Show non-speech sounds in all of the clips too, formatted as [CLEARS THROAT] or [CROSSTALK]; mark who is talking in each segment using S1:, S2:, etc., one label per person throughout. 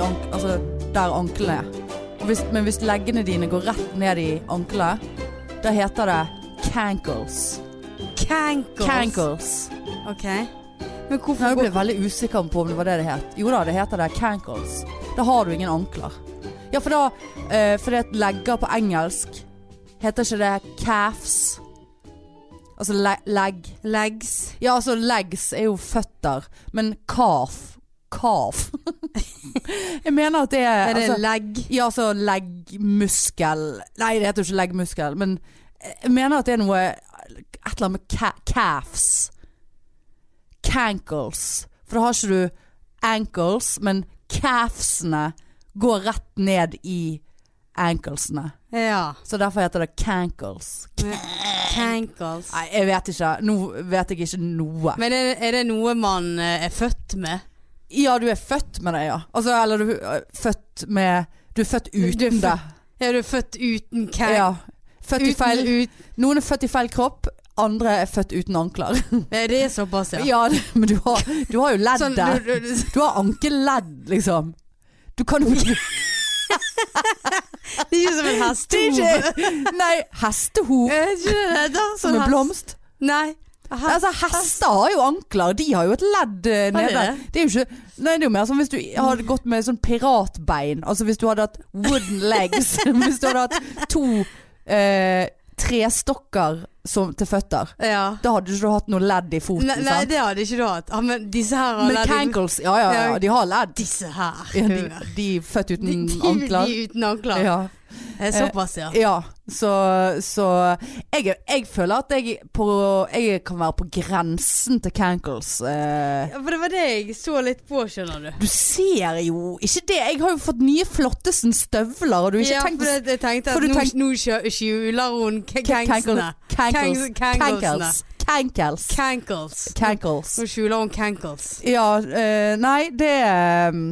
S1: ank altså, der anklene er. Og Hvis, men hvis leggene dine går rett ned i ankelet, da heter det cankles.
S2: Cankles.
S1: Cankles.
S2: Ok. Men
S1: Nei,
S2: hvorfor
S1: jeg ble veldig usikker på om det var det det het. Jo da, det heter det cankles. Da har du ingen ankler. Ja, for da eh, Fordi at legger på engelsk heter ikke det calves. Altså le legg.
S2: går legs?
S1: Ja, altså legs er jo føtter, men calf Calf. [LAUGHS] jeg mener at det er,
S2: Er det
S1: altså,
S2: legg?
S1: Ja, altså leggmuskel Nei, det heter jo ikke leggmuskel, men eh, jeg mener at det er noe Et eller annet med ca calves. Cankles. For da har ikke du ankles, men calvesene går rett ned i anklesene.
S2: Ja.
S1: Så derfor heter det cankles.
S2: Cankles.
S1: Nei, jeg vet ikke. Nå vet jeg ikke noe.
S2: Men er, er det noe man eh, er født med?
S1: Ja, du er født med det, ja. Altså, eller du er født med Du er født uten
S2: Du er født
S1: det.
S2: Er du født uten cankles?
S1: Ja. Født i
S2: Uten-
S1: feil Noen er født i feil kropp, andre er født uten ankler. [LAUGHS]
S2: Nei, det er såpass, ja.
S1: Ja, det- men du har, du har jo leddet.
S2: Sånn,
S1: du,
S2: du, du,
S1: har ankeledd, liksom. Du kan jo
S2: [LAUGHS]
S1: ikke
S2: det er ikke [LAUGHS] som en
S1: [LAUGHS]
S2: hestehov.
S1: Nei, hestehov
S2: Er ikke det da? sånn
S1: som en
S2: hest-
S1: blomst.
S2: Nei. Hest-
S1: Altså, hester har jo ankler. De har jo et ledd eh,
S2: Har de
S1: nede.
S2: det?
S1: Det er jo ikke Nei, det er jo mer som hvis du hadde gått med sånn piratbein. Altså hvis du hadde hatt wooden
S2: [LAUGHS]
S1: legs. [LAUGHS] hvis du hadde hatt to eh, trestokker som, til føtter.
S2: Ja.
S1: Da hadde du ikke hatt noe ledd i foten.
S2: Nei, nei,
S1: sant?
S2: det hadde ikke du hatt. Ja, men disse her har
S1: sånn- Men
S2: ledd-
S1: cankles, ja, ja, ja,
S2: Ja.
S1: de har ledd.
S2: Disse her.
S1: [LAUGHS] Ja, de,
S2: hør.
S1: de er født uten
S2: De- de-
S1: ankler.
S2: De uten ankler.
S1: Ja,
S2: Eh, Såpass, ja.
S1: ja. Så, så jeg, jeg føler at jeg, på, jeg kan være på grensen til cankles. Eh,
S2: For det var det jeg så litt på, skjønner du.
S1: du ser jo ikke det. Jeg har jo fått nye flottesen støvler, og du har ikke
S2: ja,
S1: tenkt
S2: for det, jeg tenkte
S1: for
S2: at
S1: du
S2: nå,
S1: tenk-
S2: nå kjø- skjuler hun k- kanksene.
S1: Cankles.
S2: Kangs- kanglesene.
S1: Cankles. Cankles.
S2: Kankles.
S1: Cankles.
S2: Nå skjuler hun kankles.
S1: Ja, eh, nei, det eh,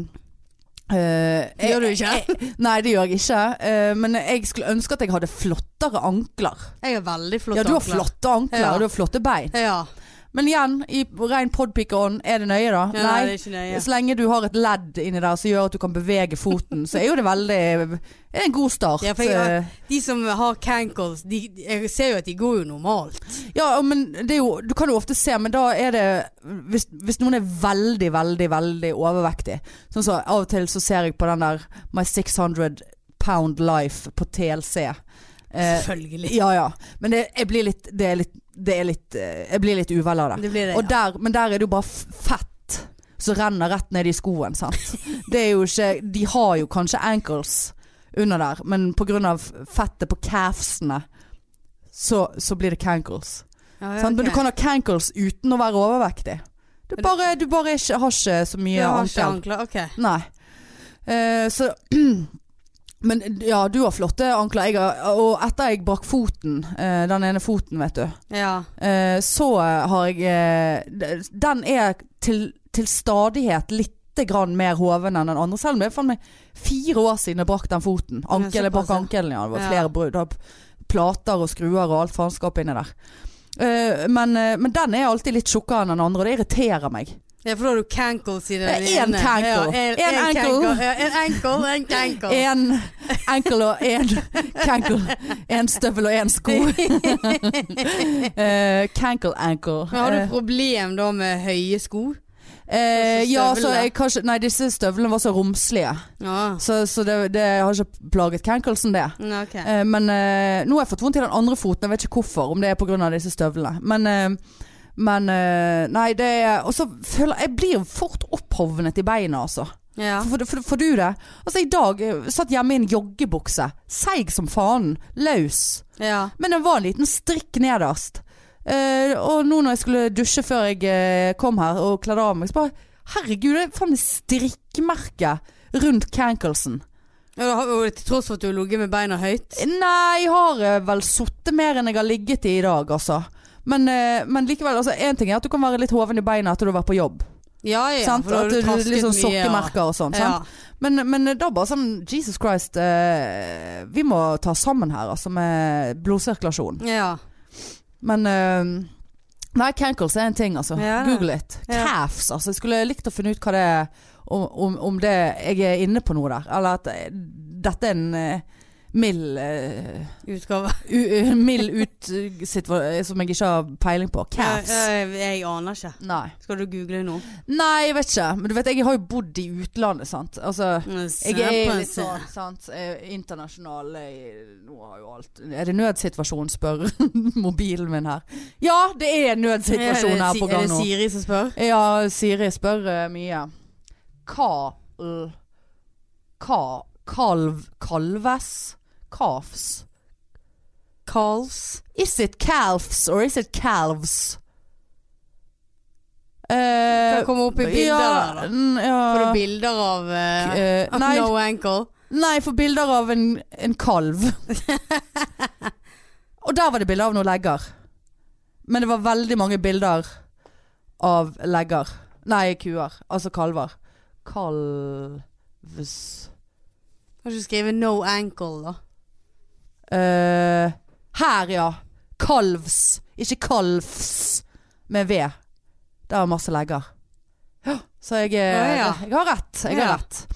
S1: jeg-
S2: Gjør du ikke?
S1: Nei, det gjør jeg ikke. Eh, men jeg skulle ønske at jeg hadde flottere ankler.
S2: Jeg har veldig flotte
S1: ja, du har
S2: ankler.
S1: flotte ankler,
S2: Ja.
S1: og du har flotte bein.
S2: Ja.
S1: Men igjen, i ren podpikeånd, er det nøye da?
S2: ja nei, det er ikke nøye.
S1: Så lenge du har et ledd inni der som gjør at du kan bevege foten, så er jo det veldig Det er en god start.
S2: Ja, for jeg-
S1: Eh,
S2: De som har kankles, de, jeg ser jo at de går jo normalt.
S1: Ja, men det er jo, du kan jo ofte se, men da er det Hvis, hvis noen er veldig, veldig, veldig overvektig Sånn så av og til så ser jeg på den der My 600 Pound Life på TLC. Eh,
S2: Selvfølgelig.
S1: ja ja. Men det, jeg blir litt, det er litt, det er litt eh, Jeg blir litt uvel av det.
S2: Det blir det,
S1: Og
S2: ja.
S1: der, men der er det jo bare f- fett som renner rett ned i skoen,
S2: [LAUGHS]
S1: sant. Det er jo ikke De har jo kanskje ankles under der, men pga. fettet på calvesene så, så blir det cankles.
S2: Ja, ja,
S1: sant? Men
S2: ok.
S1: du kan ha cankles uten å være overvektig. Du
S2: Men-
S1: bare, du bare ikke, har ikke så mye
S2: Jeg har ikke
S1: ankel.
S2: ankler. Ok.
S1: Nei. Eh, så [CLEARS THROAT] Men ja, du har flotte ankler. Jeg har, og etter jeg brakk foten, eh, den ene foten, vet du.
S2: Ja.
S1: Eh, så har jeg eh, d- Den er til, til stadighet litt grann mer hoven enn den andre. Selv om det er faen meg fire år siden jeg brakk den foten. Ankel, jeg brakk
S2: såpass, ja.
S1: ankelen, ja. Det var
S2: Ja.
S1: flere brudd. av Plater og skruer og alt faenskap inni der. Eh, men, eh, men den er alltid litt tjukkere enn den andre, og det irriterer meg.
S2: ja, for da har du kankles i den
S1: Det er Eh, en
S2: ene.
S1: cankle.
S2: Ja, en,
S1: En
S2: en
S1: ankle.
S2: cankle. Ja, en ankle,
S1: [LAUGHS]
S2: en cankle.
S1: Én enkel og én [LAUGHS] cankle. Én støvel og én
S2: [LAUGHS]
S1: sko. Eh, cankle ankle.
S2: Men har
S1: Eh,
S2: du problem da med høye sko?
S1: eh, ja, så
S2: støvlene?
S1: jeg kanskje Nei, disse støvlene var så romslige.
S2: Ja.
S1: Så, så det, det har ikke plaget Cankelsen det.
S2: Mm, Ok.
S1: Eh, men eh, nå har jeg fått vondt i den andre foten, jeg vet ikke hvorfor, om det er pga. disse støvlene. Men, eh, men eh, Nei, det er Og så føler jeg Jeg blir fort opphovnet i beina, altså.
S2: Ja.
S1: Får for, for du det? Altså, i dag eh, satt hjemme i en joggebukse. Seig som faen. Løs.
S2: ja.
S1: Men det var en liten strikk nederst. Eh, og nå når jeg skulle dusje før jeg eh, kom her og kledde av meg, så bare Herregud, det er faen meg strikkmerke rundt cankelsen.
S2: Ja, da har- og Til tross for at du har ligget med beina høyt.
S1: Nei, jeg har eh, vel sittet mer enn jeg har ligget i i dag, altså. Men, eh, men likevel, altså, én ting er at du kan være litt hoven i beina etter du har vært på jobb.
S2: Ja, ja.
S1: sant?
S2: for da har
S1: At du,
S2: trasket
S1: litt sånn
S2: mye, ja.
S1: sokkemerker og sånn. sant?
S2: Ja.
S1: Men, men da bare sånn Jesus Christ, eh, vi må ta sammen her, altså, med blodsirkulasjon.
S2: ja.
S1: Men, eh, Nei, cankles er en ting, altså.
S2: Ja.
S1: Google it.
S2: Ja.
S1: Calves, altså. Jeg skulle likt å finne ut hva det er om, om, om det jeg er inne på noe der. Eller at eh, dette er en eh, mild eh,
S2: Utgave.
S1: u, u, Mild ut situa- som jeg ikke har peiling på. Calves.
S2: [LAUGHS] Ja, ja, Jeg, jeg aner ikke.
S1: Nei.
S2: Skal du google nå?
S1: Nei, jeg vet ikke. Men du vet, jeg har jo bodd i utlandet, sant. Altså jeg er jo litt sånn, sant? eh, Internasjonal eh, Nå har jo alt Er det nødsituasjon, spør [LAUGHS] mobilen min her. Ja, det er
S2: sånn [LAUGHS]
S1: nødsituasjon her på gang
S2: Er det
S1: nå.
S2: Siri som spør?
S1: Ja, Siri spør eh, mye. Hva l- Hva Kalv Kalves? Calves?
S2: Calls.
S1: Is it calves or is it calves? Eh,
S2: Kan komme opp i bilder
S1: ja,
S2: der, da.
S1: n- ja.
S2: Får du bilder [LAUGHS] av eh,
S1: Eh,
S2: of
S1: nei,
S2: No ankle?
S1: Nei, for bilder av en, en
S2: [LAUGHS]
S1: kalv. og der var det bilder av noen legger. Men det var veldig mange bilder av legger. Nei, kuer. Altså kalver. Kalvs
S2: Kan ikke skrive no ankle, da.
S1: Eh, Her, ja. Kalvs. Ikke kalvs med V. Der er masse legger. Ja, så jeg, eh,
S2: Å, ja.
S1: jeg har rett. Jeg
S2: Ja.
S1: har rett.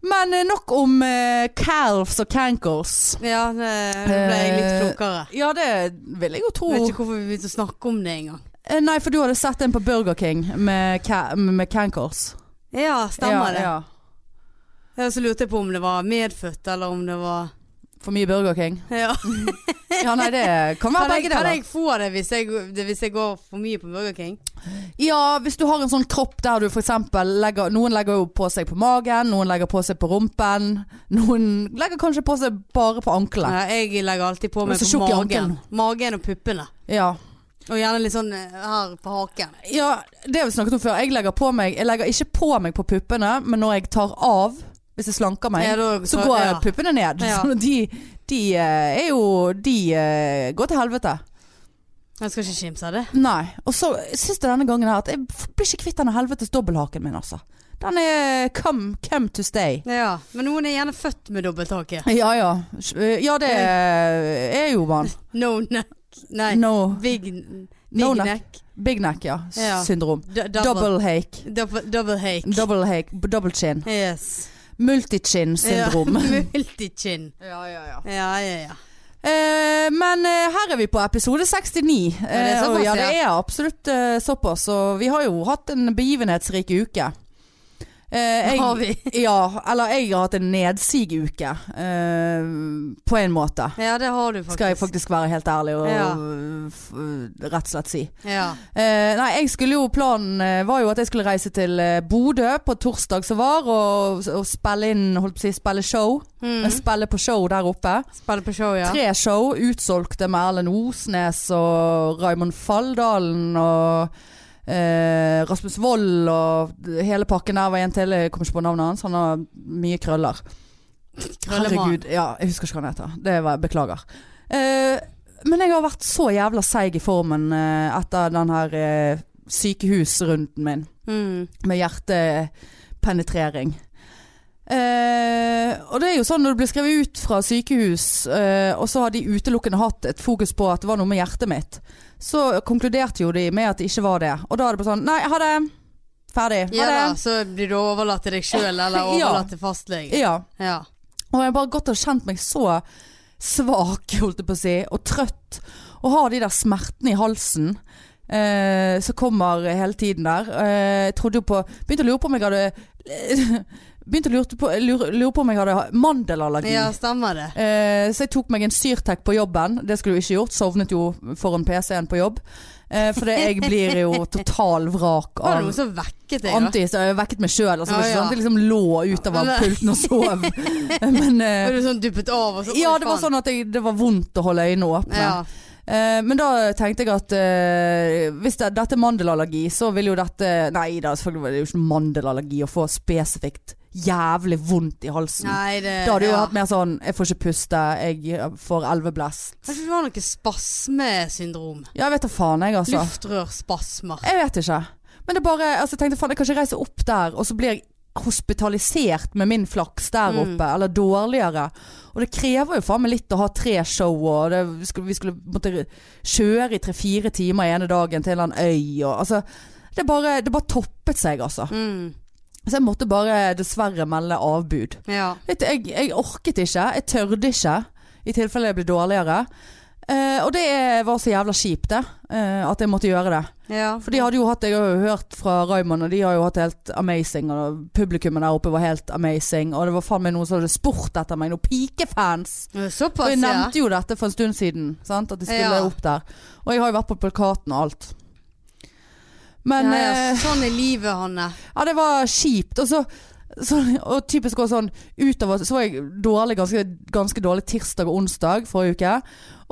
S1: Men eh, nok om eh, calves og cankles.
S2: Ja, det, nå ble jeg litt
S1: Eh,
S2: klokere.
S1: Ja, det vil jeg jo tro.
S2: Jeg vet ikke hvorfor vi begynte å snakke om det engang.
S1: Eh, Nei, for du hadde sett en på Burger King med, ca med cankles.
S2: Ja,
S1: ja,
S2: stemmer det.
S1: Ja.
S2: Ja, så lurte jeg på om det var medfødt, eller om det var
S1: For mye Burger King.
S2: ja.
S1: Ja, nei, det kan være
S2: Kan, jeg,
S1: begge
S2: kan
S1: deler.
S2: jeg få det hvis jeg, det, hvis jeg går for mye på Burger King?
S1: Ja, hvis du har en sånn kropp der du for eksempel legger Noen legger jo på seg på magen, noen legger på seg på rumpen. Noen legger kanskje på seg bare på anklene.
S2: Ja, jeg legger alltid på
S1: Du er
S2: meg
S1: så
S2: på
S1: tjukk i
S2: magen.
S1: ankelen.
S2: Magen og puppene.
S1: Ja.
S2: Og gjerne litt sånn eh, her på haken.
S1: ja, det har vi snakket om før. Jeg legger, på meg, jeg legger ikke på meg på puppene, men når jeg tar av, hvis jeg slanker meg,
S2: Ja, da-
S1: så går
S2: ja.
S1: puppene ned.
S2: Ja.
S1: Så de, de eh, er jo De eh, går til helvete.
S2: Jeg skal ikke kimse av det.
S1: Nei. Og så syns jeg denne gangen her at jeg f- blir ikke kvitt denne helvetes dobbelthaken min, altså. Den er come, come to stay.
S2: Ja, Men noen er gjerne født med dobbelthake.
S1: Ja ja. Ja, det er jo man.
S2: No neck. Nei,
S1: No,
S2: big, big
S1: no neck.
S2: neck.
S1: Big neck, ja.
S2: Ja.
S1: Syndrom.
S2: D- Double,
S1: Double hake.
S2: double, double hake.
S1: Double hake. Double chin.
S2: Yes.
S1: [LAUGHS] Multichin-syndrom.
S2: Ja, [LAUGHS] Multichin.
S1: Ja, ja, ja.
S2: Ja, ja, ja.
S1: Eh, men eh, her er vi på episode 69. Eh,
S2: det er såpass,
S1: og ja,
S2: ja.
S1: det er absolutt eh, såpass. Og vi har jo hatt en begivenhetsrik uke. Eh,
S2: Har vi?
S1: ja, eller jeg har hatt en nedsig-uke. Eh, på en måte.
S2: Ja, det har du faktisk.
S1: Skal jeg faktisk være helt ærlig og
S2: Ja.
S1: f eh, rett og slett si.
S2: Ja.
S1: Eh, nei, jeg skulle jo Planen eh, var jo at jeg skulle reise til eh, Bodø på torsdag som var, og, og spille inn, holdt på å si, spille show.
S2: Mm.
S1: Spille på show der oppe.
S2: Spille på show, ja.
S1: Tre show utsolgte med Erlend Osnes og Raymond Falldalen og eh, Rasmus Wold og hele pakken der var en til. Jeg kommer ikke på navnet hans. Han har mye krøller.
S2: Krøllemann.
S1: Herregud. Ja, jeg husker ikke hva han heter. Det var, beklager. Eh, men jeg har vært så jævla seig i formen eh, etter den her eh, sykehusrunden min
S2: Mm.
S1: med hjertepenetrering. Eh, og det er jo sånn når du blir skrevet ut fra sykehus, eh, og så har de utelukkende hatt et fokus på at det var noe med hjertet mitt, så konkluderte jo de med at det ikke var det. Og da er det bare sånn Nei, ha det. Ferdig. Ha
S2: Ja da,
S1: det.
S2: så blir du overlatt til deg sjøl,
S1: [LAUGHS]
S2: eller
S1: Ja.
S2: overlatt til fastlegen.
S1: Ja.
S2: Ja.
S1: Og jeg har bare gått og kjent meg så svak, holdt jeg på å si, og trøtt. Og har de der smertene i halsen eh, som kommer hele tiden der. Eh, jeg trodde jo på Begynte å lure på om jeg hadde [LAUGHS] Begynte å lure på, lure, lure på om jeg hadde mandelallergi.
S2: ja, stemmer det.
S1: Eh, så jeg tok meg en Syrtec på jobben. Det skulle jeg ikke gjort. Sovnet jo foran PC-en på jobb. Eh, for det, jeg blir
S2: [LAUGHS]
S1: jo total vrak
S2: Var det
S1: av
S2: noe som vekket deg, da?
S1: Anti, så jeg vekket meg sjøl. Altså, det var
S2: Ja,
S1: ikke
S2: ja.
S1: sånn at jeg liksom lå ut av
S2: Nei.
S1: pulten og sov.
S2: [LAUGHS]
S1: Men eh,
S2: Var du sånn duppet av? Og så,
S1: ja,
S2: Oi,
S1: det var
S2: faen.
S1: sånn at jeg, det var vondt å holde øynene åpne.
S2: Ja.
S1: Eh, men da tenkte jeg at eh, hvis det, dette er mandelallergi, så vil jo dette Nei da, selvfølgelig var det jo ikke mandelallergi å få spesifikt jævlig vondt i halsen.
S2: Nei, det
S1: Da hadde jeg jo
S2: ja.
S1: hatt mer sånn Jeg får ikke puste, jeg får elveblest.
S2: Kanskje du har noe spasmesyndrom?
S1: Ja, jeg vet da faen, jeg, altså.
S2: Luftrørspasmer.
S1: Jeg vet ikke. Men det bare altså, Jeg tenkte faen, jeg kan ikke reise opp der, og så blir jeg hospitalisert med min flaks der oppe, eller dårligere. Og det krever jo faen meg litt å ha tre show, og det, vi skulle, vi skulle måtte kjøre i tre-fire timer ene dagen til en øy, og altså Det bare, det bare toppet seg, altså.
S2: Mm.
S1: Så jeg måtte bare dessverre melde avbud.
S2: Ja.
S1: Vet du, jeg, jeg orket ikke, jeg tørde ikke, i tilfelle jeg ble dårligere. Eh, og det var så jævla kjipt, det. eh, at jeg måtte gjøre det.
S2: ja.
S1: For de hadde jo hatt, jeg har jo hørt fra Raymond, og de har jo hatt helt amazing, og publikummet der oppe var helt amazing, og det var faen meg noen som hadde spurt etter meg, noen pikefans. Og
S2: Såpass,
S1: jeg
S2: ja.
S1: nevnte jo dette for en stund siden, sant? at de skulle
S2: Ja.
S1: opp der. Og jeg har jo vært på plakaten og alt. Men
S2: ja,
S1: eh,
S2: ja. Sånn er livet, Hanne.
S1: ja, det var kjipt. Og så så, og typisk også sånn utover Så var jeg dårlig, ganske, ganske dårlig tirsdag og onsdag forrige uke.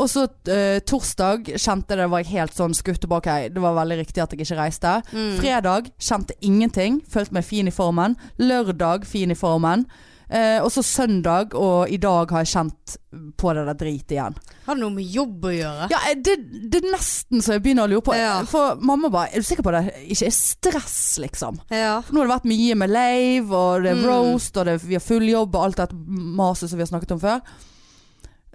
S1: Og så eh, torsdag kjente jeg det var jeg helt sånn skutt tilbake. Hei, Det var veldig riktig at jeg ikke reiste.
S2: Mm.
S1: Fredag kjente ingenting. Følte meg fin i formen. Lørdag fin i formen. Eh, og så søndag og i dag har jeg kjent på det der dritet igjen.
S2: Har det noe med jobb å gjøre?
S1: Ja, eh, det, det er nesten så jeg begynner å lure på.
S2: Ah. Ja.
S1: For mamma bare Er du sikker på at det ikke er stress, liksom?
S2: Ja.
S1: For nå har det vært mye med lave, og det er
S2: Mm.
S1: roast, og det, vi har full jobb og alt dette maset som vi har snakket om før.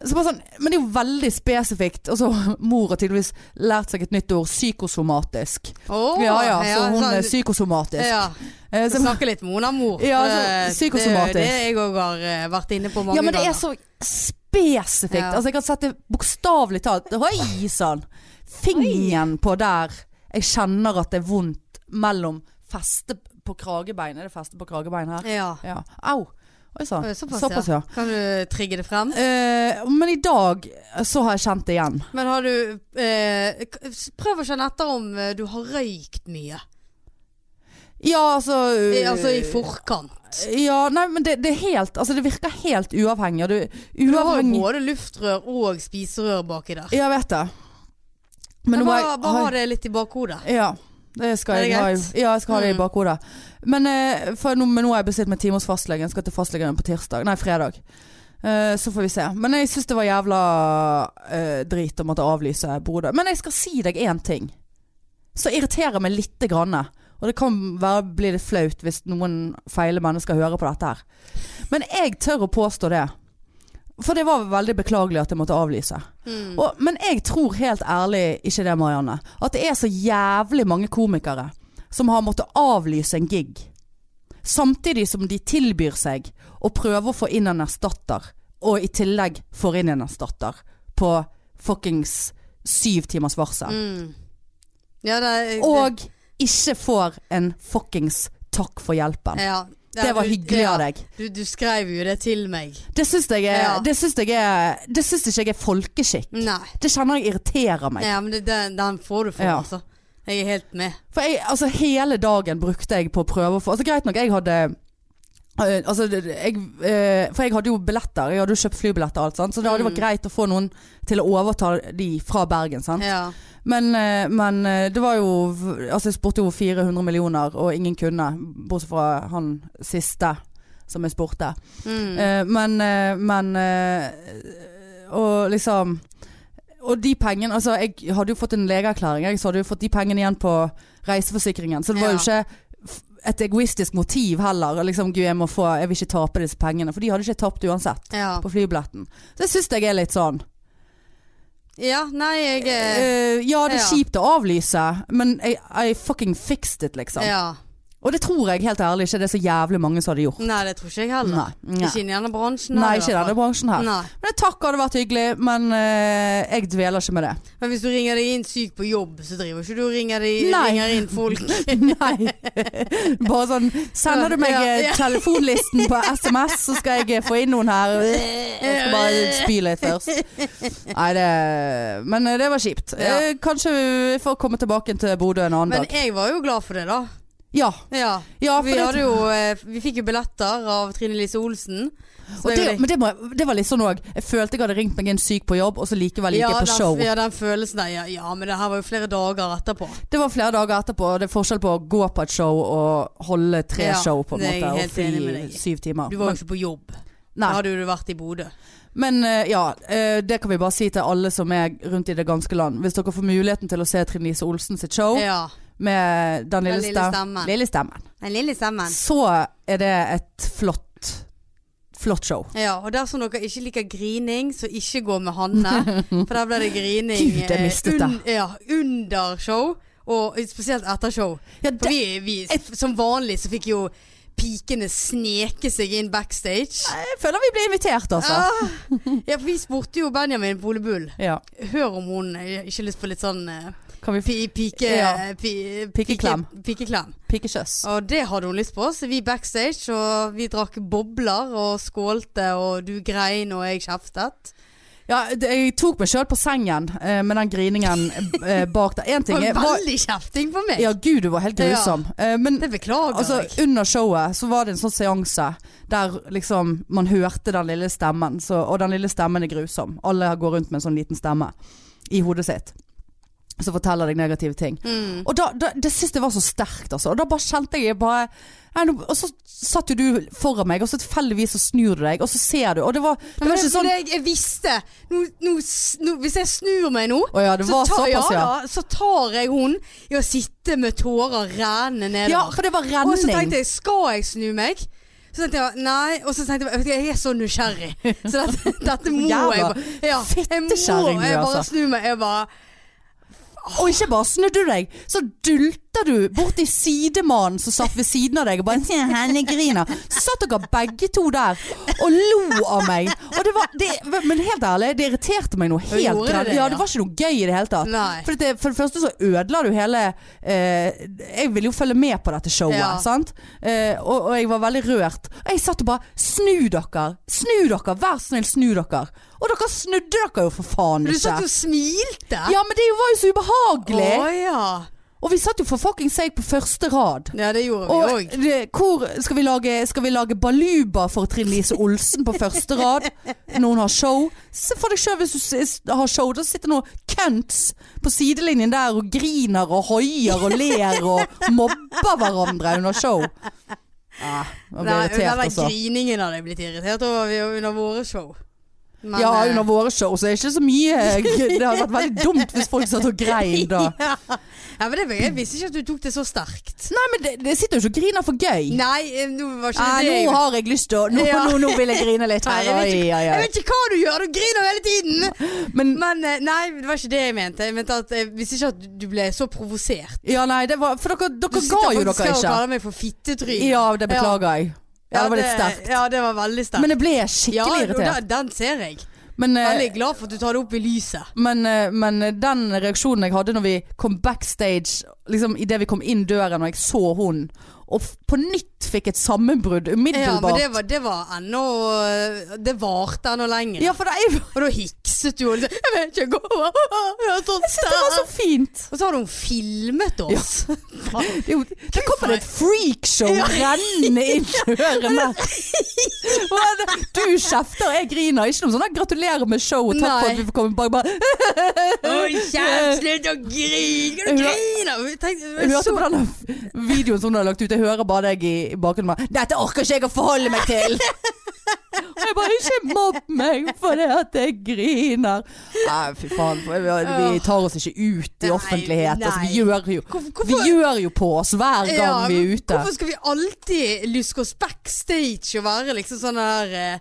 S1: Så bare sånn, men det er jo veldig spesifikt. Og så mor har tydeligvis lært seg et nytt ord. Psykosomatisk.
S2: Åh,
S1: ja ja, så hun
S2: sånn-
S1: er psykosomatisk.
S2: Ja.
S1: [LAUGHS] Eh, så,
S2: Så snakke litt med henne, mor.
S1: Ja, altså,
S2: Eh,
S1: psykosomatisk.
S2: Det er jo det jeg òg har eh, vært inne på mange
S1: ja, men det er
S2: ganger.
S1: så spesifikt.
S2: Ja.
S1: Altså, jeg kan sette bokstavelig talt Oi sann! Fingeren på der jeg kjenner at det er vondt mellom feste på kragebein. Er det feste på kragebein her?
S2: Ja.
S1: Ja. Au. Oi sann.
S2: Oi, såpass,
S1: Såpass, ja.
S2: Kan du trigge det frem?
S1: Eh, men i dag så har jeg kjent det igjen.
S2: Men har du eh, k- s- Prøv å kjenne etter om eh, du har røykt mye.
S1: Ja, altså
S2: I, altså i forkant.
S1: Ja, nei, men det, det er helt Altså, det virker helt uavhengig. og Du,
S2: Du har jo
S1: uavhengig
S2: både luftrør og spiserør baki der.
S1: Jeg vet det.
S2: Men
S1: nå må
S2: bare,
S1: jeg-
S2: bare ha det litt i bakhodet.
S1: Ja. Det skal
S2: Er det
S1: jeg ha i,
S2: greit?
S1: ja, jeg skal ha det i
S2: Mm.
S1: bakhodet. Men, eh, for nå, men nå har jeg bestilt meg time hos fastlegen. Skal til fastlegen på tirsdag. Nei, fredag. Eh, så får vi se. Men jeg syns det var jævla eh, drit å måtte avlyse broder. Men jeg skal si deg én ting. Så irriterer meg lite grann. Og det kan være, bli litt flaut hvis noen feile mennesker hører på dette her. Men jeg tør å påstå det. For det var veldig beklagelig at jeg måtte avlyse.
S2: Mm.
S1: Og, men jeg tror helt ærlig ikke det, Marianne. At det er så jævlig mange komikere som har måttet avlyse en gig. Samtidig som de tilbyr seg å prøve å få inn en erstatter. Og i tillegg får inn en erstatter på fuckings syv timers varsel.
S2: Mm. Ja, det, det-
S1: Og ikke får en fuckings takk for hjelpen.
S2: ja. Ja,
S1: Det var
S2: du-
S1: hyggelig
S2: ja.
S1: av deg.
S2: Du, du skrev jo det til meg.
S1: Det syns jeg
S2: Ja.
S1: er Det syns jeg er Det syns ikke jeg er folkeskikk.
S2: Nei.
S1: Det kjenner jeg irriterer meg.
S2: Ja, men det, den, den får du for,
S1: Ja.
S2: altså. Jeg er helt med.
S1: For jeg, altså hele dagen brukte jeg på å prøve å få Altså greit nok, jeg hadde øh, altså, det- det- jeg, øh, for jeg hadde jo billetter, jeg hadde jo kjøpt flybilletter og alt sånt, så det hadde vært greit å få noen til å overta de fra Bergen. Sant?
S2: Ja.
S1: Men, øh, men øh, det var jo Altså jeg spurte jo 400 millioner, og ingen kunne, bortsett fra han siste som jeg spurte.
S2: Mm.
S1: Eh, men eh, men eh, Og liksom Og de pengene Altså, jeg hadde jo fått en legeerklæring, jeg, så hadde jo fått de pengene igjen på reiseforsikringen. Så det var jo
S2: Ja.
S1: ikke f- et egoistisk motiv heller. Liksom, Gud, jeg må få Jeg vil ikke tape disse pengene. For de hadde ikke jeg tapt uansett.
S2: ja.
S1: På flybilletten. Så jeg syns jeg er litt sånn
S2: ja. Nei, jeg eh,
S1: eh, Ja, det er
S2: ja.
S1: kjipt å avlyse, men I, I fucking fixed it, liksom.
S2: Ja.
S1: Og det tror jeg helt ærlig ikke det er så jævlig mange som hadde gjort.
S2: Nei, det tror ikke jeg heller.
S1: Nei. Nei.
S2: Ikke inn i denne bransjen.
S1: Nei,
S2: her, i
S1: ikke i
S2: hvert
S1: denne bransjen her.
S2: fall. Nei.
S1: Men takk, det hadde vært hyggelig, men eh, jeg dveler ikke med det. [LAUGHS]
S2: Men hvis du ringer deg inn syk på jobb, så driver ikke du og ringer, deg,
S1: Nei.
S2: ringer inn
S1: [LAUGHS]
S2: folk.
S1: Nei. Bare sånn Sender du meg
S2: Ja,
S1: eh,
S2: ja.
S1: telefonlisten
S2: [LAUGHS]
S1: på SMS, så skal jeg eh, få inn noen her. Jeg skal bare spy litt først. Nei, det Men eh, det var kjipt.
S2: Ja.
S1: Eh, Kanskje vi får komme tilbake til Bodø en annen
S2: Men
S1: dag.
S2: jeg var jo glad for det, da.
S1: Ja.
S2: Ja.
S1: ja for
S2: Vi,
S1: det,
S2: hadde jo, eh, vi fikk jo billetter av Trine Lise Olsen. Så
S1: og
S2: er jo
S1: det, men det, må, jeg- det var litt sånn òg. Jeg følte jeg hadde ringt meg inn syk på jobb, og så likevel gikk
S2: ja,
S1: jeg på
S2: den,
S1: show.
S2: Ja, den følelsen der. Ja, ja, men det her var jo flere dager etterpå.
S1: Det var flere dager etterpå, og det er forskjell på å gå på et show og holde tre
S2: Ja,
S1: show, på en
S2: det er jeg
S1: måte. Og
S2: helt enig med
S1: fly
S2: deg i.
S1: syv timer.
S2: Du var jo ikke på jobb. Da
S1: Nei.
S2: hadde jo du vært i Bodø.
S1: Men eh, ja, eh, det kan vi bare si til alle som er rundt i det ganske land. Hvis dere får muligheten til å se Trine Lise Olsen sitt show,
S2: Ja.
S1: med den lille,
S2: Den lille
S1: stem-
S2: stemmen.
S1: lille stemmen.
S2: Den lille stemmen.
S1: Så er det et flott, flott show.
S2: Ja, og dersom dere ikke liker grining, så ikke gå med Hanne. For der ble det grining
S1: [LAUGHS] Gud, jeg
S2: eh,
S1: mistet det.
S2: un- ja, under show, og spesielt etter show.
S1: Ja,
S2: For
S1: det,
S2: vi, vi, som vanlig så fikk jo pikene sneke seg inn backstage.
S1: jeg føler vi ble invitert, altså.
S2: Ah, ja, for vi spurte jo Benjamin Polebull.
S1: Ja.
S2: Hør om hun eh, ikke har lyst på litt sånn eh,
S1: Kan vi
S2: pi, pike, eh,
S1: Ja.
S2: pi,
S1: Pikeklem.
S2: pike- pikeklem.
S1: pikke kjøss?
S2: Og det hadde hun lyst på, så vi backstage, og vi drakk bobler og skålte, og du grein og jeg kjeftet.
S1: Ja, det, jeg tok meg sjøl på sengen eh, med den griningen eh, bak der. Én
S2: [LAUGHS] Det
S1: ting er
S2: var
S1: var,
S2: veldig kjefting på meg.
S1: Ja, gud, du var helt grusom. Eh, men
S2: Det beklager
S1: altså,
S2: jeg.
S1: under showet så var det en sånn seanse der liksom man hørte den lille stemmen, så, og den lille stemmen er grusom. Alle går rundt med en sånn liten stemme i hodet sitt som forteller deg negative ting.
S2: Mm.
S1: Og da, da, det synes jeg var så sterkt, altså. Og da bare kjente jeg bare nei, nå- Og så satt jo du foran meg, og så tilfeldigvis så snur du deg, og så ser du. Og det var, det var
S2: Men
S1: ikke
S2: for
S1: sånn
S2: det jeg, jeg visste nå, nå, s- nå, Hvis jeg snur meg nå,
S1: Å ja, det var
S2: så, tar, ja,
S1: såpass, ja.
S2: da, så tar jeg hun i å sitte med tårer rennende nedover.
S1: Ja, for det var renning.
S2: Og så tenkte jeg, skal jeg snu meg? Så tenkte jeg, nei, og så tenkte jeg, vet du hva, jeg er så nysgjerrig. Så
S1: [LAUGHS]
S2: dette, dette må
S1: Jævla
S2: jeg bare. Ja, jeg må,
S1: fittekjerring du,
S2: jeg bare
S1: altså.
S2: snu meg, jeg bare,
S1: Og ikke bare snudde du deg, så dulta du bort til sidemannen som satt ved siden av deg og bare «Tja, henne griner. Så satt dere begge to der og lo av meg. Og det var, det, men helt ærlig, det irriterte meg noe helt
S2: gjorde det
S1: grann.
S2: det,
S1: Ja,
S2: ja?
S1: det var ikke noe gøy i det hele tatt.
S2: Nei.
S1: For det, for det første så ødela du hele eh, Jeg ville jo følge med på dette showet,
S2: Ja.
S1: sant? Eh, og, og jeg var veldig rørt. Og jeg satt og bare Snu dere! Snu dere! Vær snill, snu dere! Og dere snudde dere jo for faen
S2: du
S1: ikke.
S2: satt og smilte.
S1: Ja, men det var jo så ubehagelig.
S2: Å ja.
S1: Og vi satt jo for fuckings seg på første rad.
S2: Ja, det gjorde vi
S1: Og
S2: også.
S1: det, hvor skal vi lage, skal vi lage baluba for Trine Lise Olsen på første rad? Noen har show. Se for deg sjøl hvis du s- s- har show. Da sitter noen cunts på sidelinjen der og griner og hoier og ler og mobber hverandre under show. Ja, jeg ble
S2: Nei,
S1: irritert,
S2: den der
S1: altså.
S2: griningen hadde jeg blitt irritert over vi- under våre show. Men,
S1: Ja,
S2: eh, [LAUGHS]
S1: under våre show så er det ikke så mye gr- Det hadde vært veldig dumt hvis folk satt og grein
S2: [LAUGHS]
S1: da.
S2: Ja. ja, men det, var- jeg visste ikke at du tok det så sterkt.
S1: Nei, men det, det sitter jo ikke og griner for gøy.
S2: Nei, eh, nå var ikke
S1: Nei,
S2: det
S1: nå har jeg lyst til å nå,
S2: Ja.
S1: nå, nå vil jeg grine litt her.
S2: [LAUGHS] Nei, jeg vet
S1: Oi, oi,
S2: Jeg
S1: oi.
S2: vet ikke hva du gjør, du griner hele tiden!
S1: Men
S2: Men eh, nei, det var ikke det jeg mente. Jeg mente at eh, jeg visste ikke at du ble så provosert.
S1: Ja, nei, det var For dere,
S2: Du
S1: dere ga
S2: sitter
S1: jo dere
S2: faktisk her og
S1: ikke.
S2: kaller meg for fittetryne.
S1: Ja, det beklager jeg. Ja, det var litt sterkt.
S2: Ja, det var veldig sterkt.
S1: Men jeg ble
S2: ja,
S1: skikkelig
S2: og da-
S1: irritert.
S2: den ser jeg.
S1: Men, eh,
S2: Veldig glad for at du tar det opp i lyset.
S1: men, eh, men den reaksjonen jeg hadde når vi kom backstage, liksom idet vi kom inn døren og jeg så hun, og f- på nytt fikk et sammenbrudd
S2: Ja, men det
S1: umiddelbart.
S2: var, det var ennå Det varte ennå lenger.
S1: Ja, for det, jeg,
S2: Og da hikset du og liksom Jeg vet ikke gå [LAUGHS] Jeg er så
S1: jeg synes [LAUGHS] det var så
S2: sterk.
S1: fint.
S2: Og så har hun filmet oss. [LAUGHS]
S1: Det, er jo- det kommer et freakshow
S2: Ja.
S1: rennende inn døren der.
S2: [LAUGHS]
S1: Hva er det? Du kjefter, og jeg griner. Ikke noe sånn der, 'gratulerer med showet', takk for
S2: Nei.
S1: at vi får komme bak. Bare,
S2: Oi, kjæft, slutt å grine! Du
S1: Hun har-
S2: griner! Jeg tenkte-
S1: Jeg hørte
S2: så-
S1: på den videoen som du har lagt ut. Jeg hører bare deg i i bakgrunnen. bare, Dette orker ikke jeg å forholde meg
S2: [LAUGHS]
S1: til! Og jeg bare Ikke mobb meg for det at jeg griner. Nei, fy faen. for Vi vi tar oss ikke ut i
S2: Nei,
S1: offentlighet. Altså, vi,
S2: nei.
S1: gjør jo,
S2: Hvorfor- hvorfor-
S1: vi gjør jo på oss hver gang
S2: Ja,
S1: vi
S2: men
S1: er ute.
S2: Hvorfor skal vi alltid luske oss backstage og være liksom sånne der eh,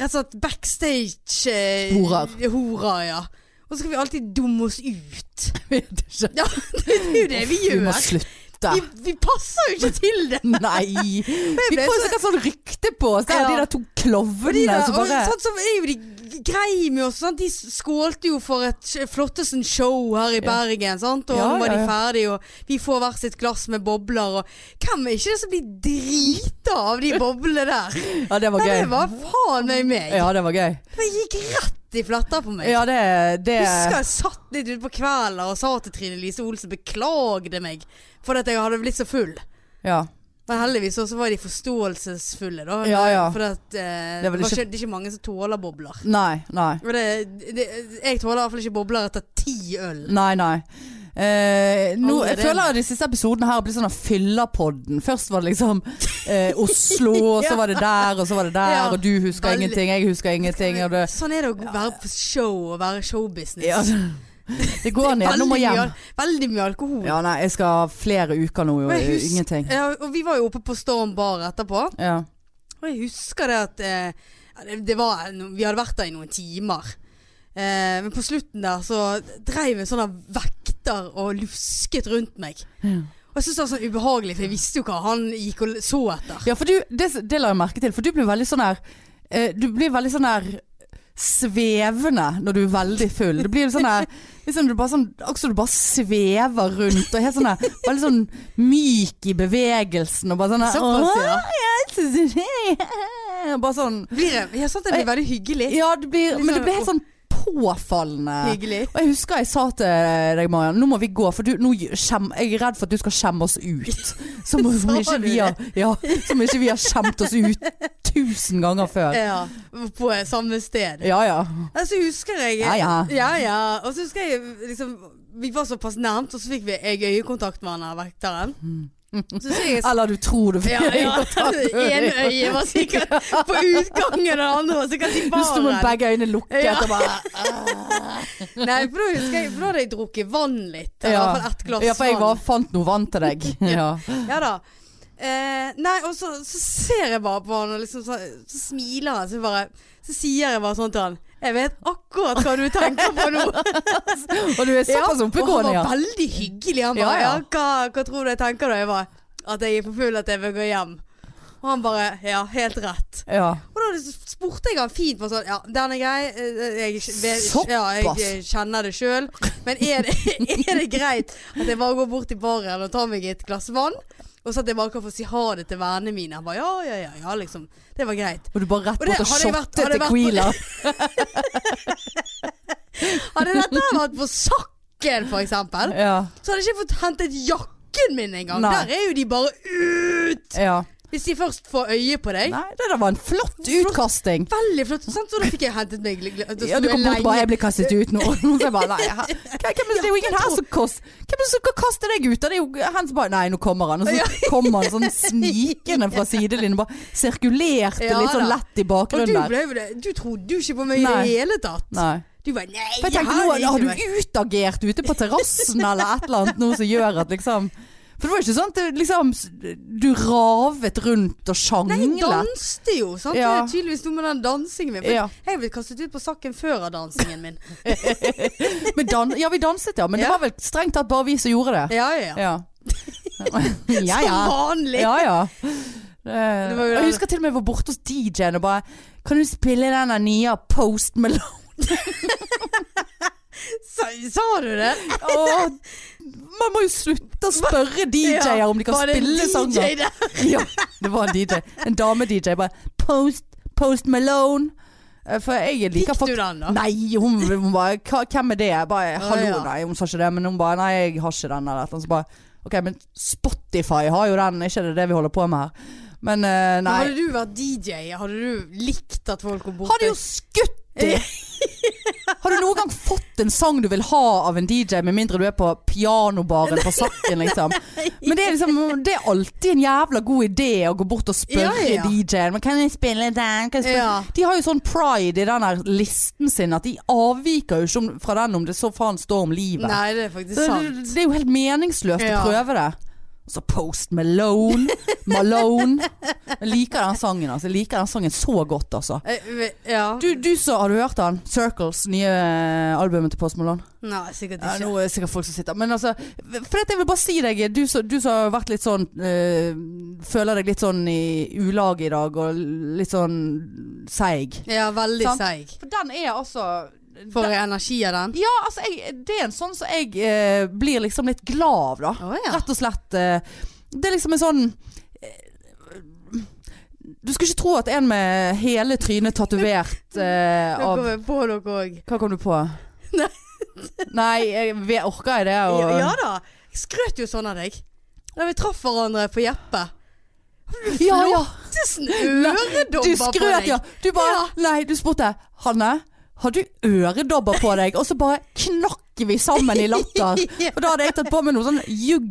S2: Rett og slett backstage eh,
S1: Horer.
S2: horer, ja. Og så skal vi alltid dumme
S1: [LAUGHS]
S2: oss ut.
S1: vet ikke.
S2: Ja, det er jo det vi
S1: Vi må
S2: gjør.
S1: slutte.
S2: Vi, vi passer jo ikke til det.
S1: [LAUGHS] Nei. Vi
S2: ble
S1: får
S2: så-
S1: sikkert sånn rykte på oss. Det er
S2: Ja.
S1: de der to
S2: Og de
S1: klovnene
S2: der,
S1: som
S2: og,
S1: bare
S2: sånn som er jo de greie med oss. Sant? De skålte jo for et sj- flottesen show her i Bergen. Sant? Og
S1: Ja,
S2: nå var
S1: ja,
S2: de
S1: ja.
S2: ferdige, og vi får hvert sitt glass med bobler. Og hvem er ikke det som blir drita av de
S1: [LAUGHS]
S2: boblene der?
S1: Ja, det var
S2: Ja, sånn-
S1: gøy.
S2: det var faen meg meg.
S1: Ja, det var gøy.
S2: Det gikk rett i fletta på meg.
S1: Ja, det, det
S2: Jeg husker jeg satt litt ute på kvelden og sa til Trine Lise Olsen beklagde meg for at jeg hadde blitt så full.
S1: Ja.
S2: Men heldigvis også var de forståelsesfulle, da.
S1: Ja, ja.
S2: For at, eh,
S1: Det er
S2: det,
S1: vel
S2: var
S1: ikke-
S2: ikke, det er ikke mange som tåler bobler.
S1: Nei. Nei.
S2: Og det, det, jeg tåler i hvert fall ikke bobler etter ti øl.
S1: Nei, nei. Eh, nå,
S2: Aldri
S1: jeg
S2: det.
S1: føler at de siste episodene her blir sånn av fyllerpodden. Først var det liksom eh, Oslo,
S2: [LAUGHS]
S1: og så var det der, og så var det der,
S2: Ja.
S1: og du husker
S2: Veldig.
S1: ingenting, jeg husker ingenting. Og det,
S2: Sånn er det å være på show og være showbusiness.
S1: ja, Det går ned. Nå må jeg hjem.
S2: Veldig mye alkohol.
S1: Ja, nei, jeg skal ha flere uker nå, og
S2: Men jeg husker-
S1: ingenting.
S2: Ja, og vi var jo oppe på Storm Bar etterpå.
S1: Ja.
S2: Og jeg husker det at eh, ja, det, det var, no- Vi hadde vært der i noen timer. Eh, men på slutten der så dreiv en sånn vekter og lusket rundt meg.
S1: Ja.
S2: Og jeg syntes det var sånn ubehagelig, for jeg visste jo hva han gikk og så etter.
S1: Ja, for du, det, det la jeg merke til, for du blir veldig sånn her eh, Du blir veldig sånn her svevende når du er veldig full. Det blir sånn her liksom du bare sånn, Akkurat som du bare svever rundt og helt sånn her Veldig sånn myk i bevegelsen og bare sånn her
S2: Såpass, ja.
S1: «Åh!» Bare sånn
S2: Blir jeg, jeg sa at det blir veldig hyggelig.
S1: Ja, det blir, men det
S2: Liksom-
S1: blir helt sånn påfallende.
S2: Hyggelig.
S1: Og jeg husker jeg sa til deg, Marian, nå må vi gå, for du, nå skjem, jeg er redd for at du skal skjemme oss ut. Som om
S2: [LAUGHS] Sa
S1: ikke
S2: du
S1: vi har, ja, som ikke vi har skjemt oss ut tusen ganger før.
S2: Ja, på eh, samme sted.
S1: Ja, ja.
S2: Ja, så husker jeg
S1: Ja, ja.
S2: ja. Og så husker jeg liksom Vi var såpass nærmt, og så fikk vi jeg øyekontakt med han her vekteren. Så sier jeg
S1: Eller du tror det.
S2: Ja, ja. [LAUGHS] Det ene øyet var sikkert på utgangen, og det andre var sikkert i
S1: Du sto med
S2: baren.
S1: begge øynene lukket
S2: Ja.
S1: og bare
S2: Nei, for da husker jeg, for da hadde jeg drukket vann litt. Eller i
S1: Ja.
S2: hvert fall ett glass
S1: Ja, for jeg var,
S2: vann.
S1: fant noe vann til deg. Ja.
S2: Ja da. Eh, nei, og så, så ser jeg bare på han, og liksom så, så smiler han. Så, bare, så sier jeg bare sånn til han Jeg vet akkurat hva du tenker på nå.
S1: Og du er såpass
S2: og han
S1: oppegående, ja.
S2: var veldig hyggelig. Han
S1: Ja,
S2: bare ja,
S1: ja.
S2: hva, 'Hva tror du jeg tenker da?' Jeg bare 'At jeg er for full, at jeg vil gå hjem'. Og han bare 'Ja, helt rett'.
S1: ja.
S2: Og da spurte jeg han fint på sånn Ja, den er grei. eh, Jeg, vet,
S1: Såpass.
S2: ja, jeg kjenner det sjøl. Men er det, [LAUGHS] er det greit at jeg bare går bort til baren og tar meg et glass vann? Og så at jeg bare kan få si ha det til vennene mine. Han bare ja, ja, ja, ja, liksom. Det var greit.
S1: Og du bare rett
S2: Og det-
S1: bort og
S2: hadde jeg vært-
S1: shotte
S2: hadde jeg
S1: Tequila.
S2: vært- Hadde dette her vært på Sakken, for eksempel,
S1: Ja.
S2: så hadde jeg ikke fått hentet jakken min engang.
S1: Nei.
S2: Der er jo de bare ut!
S1: ja.
S2: Hvis de først får øye på deg.
S1: Nei, det der var en flott utkasting.
S2: Veldig flott. Sant? Så da fikk jeg hentet meg. altså, Da sto
S1: Ja, du
S2: jeg
S1: kom bort og bare
S2: lenge
S1: 'jeg blir kastet ut
S2: [LAUGHS]
S1: nå'. Og så jeg bare, nei, her- hvem, er det er jo ingen her som kost, hvem er det som skal kaste deg ut? da? Det er jo han som bare 'nei, nå kommer han'. Og så kommer han
S2: [LAUGHS]
S1: sånn snikende fra sidelinjen. Bare sirkulerte
S2: Ja,
S1: litt sånn
S2: da.
S1: lett i
S2: Og du,
S1: bakgrunnen der.
S2: ble, jo det- du trodde jo ikke på meg i
S1: Nei.
S2: det hele tatt.
S1: Nei.
S2: Du bare nei,
S1: For jeg tenkte
S2: her
S1: nå,
S2: er det
S1: har
S2: ikke
S1: du
S2: meg.
S1: utagert ute på terrassen eller et eller annet noe som gjør at liksom For det var jo ikke sånn at det liksom Du ravet rundt og
S2: Nei, jeg
S1: sjanglet.
S2: danste jo, sant.
S1: Ja.
S2: Det er tydeligvis noe med den dansingen min. For
S1: Ja.
S2: Jeg ble kastet ut på sakken før av
S1: [LAUGHS]
S2: dansingen min.
S1: Men dan ja, vi danset, ja. Men det
S2: Ja.
S1: var vel strengt tatt bare vi som gjorde det.
S2: Ja, ja, ja.
S1: Ja. ja, [LAUGHS] ja.
S2: Som vanlig.
S1: Ja, ja.
S2: Det
S1: Det,
S2: var jo det.
S1: jeg husker til og med jeg var borte hos DJ-en og bare Kan du spille den der nye Post
S2: [LAUGHS]
S1: Malone?
S2: Sa, sa du det?
S1: Åh, man må jo slutte å spørre DJ-er om de kan
S2: Var det en
S1: spille
S2: DJ
S1: sanger.
S2: der?
S1: Ja, det var en DJ. En dame-DJ. Bare Post, Post Malone. Eh, For jeg liker
S2: Fikk
S1: faktisk
S2: du den, da?
S1: Nei, hun, hun bare "Hva- Hvem er det? Jeg bare, Hallo,
S2: ja.
S1: nei, hun sa ikke det. Men hun bare Nei, jeg har ikke den. Eller et eller annet. Så bare OK, men Spotify har jo den. Ikke det det vi holder på med her. Men eh,
S2: Men
S1: nei.
S2: Hadde du vært DJ, hadde du likt at folk kom bort
S1: Har du jo skutt i? Har du noen gang fått en sang du vil ha av en DJ, med mindre du er på pianobaren på Sakken, liksom? Men det er, liksom, det er alltid en jævla god idé å gå bort og spørre
S2: Ja, ja.
S1: DJ-en. Men kan jeg spille den? Kan jeg spille?
S2: Ja.
S1: De har jo sånn pride i den der listen sin at de avviker jo ikke om- fra den om det så faen står om livet.
S2: Nei, det er faktisk
S1: Så
S2: sant.
S1: det, det er jo helt meningsløst
S2: Ja.
S1: å prøve det. Og så Post Malone. Malone. Jeg liker den sangen, altså. Jeg liker den sangen så godt, altså.
S2: Eh, ve- Ja.
S1: Du, du så, har du hørt han? Circles, nye eh, albumet til Post Malone.
S2: Nei, sikkert
S1: Ja,
S2: ikke.
S1: nå er det sikkert folk som sitter Men altså, for dette jeg vil bare si deg Du som du som har vært litt sånn eh, Føler deg litt sånn i ulag i dag Og litt sånn seig
S2: Ja, veldig
S1: Sant.
S2: seig.
S1: For den er altså
S2: Får jeg energi av den?
S1: Ja, altså, jeg, det er en sånn som jeg eh, blir liksom litt glad av da
S2: Å ja.
S1: Rett og slett eh, Det er liksom en sånn eh, Du skal ikke tro at en med hele trynet [LAUGHS] tatovert eh,
S2: Nå
S1: Av
S2: kom jeg på noe òg.
S1: Hva kom du på?
S2: [LAUGHS] Nei.
S1: Nei, jeg vet- orker jeg det? Og...
S2: Ja, ja da. Jeg skrøt jo sånn av deg. Da vi traff hverandre på Jeppe.
S1: ja, ja.
S2: Tusen
S1: Du
S2: øredobber på
S1: skrøt,
S2: deg.
S1: ja. Du bare Nei, du spurte Hanne, har du øredobber på deg? Og så bare knakk vi sammen i latter.
S2: [LAUGHS]
S1: Og da hadde jeg tatt på meg noe sånn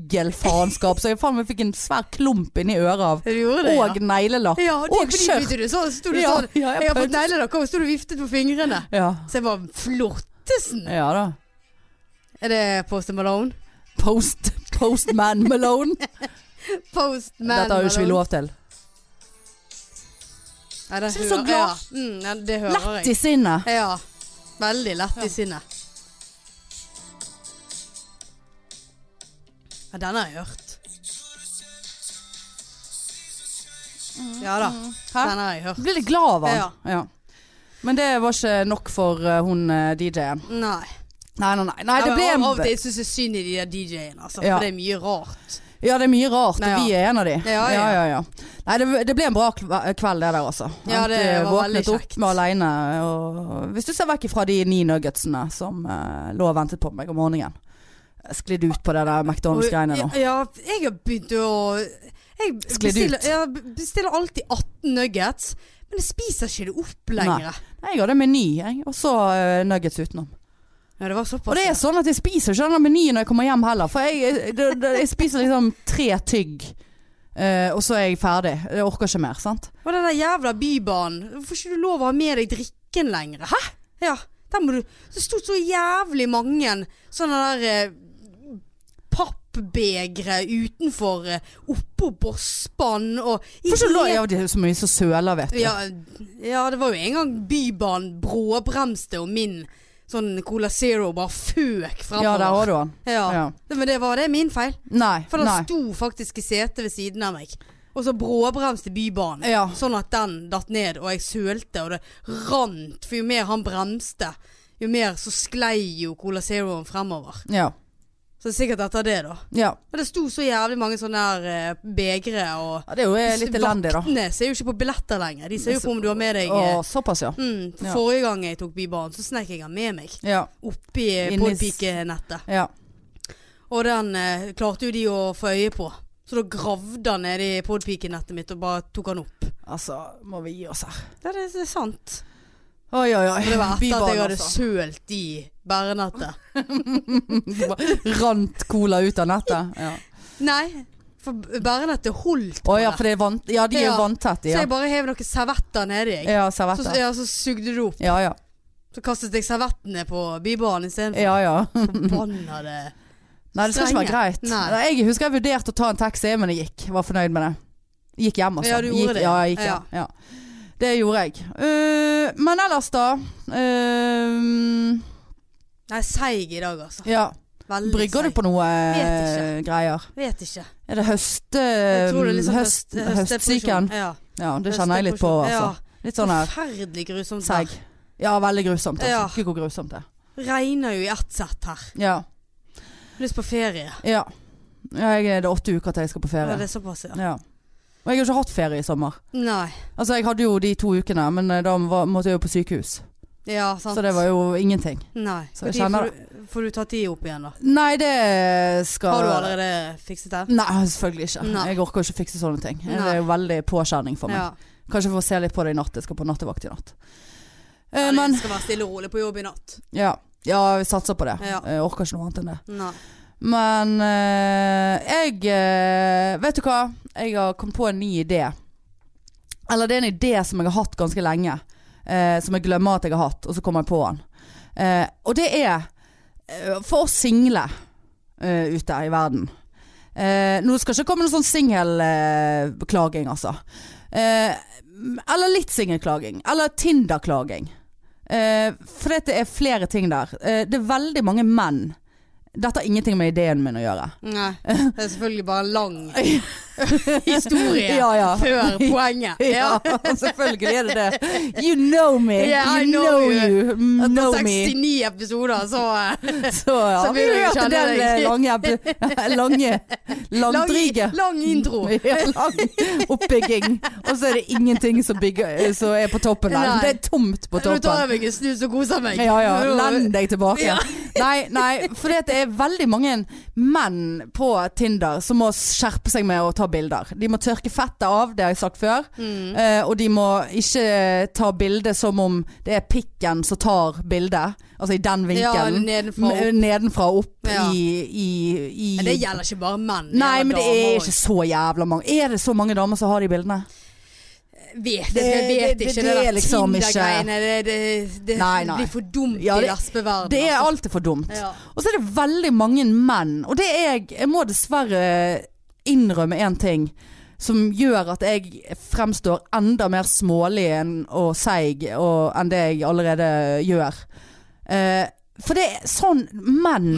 S1: juggelfaenskap, så jeg faen meg fikk en svær klump inni øret av.
S2: Du gjorde det,
S1: Og neglelakk.
S2: ja. ja
S1: og
S2: det, fordi
S1: skjørt.
S2: begynte du sånn, så sto du
S1: Ja,
S2: sånn.
S1: ja, jeg
S2: jeg har
S1: prøvde.
S2: fått neglelakk, og så sto du og viftet på fingrene.
S1: Ja.
S2: Så jeg var flortesen.
S1: ja da.
S2: Er det Post Malone?
S1: Post, postman
S2: [LAUGHS]
S1: Malone.
S2: Postman
S1: Dette har jo ikke vi lov til.
S2: Nei, det
S1: Så det er
S2: hører,
S1: så glad.
S2: Ja. Mm, ja, det hører
S1: Lett i
S2: jeg.
S1: sinnet.
S2: Ja. Veldig lett
S1: Ja.
S2: i sinnet. Ja, den har jeg hørt. Ja da.
S1: Mm. Hæ?
S2: Den har jeg hørt.
S1: Blir litt glad av han.
S2: Ja.
S1: Ja. Men det var ikke nok for eh, hun eh, DJ-en.
S2: Nei.
S1: Nei, nei, nei. nei
S2: Ja,
S1: det
S2: men
S1: ble
S2: av-
S1: en
S2: Av og til syns jeg synd i de der DJ-ene, altså,
S1: Ja.
S2: for det er mye rart.
S1: Ja, det er mye rart.
S2: Nei, ja.
S1: Vi er en av de.
S2: Ja, ja.
S1: Nei, det, det ble en bra kve- kveld det der, altså.
S2: Ja, det
S1: Jeg
S2: var
S1: våknet
S2: veldig
S1: opp
S2: kjekt.
S1: med alene. Og hvis du ser vekk ifra de ni nuggetsene som eh, lå og ventet på meg om morgenen. Jeg Sklidd ut på det der McDonald's-greiene Sånn nå.
S2: Og- Ja, jeg har begynt å jeg
S1: Sklidd
S2: bestiller,
S1: ut.
S2: Jeg b- bestiller alltid 18 nuggets, men jeg spiser ikke det opp
S1: Nei.
S2: lenger.
S1: Nei, Jeg hadde meny, jeg. Og så eh, nuggets utenom.
S2: Ja, det var såpass.
S1: Og det er sånn at jeg spiser ikke den menyen når jeg kommer hjem heller. For jeg, det, det, jeg spiser liksom tre tygg, eh, og så er jeg ferdig. Jeg orker ikke mer, sant.
S2: Og den der jævla bybanen. Hvorfor ikke du lov å ha med deg drikken lenger? Hæ? Ja, der må du Det sto så jævlig mange sånne der eh, pappbegre utenfor eh, oppå Bossbanen og
S1: For så lå jeg av så mye som søler, vet du.
S2: ja, ja, det var jo en gang Bybanen bråbremste, og min sånn Cola Zero bare føk
S1: Ja, der har
S2: fremover.
S1: du den.
S2: Ja,
S1: Ja.
S2: Det- Men det var det min feil.
S1: Nei.
S2: For den
S1: nei.
S2: sto faktisk i setet ved siden av meg. Og så bråbremste Bybanen.
S1: Ja.
S2: Sånn at den datt ned, og jeg sølte, og det rant. For jo mer han bremste, jo mer så sklei jo Cola Zeroen fremover.
S1: Ja.
S2: Så det er sikkert etter det, da.
S1: ja.
S2: Men det sto så jævlig mange sånne der eh, begre og
S1: Ja, Det er jo eh, litt elendig, da.
S2: Vaktene ser jo ikke på billetter lenger. De ser jo på om du har med deg
S1: Å,
S2: eh,
S1: såpass, ja.
S2: mm, for
S1: ja.
S2: Forrige gang jeg tok Bybanen, så snek jeg han med meg
S1: Ja.
S2: oppi
S1: Inni s-
S2: podpikenettet.
S1: ja.
S2: Og den eh, klarte jo de å få øye på. Så da gravde han nedi podpikenettet mitt og bare tok han opp.
S1: Altså, må vi gi oss her.
S2: Ja, det det er sant.
S1: Oi, oi, oi.
S2: Og det var etter at jeg
S1: Bybanen,
S2: hadde sølt i bærenettet.
S1: altså. Rant cola ut av nettet. Ja.
S2: Nei, for bærenettet
S1: Å
S2: holdt på
S1: ja,
S2: det.
S1: for det er vant... Ja, de er jo
S2: Ja.
S1: vanntette,
S2: Så
S1: ja.
S2: jeg bare hev noen servetter nedi. jeg.
S1: Ja,
S2: Så,
S1: servetter.
S2: ja, så sugde det opp.
S1: Ja, ja.
S2: Så kastet jeg servettene på bybanen istedenfor.
S1: Ja, ja.
S2: Forbanna det.
S1: Nei, det skal ikke være
S2: Strenge.
S1: greit.
S2: Nei.
S1: Nei. Jeg husker jeg vurderte å ta en taxi, men jeg gikk. Var fornøyd med det. Gikk hjem, altså.
S2: Ja, du gjorde
S1: gikk,
S2: det.
S1: Ja, jeg gikk, ja. ja. Det gjorde jeg. Eh, men ellers, da. eh,
S2: Nei, seig i dag, altså.
S1: ja.
S2: Veldig
S1: Brygger du
S2: seig.
S1: på noe
S2: Vet
S1: eh, greier?
S2: Vet ikke.
S1: Er det høst, eh,
S2: Jeg tror det er litt sånn
S1: Ehm, høst, høstsyken?
S2: høst- høstdepresjon. Ja.
S1: Ja, det kjenner jeg litt på,
S2: Høstdepresjon.
S1: altså. Litt sånn
S2: Ja,
S1: her
S2: forferdelig grusomt.
S1: seig.
S2: vær.
S1: Ja, veldig grusomt.
S2: Ja.
S1: Altså. Gud, hvor grusomt det er.
S2: Regner jo i ett sett her.
S1: Ja.
S2: Lyst på ferie.
S1: ja. ja jeg, det er åtte uker til jeg skal på
S2: Ja,
S1: ferie.
S2: det er såpass, ja.
S1: Ja. Og jeg har ikke hatt ferie i sommer.
S2: Nei.
S1: Altså, jeg hadde jo de to ukene, men eh, da var, måtte jeg jo på sykehus.
S2: Ja, sant.
S1: Så det var jo ingenting.
S2: Nei.
S1: Så jeg
S2: Når
S1: kjenner
S2: får, du- får du tatt de opp igjen, da?
S1: Nei, det skal
S2: Har du allerede fikset det?
S1: Nei, selvfølgelig ikke.
S2: Nei.
S1: Jeg orker jo ikke fikse sånne ting. Det
S2: Nei.
S1: er jo veldig påkjenning for meg.
S2: Ja.
S1: Kanskje få se litt på det i natt. Jeg skal på nattevakt i natt. Eh,
S2: Ja, det
S1: men
S2: skal være stille og rolig på jobb i natt.
S1: ja. ja, vi satser på det.
S2: Ja.
S1: Jeg orker ikke noe annet enn det.
S2: Nei.
S1: Men eh, jeg eh, Vet du hva? Jeg har kommet på en ny idé. Eller det er en idé som jeg har hatt ganske lenge. eh, som jeg glemmer at jeg har hatt, og så kommer jeg på den. Eh, og det er eh, for oss single eh, ute i verden. Eh, nå skal ikke komme noe sånn singelklaging, altså. Eh, eller litt singelklaging. Eller Tinder-klaging. Eh, for det er flere ting der. Eh, det er veldig mange menn. Dette har ingenting med ideen min å gjøre. [LAUGHS]
S2: Nei. Det er selvfølgelig bare en lang historie
S1: Ja, [LAUGHS] ja.
S2: før poenget. [LAUGHS] Ja.
S1: selvfølgelig er det det. You know me.
S2: [LAUGHS] Yeah, I
S1: you
S2: know
S1: know,
S2: you.
S1: you. Know
S2: Etter
S1: me.
S2: 69 episoder, så eh,
S1: [LAUGHS] Så ja,
S2: så
S1: vi
S2: vil du
S1: hørte
S2: kjenne
S1: den
S2: deg.
S1: eh, lange,
S2: [LAUGHS]
S1: ep- [LAUGHS] lange Langdryge.
S2: lang intro.
S1: [LAUGHS] Ja, lang oppbygging. Og så er det ingenting som, bygger, eh, som er på toppen der.
S2: Nei.
S1: Det er tomt på
S2: Nå tar
S1: toppen.
S2: jeg meg en snus og koser meg.
S1: Ja ja,
S2: [LAUGHS] Nå-
S1: lend deg tilbake.
S2: Ja.
S1: [LAUGHS] Nei, nei, for det er veldig mange menn på Tinder som må skjerpe seg med å ta bilder. De må tørke fettet av, det har jeg sagt før.
S2: Mm.
S1: Eh, og de må ikke ta bilde som om det er pikken som tar bildet. Altså i den
S2: Ja,
S1: vinkelen.
S2: nedenfra og opp.
S1: M- Nedenfra og opp
S2: Ja.
S1: i, i, i
S2: Men det gjelder ikke bare menn.
S1: Nei, men det er
S2: gjelder damer
S1: ikke så jævla mange. Er det så mange damer som har de bildene?
S2: også. vet,
S1: Det-
S2: jeg vet
S1: det- det-
S2: ikke.
S1: det
S2: Det,
S1: er
S2: der
S1: liksom ikke-
S2: Tinder-greiene, det, det, det
S1: Nei, nei.
S2: blir for dumt
S1: Ja, det-
S2: i lesbeverdenen.
S1: Det er
S2: altså.
S1: alltid for dumt.
S2: Ja.
S1: Og så er det veldig mange menn. Og det er jeg Jeg må dessverre innrømme én ting som gjør at jeg fremstår enda mer smålig enn- og seig og, enn det jeg allerede gjør. Eh, for det er sånn menn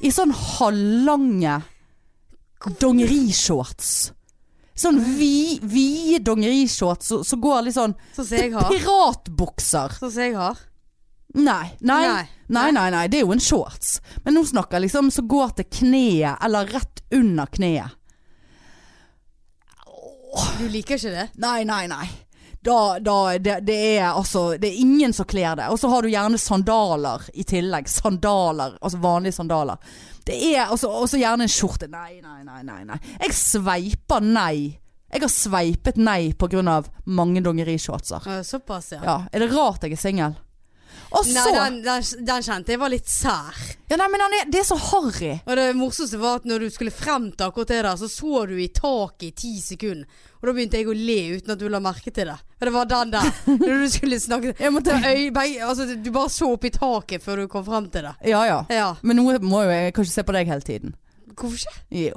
S1: i sånn halvlange dongerishorts. Sånn vi- vide dongerishorts som som går litt sånn
S2: Sånn som jeg
S1: [LAUGHS]
S2: har.
S1: Piratbukser.
S2: Sånn som jeg har.
S1: Nei. Nei.
S2: Nei.
S1: Nei, nei, nei, det er jo en shorts. Men nå snakker jeg liksom som går til kneet, eller rett under kneet.
S2: Du liker ikke det?
S1: Nei, nei, nei. Da, da, det, det er altså Det er ingen som kler det. Og så har du gjerne sandaler i tillegg. Sandaler. Altså vanlige sandaler. Det er altså også gjerne en skjorte. Nei, nei, nei, nei. nei. Jeg sveiper nei. Jeg har sveipet nei pga. mange dongerishortser.
S2: Å, Såpass, ja.
S1: Ja. Er det rart jeg er singel? Og
S2: Nei,
S1: så
S2: den, den, den kjente jeg var litt sær.
S1: Ja, nei, men han er, det er så harry.
S2: Og det morsomste var at når du skulle frem til akkurat det der, så så du i taket i ti sekunder. Og da begynte jeg å le uten at du la merke til det. Og det var
S1: [LAUGHS]
S2: den der. Når du skulle snakke
S1: Jeg måtte-
S2: Det var øy- begge- altså, Du bare så opp i taket før du kom frem til det.
S1: Ja ja.
S2: Ja.
S1: Men nå må jo jeg kanskje se på deg hele tiden.
S2: Hvorfor ikke?
S1: Jo.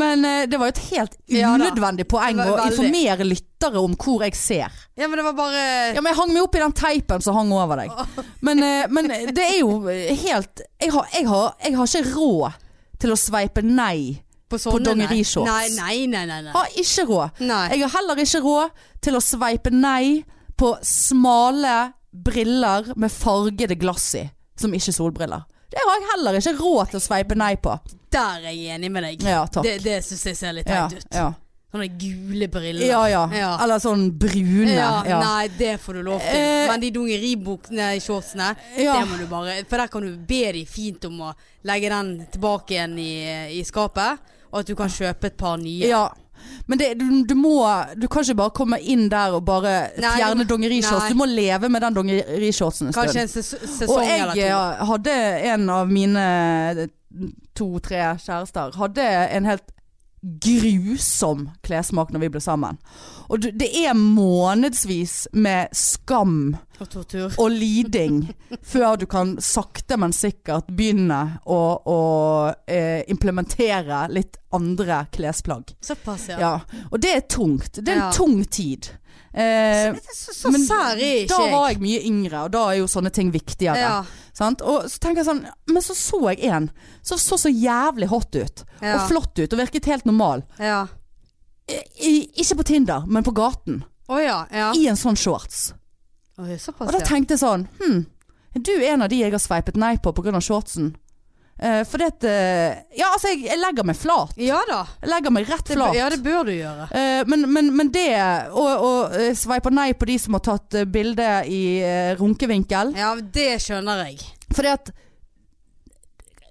S1: Men eh, det var jo et helt
S2: Ja da.
S1: unødvendig poeng
S2: Det
S1: å
S2: var veldig.
S1: informere lyttere om hvor jeg ser.
S2: Ja, men det var bare
S1: Ja, men jeg hang meg opp i den teipen som hang over deg. Men, eh, men det er jo helt jeg har, jeg, har, jeg har ikke råd til å sveipe nei.
S2: på sånne nei.
S1: dongerishorts.
S2: Nei, nei, nei. nei, nei.
S1: Har ikke råd.
S2: nei.
S1: Jeg har heller ikke råd til å sveipe nei på smale briller med fargede glass i, som ikke solbriller. Det har jeg heller ikke råd til å sveipe nei på.
S2: Der er jeg enig med deg.
S1: Ja, takk.
S2: Det, det syns jeg ser litt
S1: ja,
S2: teit ut.
S1: ja.
S2: Sånne gule briller.
S1: Ja, ja.
S2: Ja.
S1: Eller sånn brune.
S2: Ja,
S1: ja.
S2: Nei, det får du lov til.
S1: Eh,
S2: Men de dongeribuksene i shortsene,
S1: Ja.
S2: det må du bare For der kan du be de fint om å legge den tilbake igjen i, i skapet, og at du kan kjøpe et par nye.
S1: Ja. Men det, du, du må Du kan ikke bare komme inn der og bare
S2: Nei, du
S1: fjerne
S2: må-
S1: dongerishorts.
S2: nei.
S1: Du må leve med den dongerishortsen en stund.
S2: Kanskje en ses sesong
S1: Og jeg
S2: eller to.
S1: eh, hadde en av mine to-tre kjærester Hadde en helt grusom klessmak når vi ble sammen. Og du- det er månedsvis med skam
S2: Og tortur.
S1: og liding før du kan sakte, men sikkert begynne å, å eh, implementere litt andre klesplagg.
S2: Såpass, ja.
S1: Ja, og det er tungt. Det er en
S2: Ja.
S1: tung tid. Eh,
S2: Så, så
S1: men
S2: sær er ikke
S1: da var
S2: jeg.
S1: jeg mye yngre, og da er jo sånne ting viktigere.
S2: Ja,
S1: Sant? Og så tenker jeg sånn, men så så jeg en som så, så jævlig hot ut,
S2: Ja.
S1: og flott ut, og virket helt normal.
S2: ja.
S1: I, i, ikke på Tinder, men på gaten.
S2: Å ja. ja.
S1: I en sånn shorts.
S2: Oi,
S1: Og
S2: såpass,
S1: da
S2: ja.
S1: tenkte jeg sånn, hm, er du en av de jeg har sveipet nei på pga. shortsen? Eh, for det at eh, Ja, altså, jeg, jeg legger meg flat.
S2: Ja da.
S1: Jeg legger meg rett
S2: Det,
S1: flat.
S2: ja, det bør du gjøre.
S1: Eh, men, men, men det Og, og eh, sveiper nei på de som har tatt eh, bilde i eh, runkevinkel.
S2: Ja, det skjønner jeg.
S1: Fordi at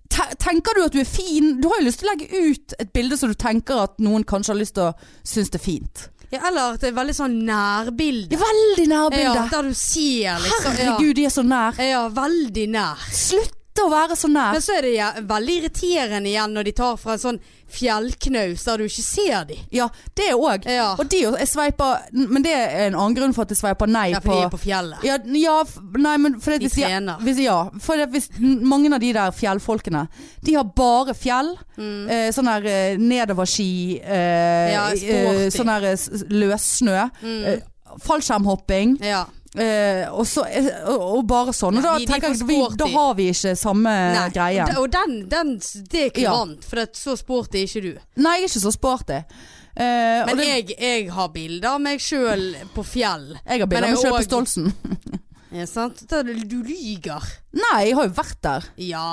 S1: te- Tenker du at du er fin? Du har jo lyst til å legge ut et bilde som du tenker at noen kanskje har lyst til å synes det er fint.
S2: Ja, eller at det er veldig sånn nærbilde.
S1: Det er veldig
S2: Ja,
S1: nærbildet.
S2: der du ser liksom ja.
S1: Herregud, de er så nær.
S2: Ja, veldig nær.
S1: Slutt å være så nær.
S2: Men så er det ja, veldig irriterende igjen når de tar fra en sånn fjellknaus der du ikke ser de.
S1: Ja, det òg.
S2: Ja,
S1: Og de òg. Jeg sveiper Men det er en annen grunn for at jeg sveiper nei
S2: ja for
S1: på
S2: de er på fjellet.
S1: Ja, ja f- nei, men fordi at
S2: De
S1: hvis jeg-
S2: trener.
S1: Hvis, ja, for det, hvis n- mange av de der fjellfolkene De har bare fjell
S2: Mm.
S1: eh, Sånn der eh, nedoverski eh,
S2: Ja, sporty.
S1: eh, Sånn der eh, s- løssnø eh,
S2: Mm.
S1: Fallskjermhopping
S2: Ja.
S1: eh, og, så, eh, og, og bare sånn Og da
S2: Ja, de- de er
S1: tenker jeg
S2: for
S1: at vi,
S2: sporty.
S1: Da har vi ikke samme
S2: Nei,
S1: greie
S2: Og den, den det er kurant, for det er så sporty er ikke du.
S1: Nei, jeg er ikke så sporty eh,
S2: Men
S1: og det, jeg,
S2: jeg, jeg har bilder av meg sjøl på fjell.
S1: har bilder
S2: men
S1: av meg
S2: jeg
S1: selv
S2: og-
S1: på Stolsen
S2: Ja, sant? Da, du lyger.
S1: Nei, jeg har jo vært der
S2: Ja.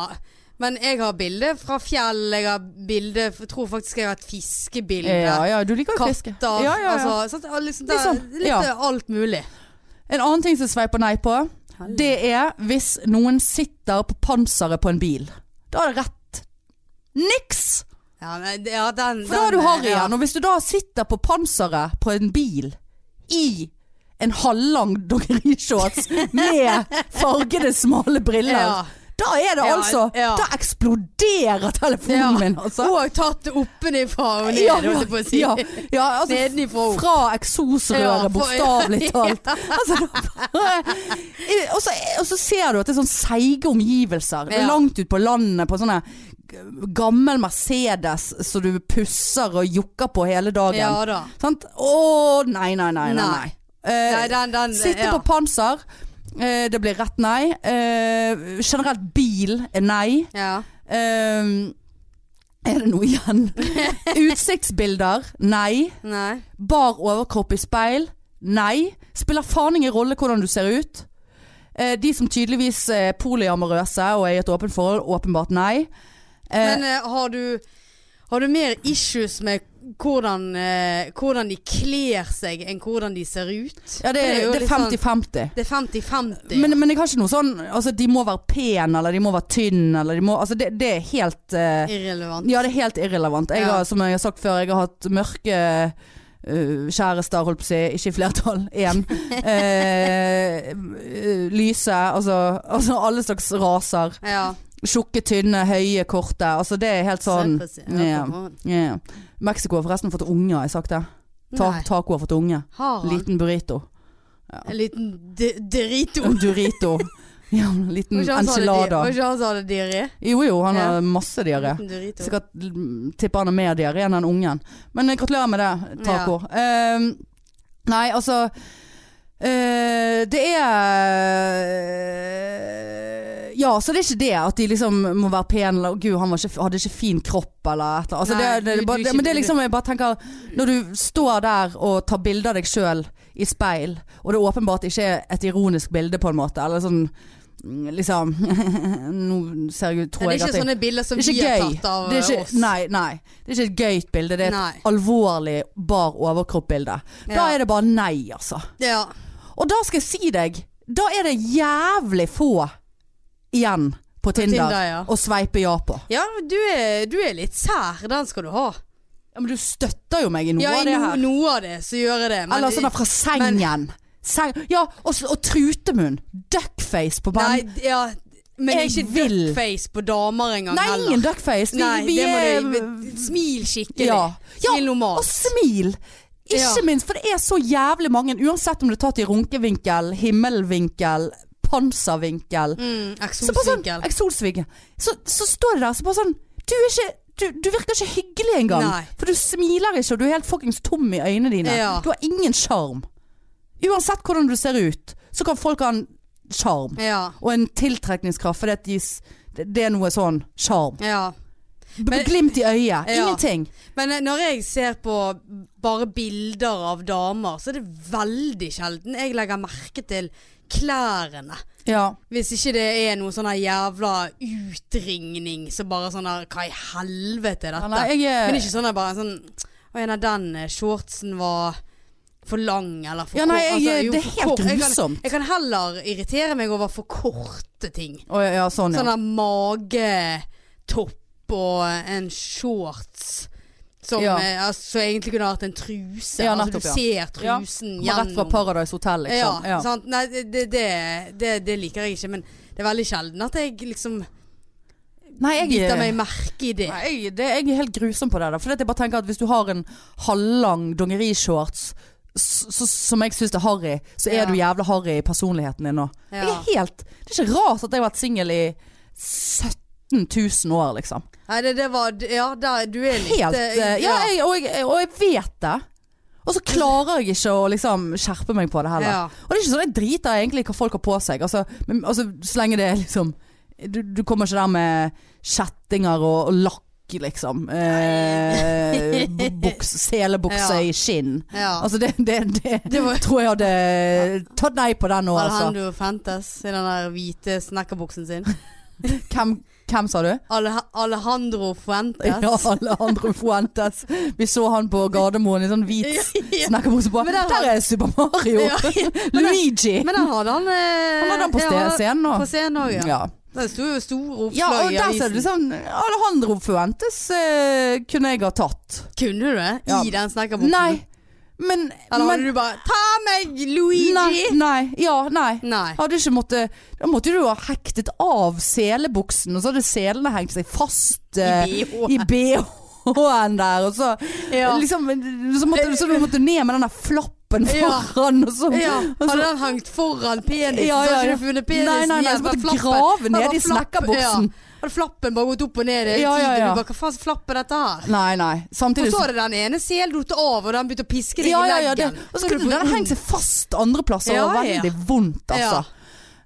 S2: Men jeg har bilder fra fjell, jeg har bilde Tror faktisk jeg har et fiskebilde.
S1: Ja, ja, du liker jo fiske
S2: Katter.
S1: ja, ja, ja.
S2: Altså, sant? Og liksom, det,
S1: Liksom,
S2: litt
S1: ja.
S2: alt mulig.
S1: En annen ting som jeg sveiper nei på Det er hvis noen sitter på panseret på en bil. Da er det rett. Niks!
S2: Ja, men, det- ja, den,
S1: For da er
S2: den,
S1: du harry
S2: ja.
S1: igjen. Og hvis du da sitter på panseret på en bil i en halvlang dongerishorts med fargede, smale briller,
S2: Ja.
S1: Da er det
S2: Ja,
S1: altså
S2: ja.
S1: Da eksploderer telefonen
S2: Ja.
S1: min, altså.
S2: Og tatt det oppenifra og ned, holdt jeg på å si.
S1: ja, ja, altså
S2: Nedenifra og opp.
S1: fra eksosrøret,
S2: [LAUGHS] Ja, for-
S1: bokstavelig talt. Altså, da bare- Eh, og, så, og så ser du at det er sånn seige omgivelser.
S2: Ja.
S1: Langt ut på landet på sånne g- gammel Mercedes som du pusser og jukker på hele dagen.
S2: Ja da.
S1: Sant? Å, nei, nei, nei. nei, nei.
S2: Nei.
S1: Eh,
S2: Nei, den, den
S1: Sitte
S2: ja.
S1: på panser. Eh, det blir rett nei. Eh, generelt bil er nei.
S2: ja.
S1: Eh, er det noe
S2: [LAUGHS]
S1: igjen? Utsiktsbilder? Nei.
S2: Nei.
S1: Bar overkropp i speil? Nei. Spiller faen ingen rolle hvordan du ser ut. Eh, de som tydeligvis er polyamorøse og er i et åpent forhold, åpenbart nei. Eh,
S2: Men eh, har du Har du mer issues med hvordan, eh, hvordan de kler seg enn hvordan de ser ut?
S1: ja, det er
S2: jo
S1: det er
S2: litt sånn-
S1: 50-50.
S2: Det er 50-50.
S1: Men, men jeg har ikke noe sånn Altså, de må være pen, eller de må være tynn, eller de må Altså, det, det er helt eh,
S2: Irrelevant.
S1: Ja, det er helt irrelevant. Jeg
S2: Ja.
S1: har, som jeg har sagt før, jeg har hatt mørke øh, kjærester, holdt på å si, ikke i flertall, [LAUGHS] én. Eh, øh, lyse, altså, altså alle slags raser.
S2: Ja.
S1: Tjukke, tynne, høye, korte. Altså det er helt sånn
S2: Se på seg-
S1: ja,
S2: ja, på hånd.
S1: ja. Mexico har forresten fått unge, har jeg sagt det. Ta,
S2: Nei,
S1: taco har fått unge.
S2: har han
S1: Liten burrito.
S2: en liten di- Dorito? [LAUGHS]
S1: Durito. Ja, liten
S2: Var ikke han som hadde di-
S1: enchilada.
S2: Var ikke han som hadde diaré?
S1: Jo jo, han
S2: Ja.
S1: har masse diaré.
S2: Liten Dorito.
S1: Sikkert mm, tipper han har mer diaré enn den ungen. Men eh, gratulerer med det, taco. Ehm, nei, altså eh, Det er Ja, så det er ikke det at de liksom må være pene eller Gud, han var ikke, hadde ikke fin kropp eller et eller annet. Altså,
S2: Nei,
S1: det, det,
S2: du-
S1: det, bare-
S2: du-
S1: det, men det er liksom jeg bare tenker Når du står der og tar bilde av deg sjøl i speil, og det åpenbart ikke er et ironisk bilde, på en måte, eller sånn mm, Liksom [LAUGHS] Nå ser jeg,
S2: Ja,
S1: tror
S2: det er
S1: jeg at
S2: ikke sånn
S1: jeg
S2: sånne bilder som
S1: det er
S2: vi
S1: ikke
S2: har
S1: gøy.
S2: tatt av
S1: Det er
S2: eh, oss.
S1: ikke, nei, nei. Det er ikke et gøyt bilde. Det er et
S2: Nei.
S1: alvorlig bar overkropp-bilde. Da
S2: Ja.
S1: er det bare nei, altså.
S2: Ja.
S1: Og da skal jeg si deg, da er det jævlig få igjen på Tinder,
S2: Tinder, ja.
S1: å sveipe ja på.
S2: ja, du er, du er litt sær. Den skal du ha.
S1: Ja, men du støtter jo meg i noe
S2: Ja,
S1: av
S2: i
S1: det
S2: no,
S1: her.
S2: noe av det, så gjør jeg det. men-
S1: Eller sånn der fra sengen. Seng, ja, og, s- og trutemunn. Duckface på
S2: Nei,
S1: banen.
S2: d- ja, men
S1: Jeg
S2: ikke
S1: vil.
S2: duckface på damer engang
S1: Nei,
S2: heller.
S1: ingen duckface. Vi,
S2: Nei,
S1: vi
S2: det må
S1: er
S2: du vi- Smil skikkelig.
S1: Ja.
S2: Smil
S1: Og
S2: normalt.
S1: smil! Ikke
S2: Ja.
S1: minst, for det er så jævlig mange, uansett om det er tatt i runkevinkel, himmelvinkel, panservinkel
S2: Mm,
S1: Så bare sånn,
S2: Eksosvinkel.
S1: Eksosvinkel. Så, så står det der, så bare sånn Du, er ikke, du, du virker ikke hyggelig engang.
S2: Nei.
S1: For du smiler ikke, og du er helt fuckings tom i øynene dine.
S2: Ja.
S1: Du har ingen sjarm. Uansett hvordan du ser ut, så kan folk ha en sjarm.
S2: Ja.
S1: Og en tiltrekningskraft, for det, det, det er noe sånn sjarm.
S2: ja. Men-
S1: Glimt i øyet.
S2: Ja.
S1: Ingenting.
S2: Men eh, når jeg ser på bare bilder av damer, så er det veldig sjelden jeg legger merke til klærne.
S1: Ja.
S2: Hvis ikke det er noe sånn her jævla utringning, så bare sånn her Hva i helvete er
S1: Ja,
S2: dette?
S1: Nei, jeg er
S2: Men ikke sånn her bare sånn Å ja, nei, den eh, shortsen var for lang, eller for
S1: Ja, nei,
S2: kort. altså,
S1: jeg-
S2: jo,
S1: det er
S2: for
S1: helt
S2: kort. liksom Jeg
S1: grusomt.
S2: kan, jeg kan heller irritere meg over for korte ting.
S1: Å, ja, ja, sånn, ja.
S2: Sånn der magetopp og en shorts. Som
S1: Ja.
S2: eh, altså, egentlig kunne vært en truse.
S1: Ja,
S2: altså,
S1: nettopp,
S2: du ser trusen
S1: Man Rett fra
S2: gjennom.
S1: Paradise Hotel, liksom.
S2: Ja, sånn sant. Nei, det, det, det, det liker jeg ikke, men det er veldig sjelden at jeg liksom
S1: Nei, eh,
S2: biter meg merke i det.
S1: Nei, jeg- det, jeg er helt grusom på det. der For jeg bare tenker at Hvis du har en halvlang dongerishorts s- s- som jeg syns er harry, så er
S2: Ja.
S1: du jævla harry i personligheten din nå. Jeg
S2: Ja.
S1: er helt, det er ikke rart at jeg har vært singel i 17 000 år, liksom.
S2: Nei, det, det var Ja, der, du er litt
S1: Helt,
S2: eh,
S1: eh, ja, jeg, og, jeg, og jeg vet det. Og så klarer jeg ikke å liksom skjerpe meg på det heller.
S2: Ja.
S1: Og det er ikke sånn jeg driter egentlig i hva folk har på seg. Altså, men, altså, så lenge det er liksom du, du kommer ikke der med kjettinger og, og lakk, liksom. Eh, bu- buks, selebukse
S2: Ja.
S1: i skinn.
S2: ja.
S1: Altså det, det, det,
S2: Det var-
S1: tror jeg hadde tatt nei på den nå, altså.
S2: Alejandro Fentes i den der hvite snekkerbuksen sin.
S1: Hvem, hvem sa du?
S2: Ale Alejandro Fuentes.
S1: Ja, altså, Alejandro Fuentes. Vi så han på Gardermoen i sånn hvit
S2: [LAUGHS] Ja.
S1: snekkerbukse på.
S2: Men der
S1: Der,
S2: har-
S1: er Super Mario!
S2: Ja, ja. Men der-
S1: Luigi!
S2: Men den hadde han eh,
S1: han var den på ste-
S2: ja,
S1: scenen nå.
S2: På scenen òg, ja.
S1: Ja.
S2: Det sto jo store oppslag
S1: ja, og
S2: i
S1: der ser
S2: avisen.
S1: du liksom Alejandro Fuentes eh, kunne jeg ha tatt.
S2: Kunne du det?
S1: Ja.
S2: I den snekkerbuksen?
S1: Nei. Men,
S2: Eller
S1: men
S2: hadde du bare 'ta meg, Luigi'?
S1: Nei, nei. Ja, nei.
S2: Nei.
S1: Hadde ikke måtte, da måtte du ha hektet av selebuksen, og så hadde selene hengt seg fast eh,
S2: I BH.
S1: i BH-en der. Og så,
S2: Ja.
S1: [LAUGHS] liksom, så, måtte, så du måtte ned med den der flappen
S2: Ja.
S1: foran. Og så,
S2: Ja,
S1: og så,
S2: hadde den hengt foran penisen,
S1: Ja,
S2: så
S1: ja,
S2: hadde
S1: ja.
S2: ikke du funnet penisen.
S1: Nei, nei, nei,
S2: igjen,
S1: så
S2: bare
S1: måtte
S2: flappen.
S1: grave ned
S2: Bare
S1: i
S2: flapp-
S1: slekkerboksen.
S2: Ja. Hadde flappen bare gått opp og ned i
S1: Ja, ja,
S2: tiden.
S1: ja.
S2: Du bare, hva faen slags flapp er dette her?
S1: nei, nei.
S2: Og
S1: Samtidig
S2: så hadde den ene seldotet av, og den begynte å piske deg
S1: ja, ja,
S2: i
S1: ja, det,
S2: leggen.
S1: og så kunne den hengt seg fast andre plasser.
S2: Ja,
S1: og var
S2: ja.
S1: veldig vondt, altså.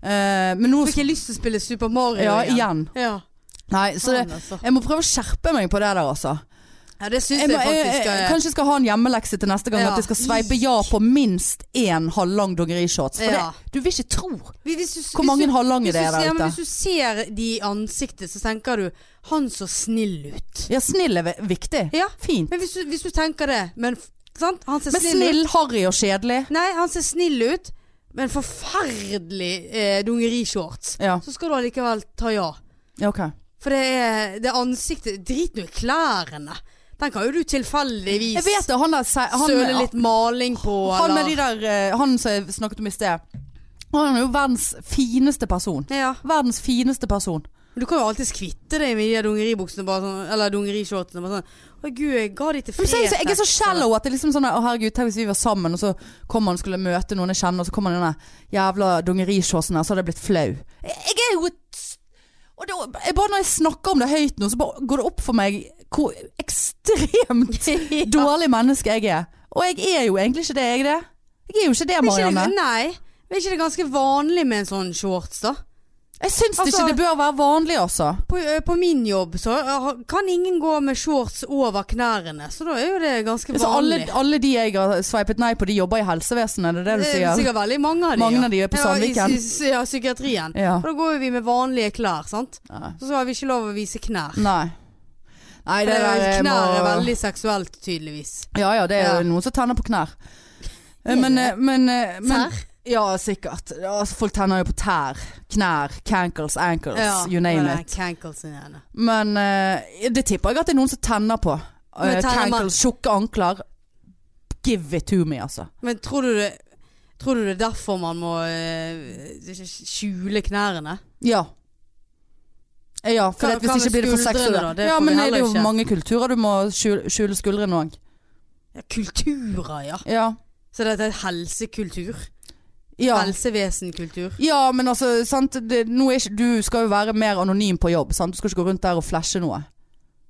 S1: Eh, men nå
S2: Fikk jeg lyst til å spille Super Mario
S1: Ja,
S2: igjen.
S1: igjen.
S2: Ja.
S1: Nei, så det,
S2: Faen, altså.
S1: jeg må prøve å skjerpe meg på det der, altså.
S2: ja, det syns
S1: Jeg
S2: jeg,
S1: må, jeg,
S2: faktisk.
S1: jeg,
S2: eh,
S1: kanskje jeg skal ha en hjemmelekse til neste gang.
S2: Ja.
S1: At jeg skal sveipe ja på minst én halvlang dongerishorts. For
S2: Ja.
S1: det, du vil ikke tro
S2: Hvis- hvis du-
S1: hvor
S2: hvis
S1: mange
S2: du-
S1: halvlange
S2: hvis
S1: det
S2: du
S1: er
S2: ser-
S1: der
S2: men
S1: ute.
S2: Hvis du ser de i ansiktet, så tenker du 'han så snill ut'.
S1: Ja, snill er ve- viktig.
S2: Ja,
S1: Fint.
S2: men hvis du, hvis du tenker det Men, f- sant? Han ser
S1: Men
S2: snill,
S1: snill,
S2: ut.
S1: harry og kjedelig.
S2: Nei, han ser snill ut, men forferdelig eh, dungerishorts.
S1: Ja,
S2: Så skal du allikevel ta ja.
S1: ja ok.
S2: For det er det er ansiktet Drit nå i klærne. Den kan jo du tilfeldigvis
S1: Jeg vet det, han der se-
S2: søle
S1: han,
S2: litt maling på,
S1: han med de
S2: eller
S1: der eh, Han som jeg snakket om i sted. Han er jo verdens fineste person.
S2: ja.
S1: Verdens fineste person.
S2: Du kan jo alltides kvitte deg med de der dungeribuksene bare sånn, eller dungerishortsene. Bare sånn 'Å gud, jeg ga de til
S1: Men så er jeg, så,
S2: Fretex.»
S1: jeg er så shallow at det er liksom sånn Å herregud, tenk hvis vi var sammen, og så kommer han og skulle møte noen jeg kjenner, og så kommer denne jævla dungerishortsen her, så hadde jeg blitt flau. Jeg, jeg er jo et s- Og det, jeg bare når jeg snakker om det høyt nå, så bare går det opp for meg hvor
S2: [LAUGHS]
S1: ekstremt dårlig menneske jeg er. Og jeg er jo egentlig ikke det, jeg er det. Jeg er jo ikke det,
S2: Men ikke det-
S1: Marianne.
S2: Nei. Men er ikke det ganske vanlig med en sånn shorts, da?
S1: Jeg syns
S2: Altså-
S1: ikke det bør være vanlig, altså.
S2: På, ø, på min jobb så ø, kan ingen gå med shorts over knærne, så da er jo det ganske vanlig.
S1: Altså, alle, alle de jeg har sveipet nei på, de jobber i helsevesenet, det er det du
S2: Det er
S1: sier?
S2: sikkert veldig mange av de.
S1: Mange
S2: ja.
S1: av de er på
S2: Ja, i
S1: Sandviken.
S2: psy- Ja, psykiatrien.
S1: Ja.
S2: Og da går jo vi med vanlige klær, sant.
S1: Nei.
S2: Så har vi ikke lov å vise knær.
S1: Nei. Nei, Mm. det der jeg må-
S2: knær er veldig seksuelt, tydeligvis.
S1: Ja ja, det er jo
S2: Ja.
S1: noen som tenner på knær. Eh,
S2: Er
S1: Men,
S2: det?
S1: eh, men, eh, men
S2: Tær?
S1: Ja, sikkert. Ja, altså, folk tenner jo på tær. Knær. Cankles, ankles, you
S2: med
S1: name
S2: den
S1: it.
S2: cankelsen gjerne.
S1: Men eh, det tipper jeg at det er noen som tenner på.
S2: Men
S1: Eh,
S2: tenner man-
S1: cankles, tjukke ankler. Give it to me, altså.
S2: Men tror du det Tror du det er derfor man må ø, skjule knærne?
S1: Ja. Eh, Ja, for
S2: Hva-
S1: at hvis
S2: hva med
S1: ikke blir det for
S2: skuldrene da?
S1: sexuelt.
S2: Det
S1: Ja,
S2: får vi
S1: men det
S2: heller
S1: er jo
S2: ikke.
S1: mange kulturer du må skjule, skjule skuldrene òg.
S2: Ja, Kulturer, ja.
S1: Ja.
S2: Så dette er helsekultur.
S1: ja.
S2: Helsevesenkultur.
S1: Ja, men altså, sant? Det, nå er ikke, du skal jo være mer anonym på jobb. Sant? Du skal ikke gå rundt der og flashe noe.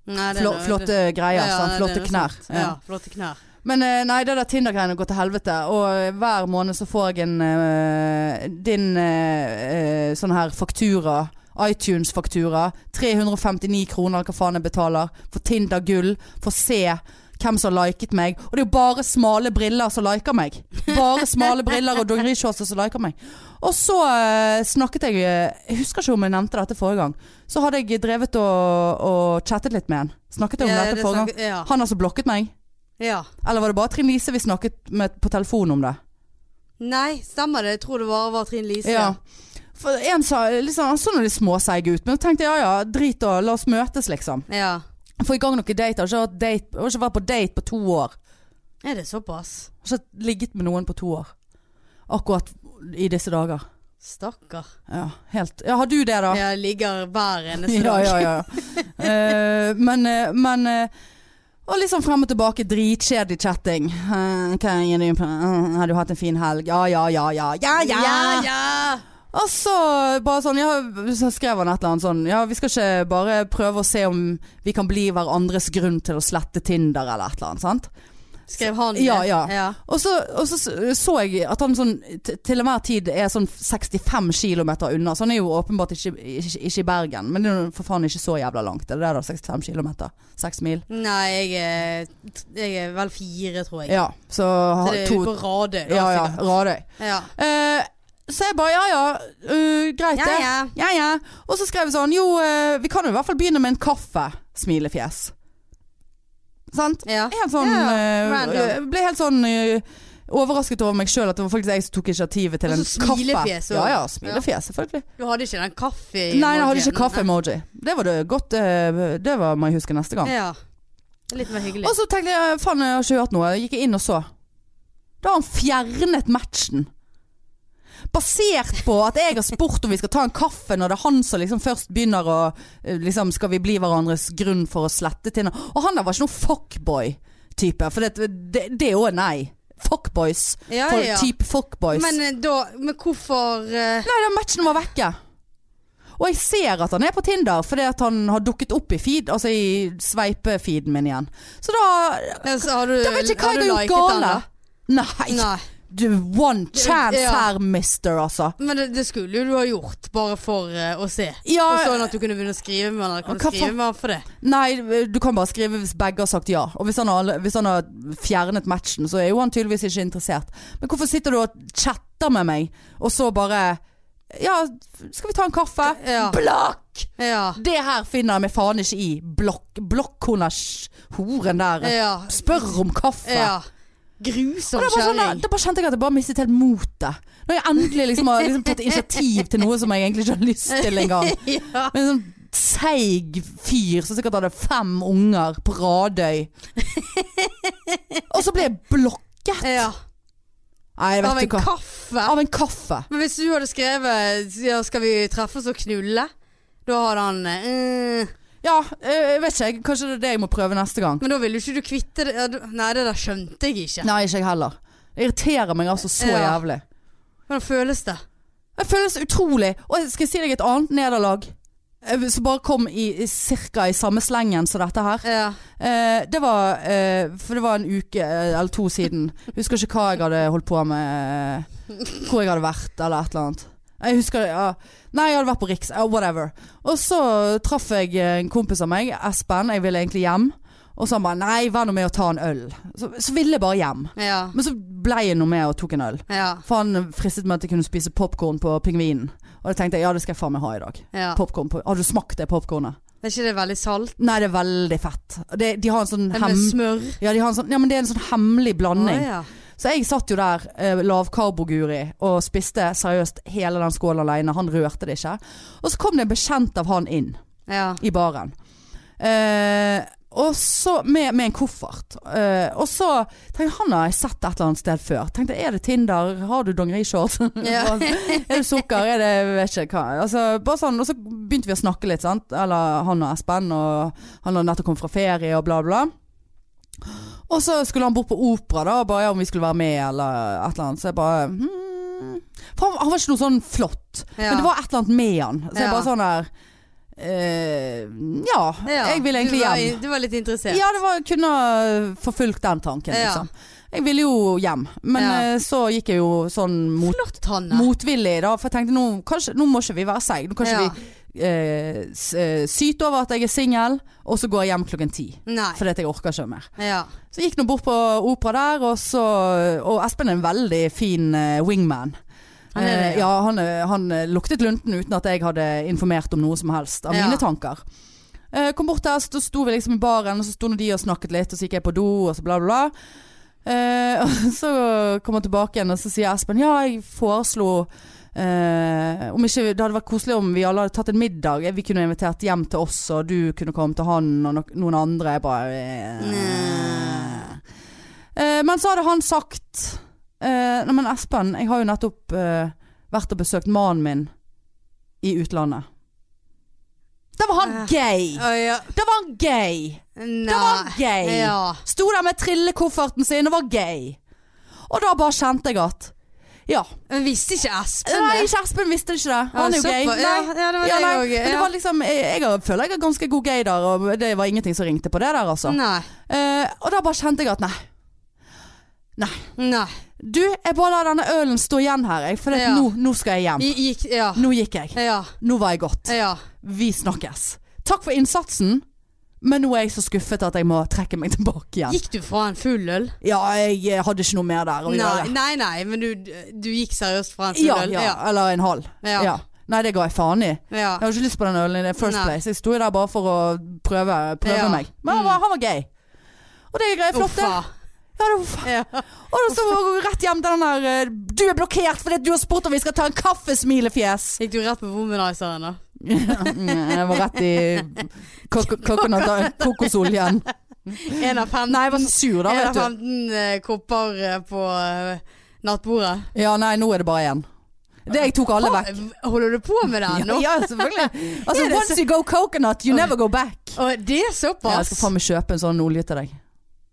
S2: Nei, det er
S1: Flå,
S2: noe-
S1: flotte greier.
S2: Ja,
S1: sant?
S2: nei, det
S1: Flotte
S2: er noe
S1: knær.
S2: sant.
S1: Ja.
S2: Ja, flotte knær.
S1: Men eh, nei, det der Tinder-greiene går til helvete. Og eh, hver måned så får jeg en eh, din eh, eh, sånn her faktura. iTunes-faktura. 359 kroner, eller hva faen jeg betaler. For Tinder gull. For å se hvem som har liket meg. Og det er jo bare smale briller som liker meg. Bare smale briller og dongerishortser som liker meg. Og så eh, snakket jeg eh, Jeg husker ikke om jeg nevnte dette forrige gang. Så hadde jeg drevet og, og chattet litt med en. Snakket jeg om
S2: Ja,
S1: dette
S2: det
S1: forrige gang?
S2: snakker- ja.
S1: Han har så blokket meg.
S2: ja.
S1: Eller var det bare Trine Lise vi snakket med på telefon om det?
S2: Nei, stemmer det. Jeg tror det bare var Trine Lise.
S1: Ja. For en sa liksom, Han så noe litt småseig ut, men jeg tenkte ja ja, drit og la oss møtes, liksom.
S2: Ja.
S1: Få i gang noen dater. Jeg har ikke hatt date- jeg har ikke vært på date på to år.
S2: Er det såpass?
S1: Jeg har ikke ligget med noen på to år. Akkurat i disse dager.
S2: Stakkar.
S1: Ja, helt. Ja, har du det, da?
S2: Jeg ligger hver eneste
S1: [LAUGHS] Ja,
S2: dag.
S1: ja, ja. Eh, men eh, men eh, og liksom frem og tilbake, dritkjedelig chatting. Eh, hva er det på? Eh, har du hatt en fin helg? Ja, ja, ja, ja. Ja, ja!
S2: ja, ja.
S1: Og så bare sånn, ja, så skrev han et eller annet sånn Ja, vi skal ikke bare prøve å se om vi kan bli hverandres grunn til å slette Tinder eller et eller annet, sant?
S2: Skrev han
S1: Ja,
S2: det?
S1: ja. Og så, og så så jeg at han sånn t- til enhver tid er sånn 65 km unna. Så han er jo åpenbart ikke, ikke, ikke i Bergen, men det er jo for faen ikke så jævla langt. Er det det da? 65 km? 6 mil?
S2: Nei, jeg er, jeg er vel fire, tror jeg.
S1: Ja. Så
S2: Så
S1: ha-
S2: det er
S1: to
S2: på Radøy. da,
S1: Ja ja,
S2: sikkert.
S1: Radøy.
S2: ja.
S1: Eh, så jeg bare ja ja, eh, greit
S2: Ja,
S1: det.
S2: ja.
S1: Ja, ja. Og så skrev jeg sånn Jo, eh, vi kan jo i hvert fall begynne med en kaffe. Smilefjes. Sant?
S2: Ja.
S1: Helt sånn
S2: Ja,
S1: eh,
S2: random.
S1: jeg Ble helt sånn eh, overrasket over meg sjøl at det var faktisk jeg som tok initiativet til
S2: Og så
S1: en kaffe.
S2: Altså, smilefjes også.
S1: Ja ja, smilefjes, selvfølgelig.
S2: Du hadde ikke den kaffe i
S1: Nei, jeg hadde ikke
S2: morgenen.
S1: kaffe-emoji. Det var det godt eh, Det var må jeg huske neste gang.
S2: Nei. Ja. Det er Litt mer hyggelig.
S1: eh, Og så tenkte jeg faen, jeg har ikke hørt noe. Jeg gikk inn og så. Da har han fjernet matchen. Basert på at jeg har spurt om vi skal ta en kaffe når det er han som liksom først begynner å eh, liksom, Skal vi bli hverandres grunn for å slette til noe? Og han der var ikke noen fuckboy-type. For det, det, det er jo nei. Fuckboys.
S2: Ja,
S1: For,
S2: ja.
S1: Type fuckboys.
S2: Men eh, da Men hvorfor eh,
S1: Nei, den matchen var vekke. Og jeg ser at han er på Tinder, fordi at han har dukket opp i feed, altså i sveipefeeden min igjen. Så da
S2: altså, Har du
S1: Da vet ikke hva
S2: har
S1: jeg
S2: du
S1: har
S2: liket
S1: gjort
S2: han,
S1: gale.
S2: da?
S1: Nei.
S2: Nei.
S1: Du, one chance
S2: Ja.
S1: her, mister, altså.
S2: Men det, det skulle jo du ha gjort, bare for eh, å se.
S1: Ja,
S2: Og sånn at du kunne begynne å skrive med han. Eller kan
S1: Hva
S2: du skrive med han for det?
S1: nei, du kan bare skrive hvis begge har sagt ja. Og hvis han, har, hvis han har fjernet matchen, så er jo han tydeligvis ikke interessert. Men hvorfor sitter du og chatter med meg, og så bare Ja, skal vi ta en kaffe?
S2: Ja.
S1: Blokk!
S2: Ja.
S1: Det her finner jeg meg faen ikke i. Blokk, blokkhona sj- horen der.
S2: Ja.
S1: Spør om kaffe.
S2: ja.
S1: Og
S2: Grusom
S1: da, bare sånn,
S2: kjerring.
S1: da bare kjente jeg at jeg bare mistet helt motet. Når jeg endelig liksom har liksom tatt initiativ til noe som jeg egentlig ikke har lyst til engang.
S2: [LAUGHS] Ja.
S1: Men en sånn seig fyr som sikkert hadde fem unger på Radøy. Og så ble jeg blokket.
S2: ja.
S1: Nei,
S2: Av
S1: vet
S2: en
S1: du hva.
S2: kaffe.
S1: Av en kaffe.
S2: Men hvis du hadde skrevet ja, 'skal vi treffes og knulle', da hadde han eh,
S1: Ja, eh, jeg vet ikke. Kanskje det er det jeg må prøve neste gang.
S2: Men da ville jo ikke du kvitte det ja, du- Nei, det der skjønte jeg ikke.
S1: Nei, ikke jeg heller. Det irriterer meg altså så
S2: Ja.
S1: jævlig.
S2: Hvordan føles det?
S1: Det føles utrolig. Og jeg skal si deg et annet nederlag. eh, Som bare kom i, i cirka i samme slengen som dette her.
S2: Ja.
S1: Eh, det var eh, For det var en uke eh, eller to siden. Husker ikke hva jeg hadde holdt på med. eh, hvor jeg hadde vært, eller et eller annet. Jeg husker det, ja. Nei, jeg hadde vært på Riks. ja, whatever. Og så traff jeg eh, en kompis av meg, Espen. Jeg ville egentlig hjem. Og så han bare 'nei, vær nå med å ta en øl'. Så, så ville jeg bare hjem.
S2: Ja.
S1: Men så ble jeg nå med og tok en øl.
S2: Ja.
S1: For han fristet meg til å kunne spise popkorn på Pingvinen. Og da tenkte jeg ja, det skal jeg faen meg ha i dag.
S2: ja.
S1: Popcorn på, har du smakt det popkornet?
S2: Er ikke det veldig salt?
S1: Nei, det er veldig fett. Det, de har en sånn
S2: Det
S1: hem...
S2: med smør?
S1: Ja, de har en sånn, ja, men det er en sånn hemmelig blanding.
S2: Å, ja.
S1: Så jeg satt jo der, eh, lavkarboguri, og spiste seriøst hele den skålen alene. Han rørte det ikke. Og så kom det en bekjent av han inn
S2: ja.
S1: i baren. Eh, og så med, med en koffert. Eh, og så tenkte jeg, han har jeg sett et eller annet sted før. Tenkte, Er det Tinder? Har du dongerishorts? er
S2: Ja.
S1: Mm, det sukker? Er det jeg vet ikke hva? Altså, bare sånn, og så begynte vi å snakke litt, sant. Eller han og Espen, og han hadde nettopp kommet fra ferie og bla, bla. Og så skulle han bort på opera, da, og bare ja, om vi skulle være med eller et eller annet. Så jeg bare hmm. For han, han var ikke noe sånn flott.
S2: [LAUGHS] Ja.
S1: Men det var et eller annet med han. Så jeg
S2: Ja.
S1: bare sånn der eh, ja,
S2: Ja.
S1: jeg ville egentlig
S2: du var,
S1: hjem.
S2: Du var litt interessert?
S1: Ja, det var, kunne ha forfulgt den tanken,
S2: Ja.
S1: liksom. Jeg ville jo hjem, men
S2: Ja.
S1: eh, så gikk jeg jo sånn mot,
S2: Flott, Hanne.
S1: motvillig, da. For jeg tenkte nå, kanskje, nå må ikke vi være seige. Nå kan ikke
S2: Ja.
S1: vi eh, s- eh, syte over at jeg er singel, og så går jeg hjem klokken ti.
S2: Nei.
S1: Fordi at jeg orker ikke mer.
S2: Ja.
S1: Så jeg gikk nå bort på opera der, og så Og Espen er en veldig fin eh, wingman.
S2: Han er det,
S1: Eh, ja, han, eh, han eh, luktet lunten uten at jeg hadde informert om noe som helst av
S2: Ja.
S1: mine tanker. Eh, kom bort der, så sto vi liksom i baren, og så sto nå de og snakket litt, og så gikk jeg på do, og så bla, bla, bla. Eh, [LAUGHS] og så kom han tilbake igjen, og så sier Espen ja, jeg foreslo eh, om ikke, det hadde vært koselig om vi alle hadde tatt en middag. Vi kunne invitert hjem til oss, og du kunne komme til han og nok- noen andre. Jeg bare
S2: Nei.
S1: Eh, men så hadde han sagt eh, Nei, men Espen, jeg har jo nettopp eh, vært og besøkt mannen min i utlandet. Da var han
S2: Ja.
S1: gay!
S2: Å, ja.
S1: Da var han gay!
S2: Nei.
S1: Da var han gay!
S2: Ja.
S1: Sto der med trillekofferten sin og var gay. Og da bare kjente jeg at Ja.
S2: Men visste ikke Espen
S1: Nei,
S2: det?
S1: ikke Espen visste ikke det. Han er jo
S2: Ja,
S1: gay.
S2: såpass. Ja,
S1: Nei.
S2: ja, det
S1: Ja,
S2: var jeg
S1: nei.
S2: òg.
S1: Men det var liksom, jeg, jeg har- føler jeg har ganske god gay der, og det var ingenting som ringte på det der, altså.
S2: Nei.
S1: Eh, og da bare kjente jeg at nei.
S2: Nei.
S1: Du, jeg bare lar denne ølen stå igjen her, jeg, for det at
S2: Ja.
S1: nå, nå skal jeg hjem.
S2: Vi gikk Ja.
S1: Nå gikk jeg.
S2: Ja.
S1: Nå var jeg godt.
S2: Ja.
S1: Vi snakkes. Takk for innsatsen, men nå er jeg så skuffet at jeg må trekke meg tilbake igjen.
S2: Gikk du fra en full øl?
S1: Ja, jeg eh, hadde ikke noe mer der å
S2: Nei,
S1: gjøre.
S2: nei, nei, men du, du gikk seriøst fra en full
S1: Ja,
S2: øl?
S1: ja, eller en halv.
S2: Ja.
S1: Ja. Nei, det ga jeg faen i.
S2: ja.
S1: Jeg hadde ikke lyst på den ølen i the first
S2: Nei.
S1: place. Jeg sto jo der bare for å prøve, prøve
S2: Ja. Mm.
S1: meg. Men han var, han var gay. Og det er greit, flott det.
S2: Uffa.
S1: Ja, det var faen.
S2: Ja.
S1: Og da så går vi rett hjem til den der eh, Du er blokkert fordi at du har spurt om vi skal ta en kaffe, smilefjes.
S2: [LAUGHS] Gikk du rett på womanizeren da? [LAUGHS]
S1: Ja, mm, Jeg var rett i kok- kokonat- eh, kokosoljen.
S2: En av fem-
S1: Nei, jeg var så sur da,
S2: en
S1: vet
S2: av
S1: du.
S2: 15 eh, kopper eh, på eh, nattbordet.
S1: Ja, nei, nå er det bare én. Det jeg tok alle
S2: Hva-
S1: vekk.
S2: Holder du på med den nå?
S1: Ja, ja, selvfølgelig. Altså,
S2: [LAUGHS] Er det
S1: once you go coconut, you never go back.
S2: Og det er
S1: Ja, jeg
S2: såpass?
S1: skal faen meg kjøpe en sånn olje til deg.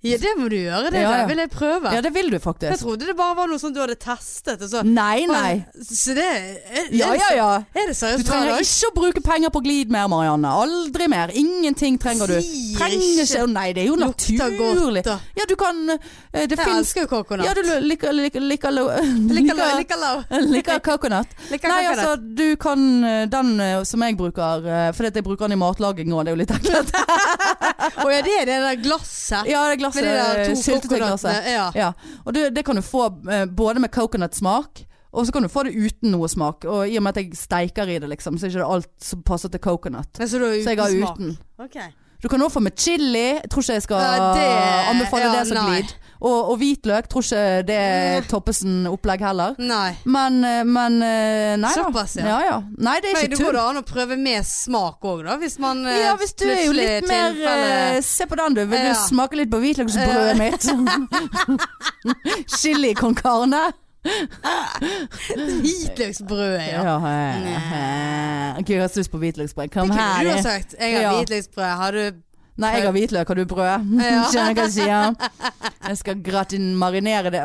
S2: Ja, det må du gjøre. Det
S1: Ja,
S2: der
S1: ja.
S2: vil jeg prøve.
S1: Ja, det vil du
S2: jeg
S1: faktisk.
S2: trodde det bare var noe sånt du hadde testet. Og så.
S1: Nei, nei.
S2: Så det er, er,
S1: Ja, ja, ja.
S2: er det
S1: Du
S2: seriøst hver
S1: trenger
S2: dag?
S1: ikke å bruke penger på glid mer, Marianne. Aldri mer. Ingenting trenger du.
S2: Sier
S1: Trenger ikke
S2: ikke.
S1: Å nei, det er jo
S2: Lukter
S1: naturlig.
S2: godt, da.
S1: Ja, du kan eh, Det
S2: Jeg
S1: fins
S2: elsker jo coconut.
S1: Ja, du liker liker liker [LAUGHS]
S2: Liker
S1: liker-
S2: lov, liker lov.
S1: Liker coconut.
S2: Liker
S1: Nei,
S2: coconut.
S1: altså, du kan eh, den eh, som jeg bruker eh, Fordi at jeg bruker den i matlaging òg, det er jo litt ekkelt.
S2: [LAUGHS] Å ja, det er det der glasset.
S1: Ja, det
S2: Med
S1: glasset.
S2: de der
S1: eh,
S2: to
S1: Syltetøyglasset.
S2: coconutene. Ja.
S1: Ja. Og det, det kan du få eh, både med coconutsmak, og så kan du få det uten noe smak. Og i og med at jeg steiker i det, liksom, så er ikke det alt som passer til coconut.
S2: Men så du har uten
S1: Så jeg har
S2: smak.
S1: uten.
S2: Ok.
S1: Du kan også få med chili. Jeg tror ikke jeg skal
S2: Ja, det-
S1: anbefale
S2: ja,
S1: det som
S2: nei. Eh.
S1: glid. Og, og hvitløk. Tror ikke det er Toppesen-opplegg heller.
S2: Nei.
S1: Men, eh, men eh, Nei da.
S2: Såpass, ja.
S1: ja. ja. Nei, det er
S2: Men
S1: ikke
S2: det går
S1: tull.
S2: da an å prøve med smak òg, da. Hvis man eh,
S1: Ja, hvis du er jo
S2: plutselig
S1: litt mer eh,
S2: tilfelle-
S1: Se på den, du. Vil
S2: Ja. Eh.
S1: du smake litt på hvitløksbrødet mitt? [LAUGHS] Chili con carne.
S2: [LAUGHS] Hvitløksbrød, ja.
S1: Ja, eh, Gud, jeg har så lyst på hvitløksbrød.
S2: Det
S1: Kom
S2: kunne
S1: her.
S2: du
S1: jeg.
S2: ha sagt. Jeg har
S1: Ja.
S2: hvitløksbrød. Har du
S1: Nei, jeg har hvitløk. Har du brød?
S2: Ja.
S1: [LAUGHS] Skjønner hva jeg sier? Jeg skal gratin marinere det.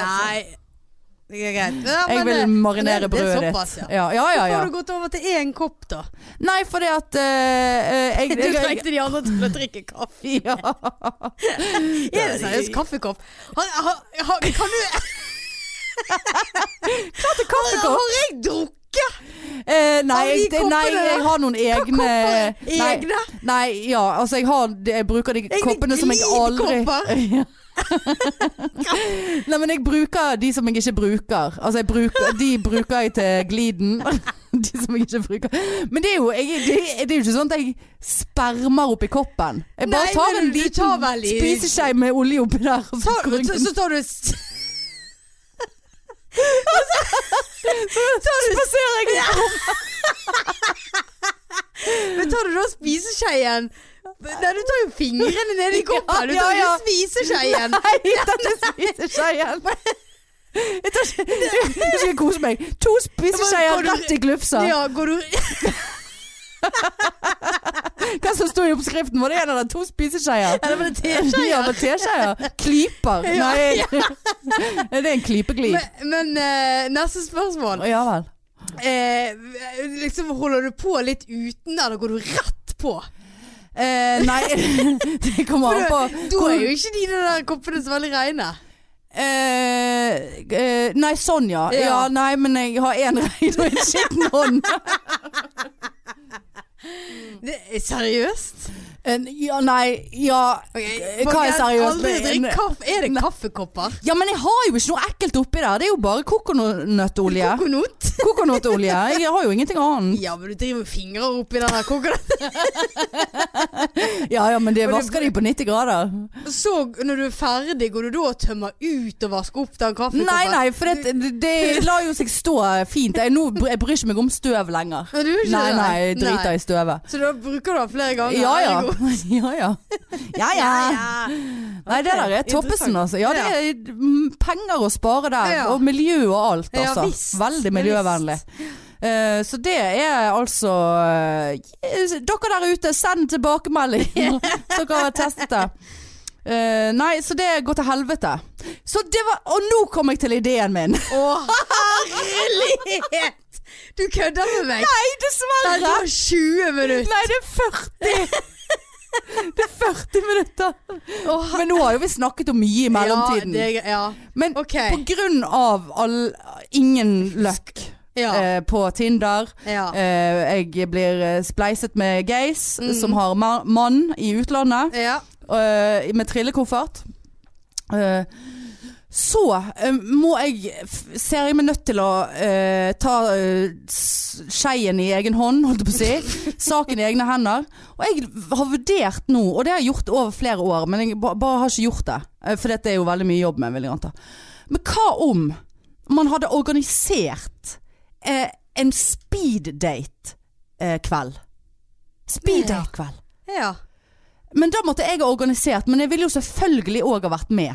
S2: Nei. Det er greit. Ja,
S1: Altså. Jeg
S2: men
S1: vil
S2: det-
S1: marinere
S2: det- det er
S1: brødet
S2: såpass,
S1: ditt.
S2: ja.
S1: Ja, ja, ja.
S2: Så
S1: ja.
S2: har du gått over til én kopp,
S1: [LAUGHS]
S2: da.
S1: Nei, fordi at eh, eh,
S2: [LAUGHS] Du
S1: jeg, jeg,
S2: trengte de andre til å drikke kaffe.
S1: jeg [LAUGHS] ja.
S2: Er det seriøst kaffekopp? Har, har, har, kan du
S1: Kaffekopp?
S2: Har jeg drukket
S1: Eh, nei,
S2: Har vi
S1: jeg- det, nei,
S2: kopper,
S1: jeg har noen egne
S2: kopper?
S1: Eh, Nei,
S2: Egne?
S1: nei ja, altså jeg, har, jeg bruker de
S2: Egne
S1: koppene som jeg aldri
S2: glidkopper?
S1: Ja. Nei, men jeg bruker de som jeg ikke bruker. Altså, jeg bruker, de bruker jeg til gliden. De som jeg ikke bruker. Men det er jo, jeg, det, det er jo ikke sånn at jeg spermer oppi koppen. Jeg bare
S2: Nei,
S1: tar
S2: men
S1: en
S2: du tar
S1: liten
S2: vel i-
S1: spiseskje med olje oppi der. og så går
S2: tar,
S1: jeg-
S2: så, så tar du s-
S1: spaserer jeg ut.
S2: Men tar du da spiseskeien Nei, du tar jo fingrene ned i koppen. Du
S1: [LAUGHS] Ja,
S2: tar jo
S1: ja.
S2: ikke
S1: [LAUGHS]
S2: spiseskeien.
S1: Nei, jeg tar ikke spiseskjeen. Jeg tar ikke Jeg skal kose meg. To
S2: Ja,
S1: spiseskjeer
S2: men går du-
S1: rett i glufsa.
S2: Ja, går du [LAUGHS]
S1: Hva som sto i oppskriften? Var det en av de to spiseskjeer?
S2: Eller var det
S1: Ja,
S2: teskjeer?
S1: med teskjeer. Klyper.
S2: Ja,
S1: Nei, er [LAUGHS] det en klypeglid?
S2: Men, men eh, neste spørsmål.
S1: Ja vel.
S2: Eh, liksom Holder du på litt uten, eller går du rett på?
S1: Eh, nei, [LAUGHS] det kommer an på
S2: Da
S1: hvor-
S2: er jo ikke de der koppene så veldig reine.
S1: Eh, eh, nei, sånn ja.
S2: Ja.
S1: ja. Nei, men jeg har én rein og en [LAUGHS] skitten hånd.
S2: Det, seriøst?
S1: En- Ja, nei, ja
S2: Okay,
S1: Hva er
S2: folkens,
S1: seriøst?
S2: Aldri drikk
S1: Nei.
S2: kaffe. Er det kaffekopper?
S1: Ja, men jeg har jo ikke noe ekkelt oppi der. Det er jo bare kokonøttolje.
S2: Kokonot?
S1: Kokonøttolje. Jeg har jo ingenting annet.
S2: Ja, men du driver med fingre oppi den der kokonot.
S1: Ja ja, men det
S2: Og det-
S1: vasker de på 90 grader.
S2: Så når du er ferdig, går du da og tømmer ut og vasker opp den kaffekoppen?
S1: Nei nei, for det, det lar jo seg stå fint. Jeg, nå, br- jeg bryr ikke meg om støv lenger.
S2: Men du gjør ikke
S1: Nei
S2: det?
S1: nei, jeg driter i støvet.
S2: Så da bruker du den flere ganger?
S1: Ja ja.
S2: Ergo-
S1: [LAUGHS] Ja ja. ja, ja. Nei, det der er
S2: Ok,
S1: Toppesen,
S2: interessant.
S1: altså. Ja, det er mm, penger å spare der.
S2: Ja.
S1: Og miljø og alt,
S2: Ja,
S1: altså.
S2: visst.
S1: Veldig
S2: Ja,
S1: miljøvennlig. Eh, så det er altså eh, Dere der ute, send tilbakemelding
S2: [LAUGHS]
S1: så dere har testet det. Eh, nei, så det går til helvete. Så det var Og nå kom jeg til ideen min!
S2: Å, herlighet! Du kødder med meg?
S1: Nei,
S2: Nei, du
S1: dessverre!
S2: har 20 minutter.
S1: Nei, det er 40! Det er 40 minutter. Men nå har jo vi snakket om mye i mellomtiden.
S2: Ja, det, er- ja.
S1: Men
S2: OK.
S1: På grunn av all, ingen løkk
S2: Ja.
S1: eh, på Tinder.
S2: ja.
S1: Eh, jeg blir eh, spleiset med gays
S2: Mm.
S1: som har ma mann i utlandet,
S2: ja.
S1: eh, med trillekoffert. Eh, så eh, må jeg f- Ser jeg meg nødt til å eh, ta eh, s- skeien i egen hånd, holdt jeg på å si. Saken i egne hender. Og jeg har vurdert nå, og det har jeg gjort over flere år, men jeg ba bare har ikke gjort det. Eh, For dette er jo veldig mye jobb med, vil jeg anta. Men hva om man hadde organisert eh, en eh, speeddate-kveld?
S2: Ja.
S1: Speeddate-kveld.
S2: ja.
S1: Men da måtte jeg ha organisert, men jeg ville jo selvfølgelig òg ha vært med.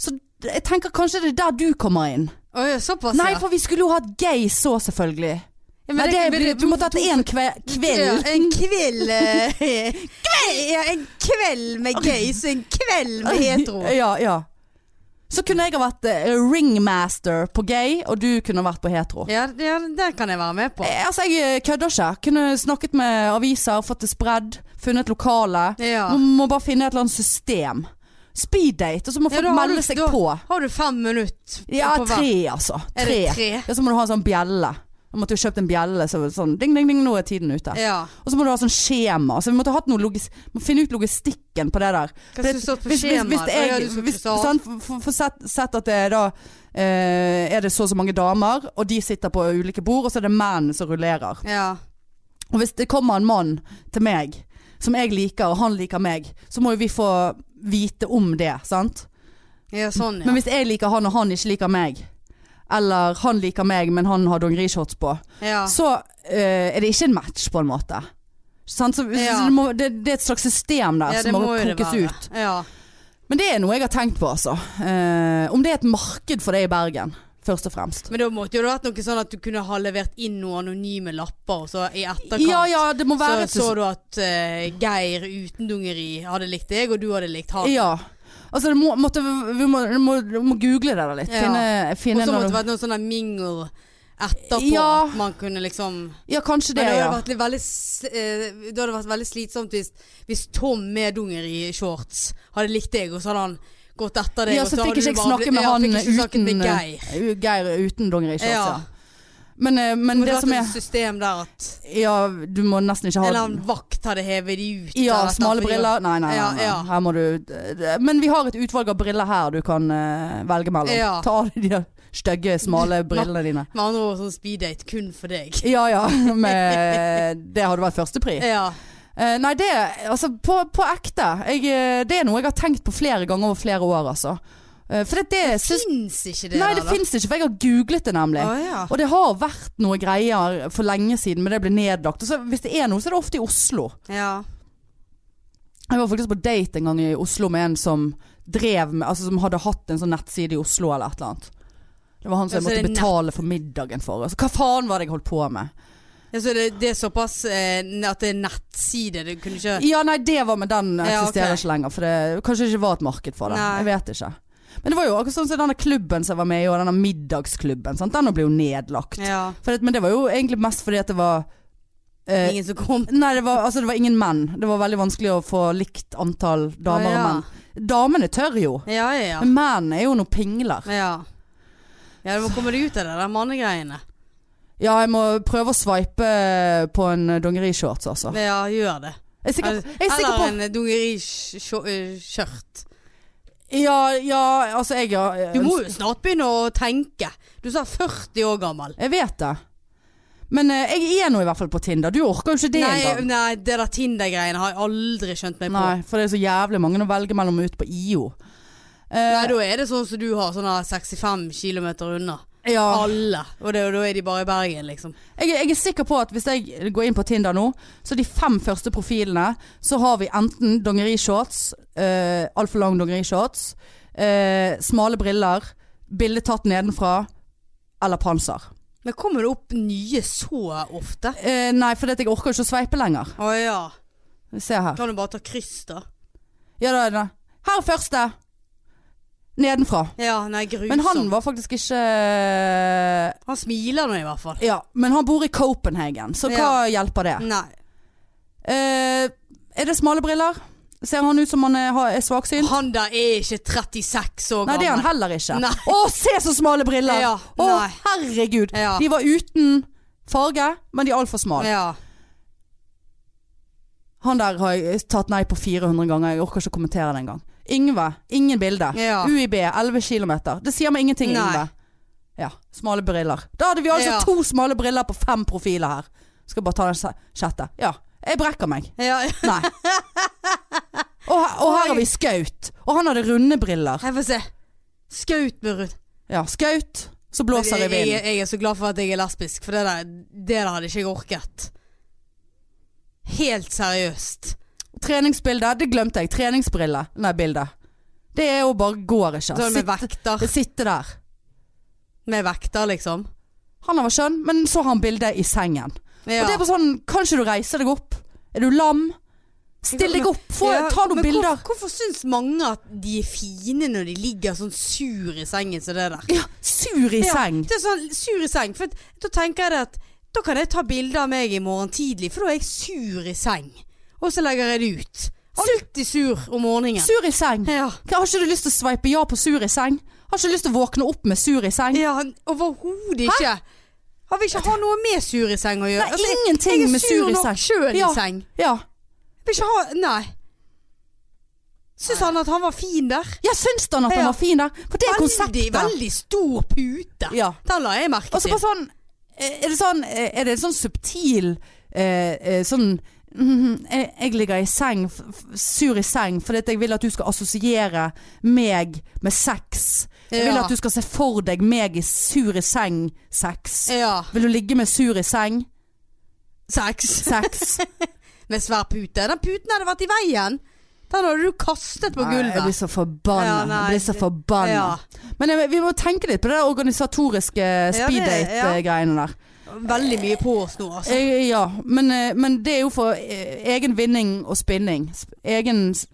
S1: Så d- jeg tenker kanskje det er der du kommer inn.
S2: Oi, såpass,
S1: Nei,
S2: ja.
S1: for vi skulle jo hatt gay så, selvfølgelig.
S2: Ja, men
S1: Nei, det,
S2: det- men det-
S1: du måtte hatt én kve-
S2: Ja,
S1: kveld.
S2: en kveld eh, Ja, en kveld med gays, en kveld med hetero.
S1: [LAUGHS] Ja, ja. Så kunne jeg ha vært eh, ringmaster på gay, og du kunne ha vært på hetero.
S2: Ja, ja, den kan jeg være med på.
S1: Eh, Altså, jeg eh, kødder ikke. Kunne snakket med aviser, fått det spredd, funnet lokale.
S2: Ja.
S1: Må, må bare finne et eller annet system. Speeddate, og så må
S2: Ja,
S1: folk
S2: da har du-
S1: melde seg
S2: da
S1: på.
S2: Har du fem minutter
S1: Ja,
S2: på hver?
S1: tre altså.
S2: Er
S1: Tre.
S2: det tre?
S1: Ja, så må du ha en sånn bjelle. Jeg måtte jo kjøpt en bjelle, så sånn ding, ding, ding, nå er tiden ute.
S2: Ja.
S1: Og så må du ha sånn skjema. Så vi måtte ha hatt noe logis må finne ut logistikken på det der.
S2: Hva
S1: For
S2: som
S1: det-
S2: står på
S1: hvis- hvis-
S2: skjemaet?
S1: Hvis,
S2: Å, ja, du
S1: jeg,
S2: skal
S1: hvis, sånn.
S2: krysse av.
S1: sant, for- for, for sett, sett at det er da eh, er det så og så mange damer, og de sitter på ulike bord, og så er det menn som rullerer.
S2: Ja.
S1: Og hvis det kommer en mann til meg som jeg liker, og han liker meg, så må jo vi få vite om det, sant?
S2: ja, sånn ja.
S1: Men hvis jeg liker han, og han ikke liker meg, eller han liker meg, men han har dongerishorts på,
S2: ja.
S1: så eh, er det ikke en match, på en måte. Sant? Så,
S2: Ja.
S1: så det, må, det, det er et slags system der
S2: ja,
S1: som må kokes ut.
S2: Ja.
S1: Men det er noe jeg har tenkt på, altså. Eh, om det er et marked for det i Bergen, først og fremst.
S2: Men da måtte jo det vært noe sånn at du kunne ha levert inn noen anonyme lapper, og så i etterkant
S1: Ja ja, det må
S2: så
S1: være et
S2: så du at eh, Geir uten dungeri hadde likt deg, og du hadde likt han.
S1: Ja. Altså, det må, måtte, vi må, vi må, vi må google det der litt.
S2: Ja.
S1: Finne,
S2: og
S1: finne
S2: så måtte
S1: noe-
S2: det vært noe sånn der mingle etterpå.
S1: Ja.
S2: At man kunne liksom
S1: Ja, kanskje
S2: Men
S1: det,
S2: det hadde
S1: ja.
S2: vært litt veldig, s- eh, det hadde vært veldig slitsomt hvis, hvis Tom med dungeri-shorts hadde likt deg, og så hadde han gått etter deg.
S1: Ja,
S2: og
S1: så fikk
S2: hadde
S1: ikke
S2: du
S1: jeg
S2: bare
S1: snakke
S2: blitt-
S1: med
S2: ja,
S1: han
S2: fikk ikke snakket
S1: uten
S2: med Geir.
S1: eh, Geir uten dongerishorts,
S2: Ja.
S1: ja. Men, eh, men
S2: Men
S1: det som er
S2: et system der at
S1: Ja, du må nesten ikke ha
S2: En eller annen vakt hadde hevet de ut.
S1: Ja,
S2: eller et
S1: smale
S2: eller annet,
S1: briller. Nei, nei, nei.
S2: Ja,
S1: nei.
S2: ja.
S1: Her må du Men vi har et utvalg av briller her du kan eh, velge mellom.
S2: Ja.
S1: Ta av deg de der stygge, smale
S2: [LAUGHS]
S1: brillene dine.
S2: Med andre ord sånn speeddate kun for deg.
S1: Ja ja, [LAUGHS] men det hadde vært førstepri.
S2: Ja.
S1: Eh, nei, det Altså, på, på ekte. Jeg, eh, det er noe jeg har tenkt på flere ganger over flere år, altså. Eh, for det, det syns
S2: Fins ikke det
S1: Nei,
S2: der,
S1: det fins ikke, for jeg har googlet det, nemlig.
S2: da? Å, ja.
S1: Og det har vært noe greier for lenge siden, men det ble nedlagt. Og så, hvis det er noe, så er det ofte i Oslo.
S2: ja.
S1: Jeg var faktisk på date en gang i Oslo med en som drev med Altså som hadde hatt en sånn nettside i Oslo eller et eller annet. Det var han som
S2: Ja, så
S1: jeg
S2: det er
S1: måtte
S2: nett-
S1: betale for middagen for. Altså, hva faen var det jeg holdt på med?
S2: ja så det, det er såpass eh, at det er nettside. Du kunne ikke
S1: Ja, nei, det var med den
S2: Ja,
S1: eksisterer
S2: ok.
S1: ikke lenger. For det kanskje ikke var et marked for det.
S2: Nei.
S1: Jeg vet ikke. Men det var jo akkurat sånn som denne klubben som jeg var med i, og denne middagsklubben. Sant? Den ble jo nedlagt.
S2: ja.
S1: For, det- men det var jo egentlig mest fordi at det var eh,
S2: Ingen som kom.
S1: Nei, det var, altså, det var ingen menn. Det var veldig vanskelig å få likt antall damer
S2: Å, ja.
S1: og menn. Damene tør jo,
S2: Ja, ja, ja.
S1: men mennene er jo noen pingler.
S2: Ja. ja, du må komme deg ut av det der mannegreiene.
S1: Ja, jeg må prøve å sveipe på en dongerishorts, altså.
S2: Ja, gjør det.
S1: Jeg er sikker, jeg er sikker
S2: Eller
S1: på
S2: en eh, dungeriskjørt.
S1: Ja, ja, altså jeg ja,
S2: Du må jo snart begynne å tenke. Du sa 40 år gammel.
S1: Jeg vet det. Men eh, jeg er nå i hvert fall på Tinder. Du orker jo ikke det
S2: Nei,
S1: engang.
S2: nei, det der Tinder-greiene har jeg aldri skjønt meg på.
S1: Nei, for det er så jævlig mange å velge mellom ute på IO. Eh,
S2: Nei, da er det sånn som du har, sånn her 65 km unna.
S1: Eh, ja.
S2: Alle. Og det, og da er de bare i Bergen, liksom.
S1: Jeg, jeg er sikker på at hvis jeg går inn på Tinder nå, så de fem første profilene, så har vi enten dongerishorts, eh, altfor lang dongerishorts, eh, smale briller, bilde tatt nedenfra, eller panser.
S2: Men kommer det opp nye så ofte?
S1: Eh, nei, for jeg orker ikke å sveipe lenger.
S2: Å ja.
S1: Se her.
S2: Kan du bare ta kryss, da?
S1: Ja, da, er det- Her er første! Nedenfra.
S2: Ja, nei, grusom.
S1: Men han var faktisk ikke eh,
S2: Han smiler nå i hvert fall.
S1: Ja, men han bor i Copenhagen, så hva hjelper det?
S2: Nei.
S1: Eh, er det smale briller? Ser han ut som han er, har- er svaksynt?
S2: Han der er ikke 36 år gammel.
S1: Nei, det er han heller ikke.
S2: Nei.
S1: Å, se så smale briller!
S2: Ja,
S1: Å,
S2: nei.
S1: herregud.
S2: Ja.
S1: De var uten farge, men de er altfor smale.
S2: Ja.
S1: Han der har jeg tatt nei på 400 ganger. Jeg orker ikke å kommentere det engang. Yngve, ingen bilde.
S2: Ja.
S1: UiB, 11 km. Det sier meg ingenting,
S2: Nei.
S1: Yngve. Ja, smale briller. Da hadde vi altså
S2: Ja.
S1: to smale briller på fem profiler her. Skal bare ta den sj- sjette. Ja. Jeg brekker meg.
S2: ja. [LAUGHS]
S1: Nei. og, her- og her har vi Skaut. Og han hadde runde briller.
S2: Jeg får se. Skaut med rundt.
S1: Ja, Skaut. Så blåser det i
S2: jeg,
S1: vinden.
S2: jeg er så glad for at jeg er lesbisk, for det der, det der hadde ikke jeg orket. Helt seriøst.
S1: Treningsbildet, det glemte jeg. Treningsbriller. Nei, bildet. Det er jo bare går ikke.
S2: Sånn med
S1: Sitte,
S2: vekter.
S1: sitte der.
S2: Med vekter, liksom.
S1: Han var skjønn, men så har han bildet i sengen. Og
S2: Ja.
S1: det er bare sånn, kan ikke du reise deg opp? Er du lam? Still deg opp, få,
S2: Ja,
S1: ta noen
S2: men hvor-
S1: bilder.
S2: Hvorfor syns mange at de er fine når de ligger sånn sur i sengen som det der?
S1: Ja, sur i
S2: Ja,
S1: seng.
S2: Det er sånn sur i seng. For at da tenker jeg det at da kan jeg ta bilde av meg i morgen tidlig, for da er jeg sur i seng. Og så legger jeg det ut. Alltid sur om morgenen.
S1: Sur i seng.
S2: Ja.
S1: Hva, Har ikke du lyst til å sveipe ja på sur i seng? Har ikke du lyst til å våkne opp med sur i seng?
S2: ja han- Overhodet ikke. Han vil ikke ha noe med sur i seng å gjøre.
S1: Nei,
S2: Altså, jeg-
S1: ingenting
S2: jeg er
S1: med sur i
S2: nok
S1: seng.
S2: Sjøl
S1: Ja.
S2: i seng.
S1: Ja.
S2: Jeg vil ikke ha Nei. Syns han at han var fin der?
S1: Jeg syns da at han
S2: Ja.
S1: var fin der. For det er
S2: Veldig,
S1: konseptet.
S2: veldig stor pute.
S1: Ja.
S2: Den la jeg merke
S1: Og så
S2: til.
S1: bare sånn Er det sånn, er det en sånn subtil eh, eh, Sånn mhm, jeg, jeg ligger i seng, f- f- sur i seng, fordi at jeg vil at du skal assosiere meg med sex. Jeg vil
S2: Ja.
S1: at du skal se for deg meg i sur i seng-sex.
S2: Ja.
S1: Vil du ligge med sur i seng?
S2: Sex.
S1: Sex.
S2: Med svær pute. Den puten hadde vært i veien. Den hadde du kastet [LAUGHS] på
S1: Nei, Jeg blir
S2: gulvet.
S1: så forbanna.
S2: Ja, nei,
S1: jeg blir så
S2: det-
S1: forbanna.
S2: Ja.
S1: Men jeg, vi må tenke litt på det organisatoriske eh, speeddate-greiene der.
S2: Veldig mye på oss nå, altså.
S1: Eh, Ja, men, eh, men det er jo for eh, egen vinning og spinning. Sp- Egen s-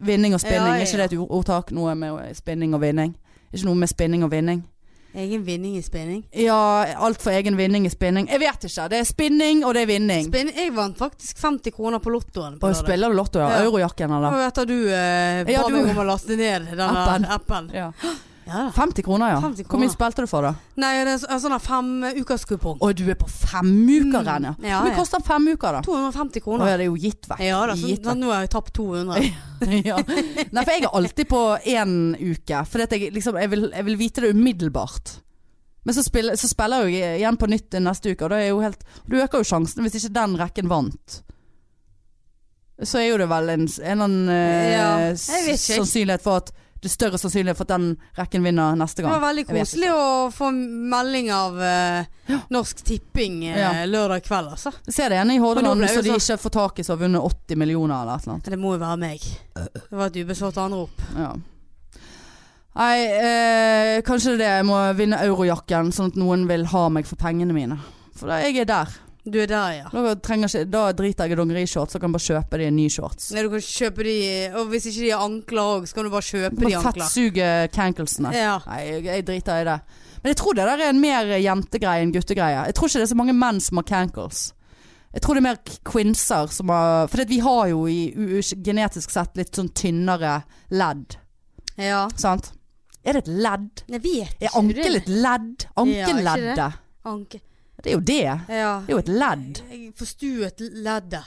S1: vinning og spinning.
S2: Ja,
S1: Er ikke
S2: ja.
S1: det et ord- ordtak? Noe med spinning og vinning? Ikke noe med spinning og vinning?
S2: Egen vinning i spinning.
S1: Ja, alt for egen vinning i spinning. Jeg vet ikke. Det er spinning, og det er vinning.
S2: Spinn- jeg vant faktisk 50 kroner på lottoen. på
S1: Og
S2: lørdag.
S1: spiller du lotto, ja.
S2: Ja.
S1: Eurojakken,
S2: Og
S1: eller?
S2: vet du, eh, ba
S1: Ja, du-
S2: meg om å laste ned den
S1: Appen.
S2: appen. appen.
S1: Ja.
S2: Ja. da.
S1: 50 kroner, ja.
S2: 50
S1: Hvor mye
S2: kroner.
S1: spilte du for, da?
S2: Nei, det er så- en sånn femukerskupong.
S1: Å, du er på femukeren, ja.
S2: Mm, ja,
S1: Hvor mye
S2: ja.
S1: koster femuker, da?
S2: 250
S1: Å,
S2: kroner.
S1: ja, det er jo gitt vekk.
S2: Ja da, så,
S1: gitt
S2: da,
S1: vekk.
S2: nå har jeg tapt 200.
S1: [LAUGHS] ja. Nei, for jeg er alltid på én uke. For jeg, liksom, jeg, vil, jeg vil vite det umiddelbart. Men så spiller, så spiller jeg jo igjen på nytt neste uke, og da er jeg jo helt Du øker jo sjansen hvis ikke den rekken vant. Så er jo det vel en, en eller annen eh,
S2: Ja, jeg
S1: s-
S2: vet ikke.
S1: sannsynlighet for at Det er større sannsynlighet for at den rekken vinner neste
S2: Det
S1: gang.
S2: var veldig
S1: Jeg vet
S2: koselig å få melding av eh, Norsk Tipping eh,
S1: Ja.
S2: lørdag kveld, altså.
S1: Se det ene i
S2: Og
S1: Hordaland
S2: da ble
S1: så
S2: jeg
S1: de
S2: jo sånn-
S1: ikke får tak i som har vunnet 80 millioner eller et eller annet.
S2: Det må jo være meg.
S1: Eh,
S2: Det var et ubesvart anrop.
S1: Ja. Nei, eh, kanskje det er det jeg må vinne eurojakken, sånn at noen vil ha meg for pengene mine. For da, jeg er der.
S2: Du er der, ja.
S1: Da, trenger ikke, da driter jeg i dongerishorts og kan bare kjøpe de nye shorts.
S2: Nei, du kan kjøpe de Og hvis ikke de har ankler òg, så kan du bare kjøpe de
S1: Bare
S2: ankler.
S1: fettsuge canklesene.
S2: Ja.
S1: Nei, jeg, jeg driter i det. Men jeg tror det der er en mer jentegreie enn guttegreie. Jeg tror ikke det er så mange menn som har cankles. Jeg tror det er mer k- kvinser som har For vi har jo i, u, u, genetisk sett litt sånn tynnere ledd,
S2: ja.
S1: sant? Er det et ledd?
S2: Jeg vet
S1: Er
S2: ikke.
S1: ankel et ledd? Ankeleddet?
S2: Ja, Anke.
S1: det er jo det.
S2: Ja.
S1: Det er jo et ledd.
S2: Jeg forstuet leddet.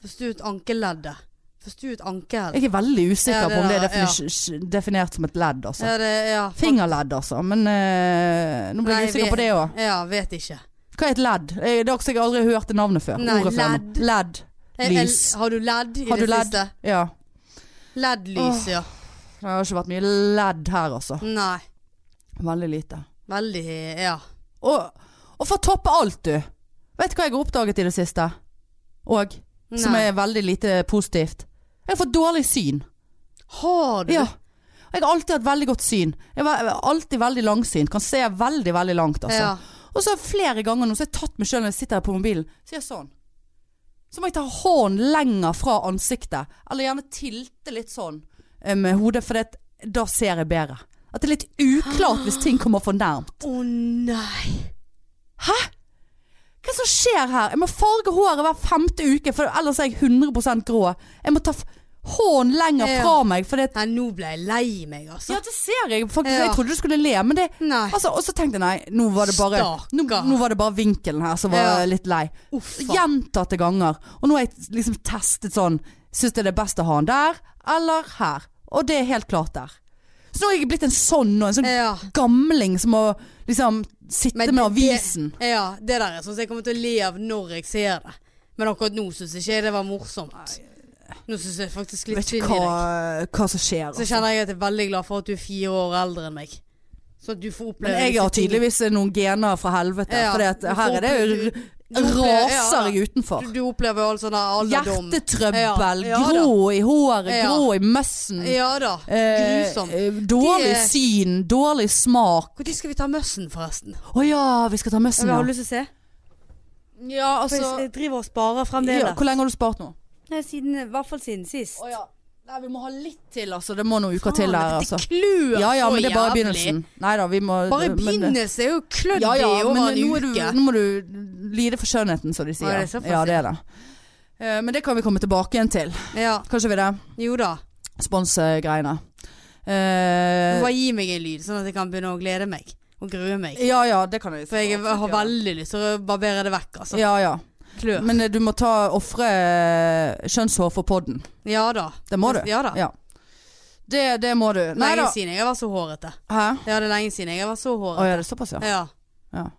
S2: Forstuet ankeleddet. Forstuet ankelen.
S1: Jeg er veldig usikker
S2: Ja, det
S1: på om det er
S2: der,
S1: defini- definert som et ledd, altså.
S2: Ja, det Ja.
S1: Fingerledd, altså. Men eh, nå ble
S2: Nei,
S1: jeg usikker
S2: vi-
S1: på det òg.
S2: Ja, vet ikke.
S1: Hva er et ledd? Eh, Det har også jeg aldri hørt det navnet før.
S2: Nei,
S1: ordet før.
S2: ledd.
S1: Ledd.
S2: Jeg- jeg-
S1: Lys.
S2: Har du ledd i
S1: Har du
S2: det
S1: ledd?
S2: siste?
S1: Ja.
S2: LED-lys, ja.
S1: Det har ikke vært mye ledd her, altså.
S2: Nei.
S1: Veldig lite.
S2: Veldig Ja.
S1: Og, og for å toppe alt, du. Vet du hva jeg har oppdaget i det siste? Og som
S2: Nei.
S1: er veldig lite positivt. Jeg har fått dårlig syn.
S2: Har du?
S1: Ja. Og Jeg har alltid hatt veldig godt syn. Jeg var jeg var alltid veldig langsynt. Kan se veldig, veldig langt, altså.
S2: Ja.
S1: Og så flere ganger nå, så har jeg tatt meg sjøl når jeg sitter her på mobilen, så gjør jeg sånn. Så må jeg ta hånden lenger fra ansiktet, eller gjerne tilte litt sånn eh, med hodet, for det, da ser jeg bedre. At det er litt uklart hvis ting kommer for nærmt.
S2: Å nei.
S1: Hva er det som skjer her? Jeg må farge håret hver femte uke, for ellers er jeg 100 grå. Jeg må ta f- hånden lenger
S2: Ja.
S1: fra meg, for det
S2: Nei, nå ble jeg lei meg, altså.
S1: Ja, det ser jeg faktisk.
S2: Ja.
S1: Jeg trodde du skulle le, men det
S2: Nei.
S1: Altså, og så tenkte jeg nei, nå var det bare, nå,
S2: Stakkar.
S1: nå var det bare vinkelen her som var
S2: Ja.
S1: jeg litt lei.
S2: Uff. faen.
S1: Gjentatte ganger. Og nå har jeg liksom testet sånn Syns jeg det er best å ha den der eller her? Og det er helt klart der. Så nå har jeg blitt en sånn og en sånn
S2: Ja.
S1: gamling som må liksom sitte
S2: Men
S1: med
S2: det- det-
S1: avisen.
S2: ja. Det der er sånn som jeg kommer til å le av når jeg ser det. Men akkurat nå syns ikke jeg det var morsomt. Nå syns jeg faktisk
S1: Jeg
S2: litt
S1: vet
S2: synd
S1: ikke
S2: i
S1: hva,
S2: deg.
S1: hva som skjer.
S2: Så
S1: Altså.
S2: kjenner jeg at jeg er veldig glad for at du er fire år eldre enn meg. Så at du får oppleve
S1: Men jeg
S2: disse
S1: har tydeligvis noen gener fra helvete.
S2: Ja,
S1: For
S2: du får
S1: her er det jo
S2: oppleve-
S1: r-
S2: opplever-
S1: raser
S2: ja.
S1: jeg utenfor.
S2: Du, du opplever jo all sånn alderdom.
S1: Hjertetrøbbel,
S2: Ja, ja da.
S1: grå i håret,
S2: Ja.
S1: grå i møssen.
S2: Ja da.
S1: Eh,
S2: Grusomt.
S1: eh, dårlig
S2: Det-
S1: syn, dårlig smak.
S2: Når skal vi ta møssen, forresten?
S1: Å ja, vi skal ta
S3: Jeg
S1: møssen,
S3: har
S1: Sånn, ja.
S3: lyst til å se.
S1: ja
S3: For
S2: altså-
S3: jeg- jeg driver og sparer fremdeles.
S1: ja. Hvor lenge har du spart nå?
S3: Nei, siden, I hvert fall siden sist.
S1: Å ja. Nei, vi må ha litt til, altså. Det må noen uker til der, altså.
S2: Det klør
S1: Ja ja,
S2: så
S1: men det er bare
S2: jævlig.
S1: begynnelsen. Nei da, vi må
S2: Bare
S1: men-
S2: begynnelsen er jo klødd
S1: Ja ja,
S2: i over
S1: men
S2: en
S1: nå, er du,
S2: uke.
S1: nå må du lide for skjønnheten, som de sier.
S2: Å, det er såpass,
S1: ja, det er det. Eh, Men det kan vi komme tilbake igjen til.
S2: Ja,
S1: Kanskje vi det?
S2: jo da.
S1: Sponsgreiene. Eh,
S2: Bare gi meg en lyd, sånn at jeg kan begynne å glede meg. Og grue meg.
S1: ja ja, det kan jeg sånn-
S2: For jeg
S1: absolutt
S2: har
S1: gjøre.
S2: veldig lyst til å barbere det vekk, altså.
S1: Ja ja.
S2: Klør.
S1: Men eh, du må ta ofre eh, kjønnshår for podden.
S2: Ja da.
S1: Det må du.
S2: Ja da.
S1: Ja. Det, det må du. Nei
S2: Lenge
S1: da.
S2: siden jeg har vært så hårete.
S1: Hæ?
S2: Ja, det er lenge siden jeg har vært så
S1: Å
S2: hårete.
S1: ja, det er såpass, ja.
S2: Ja.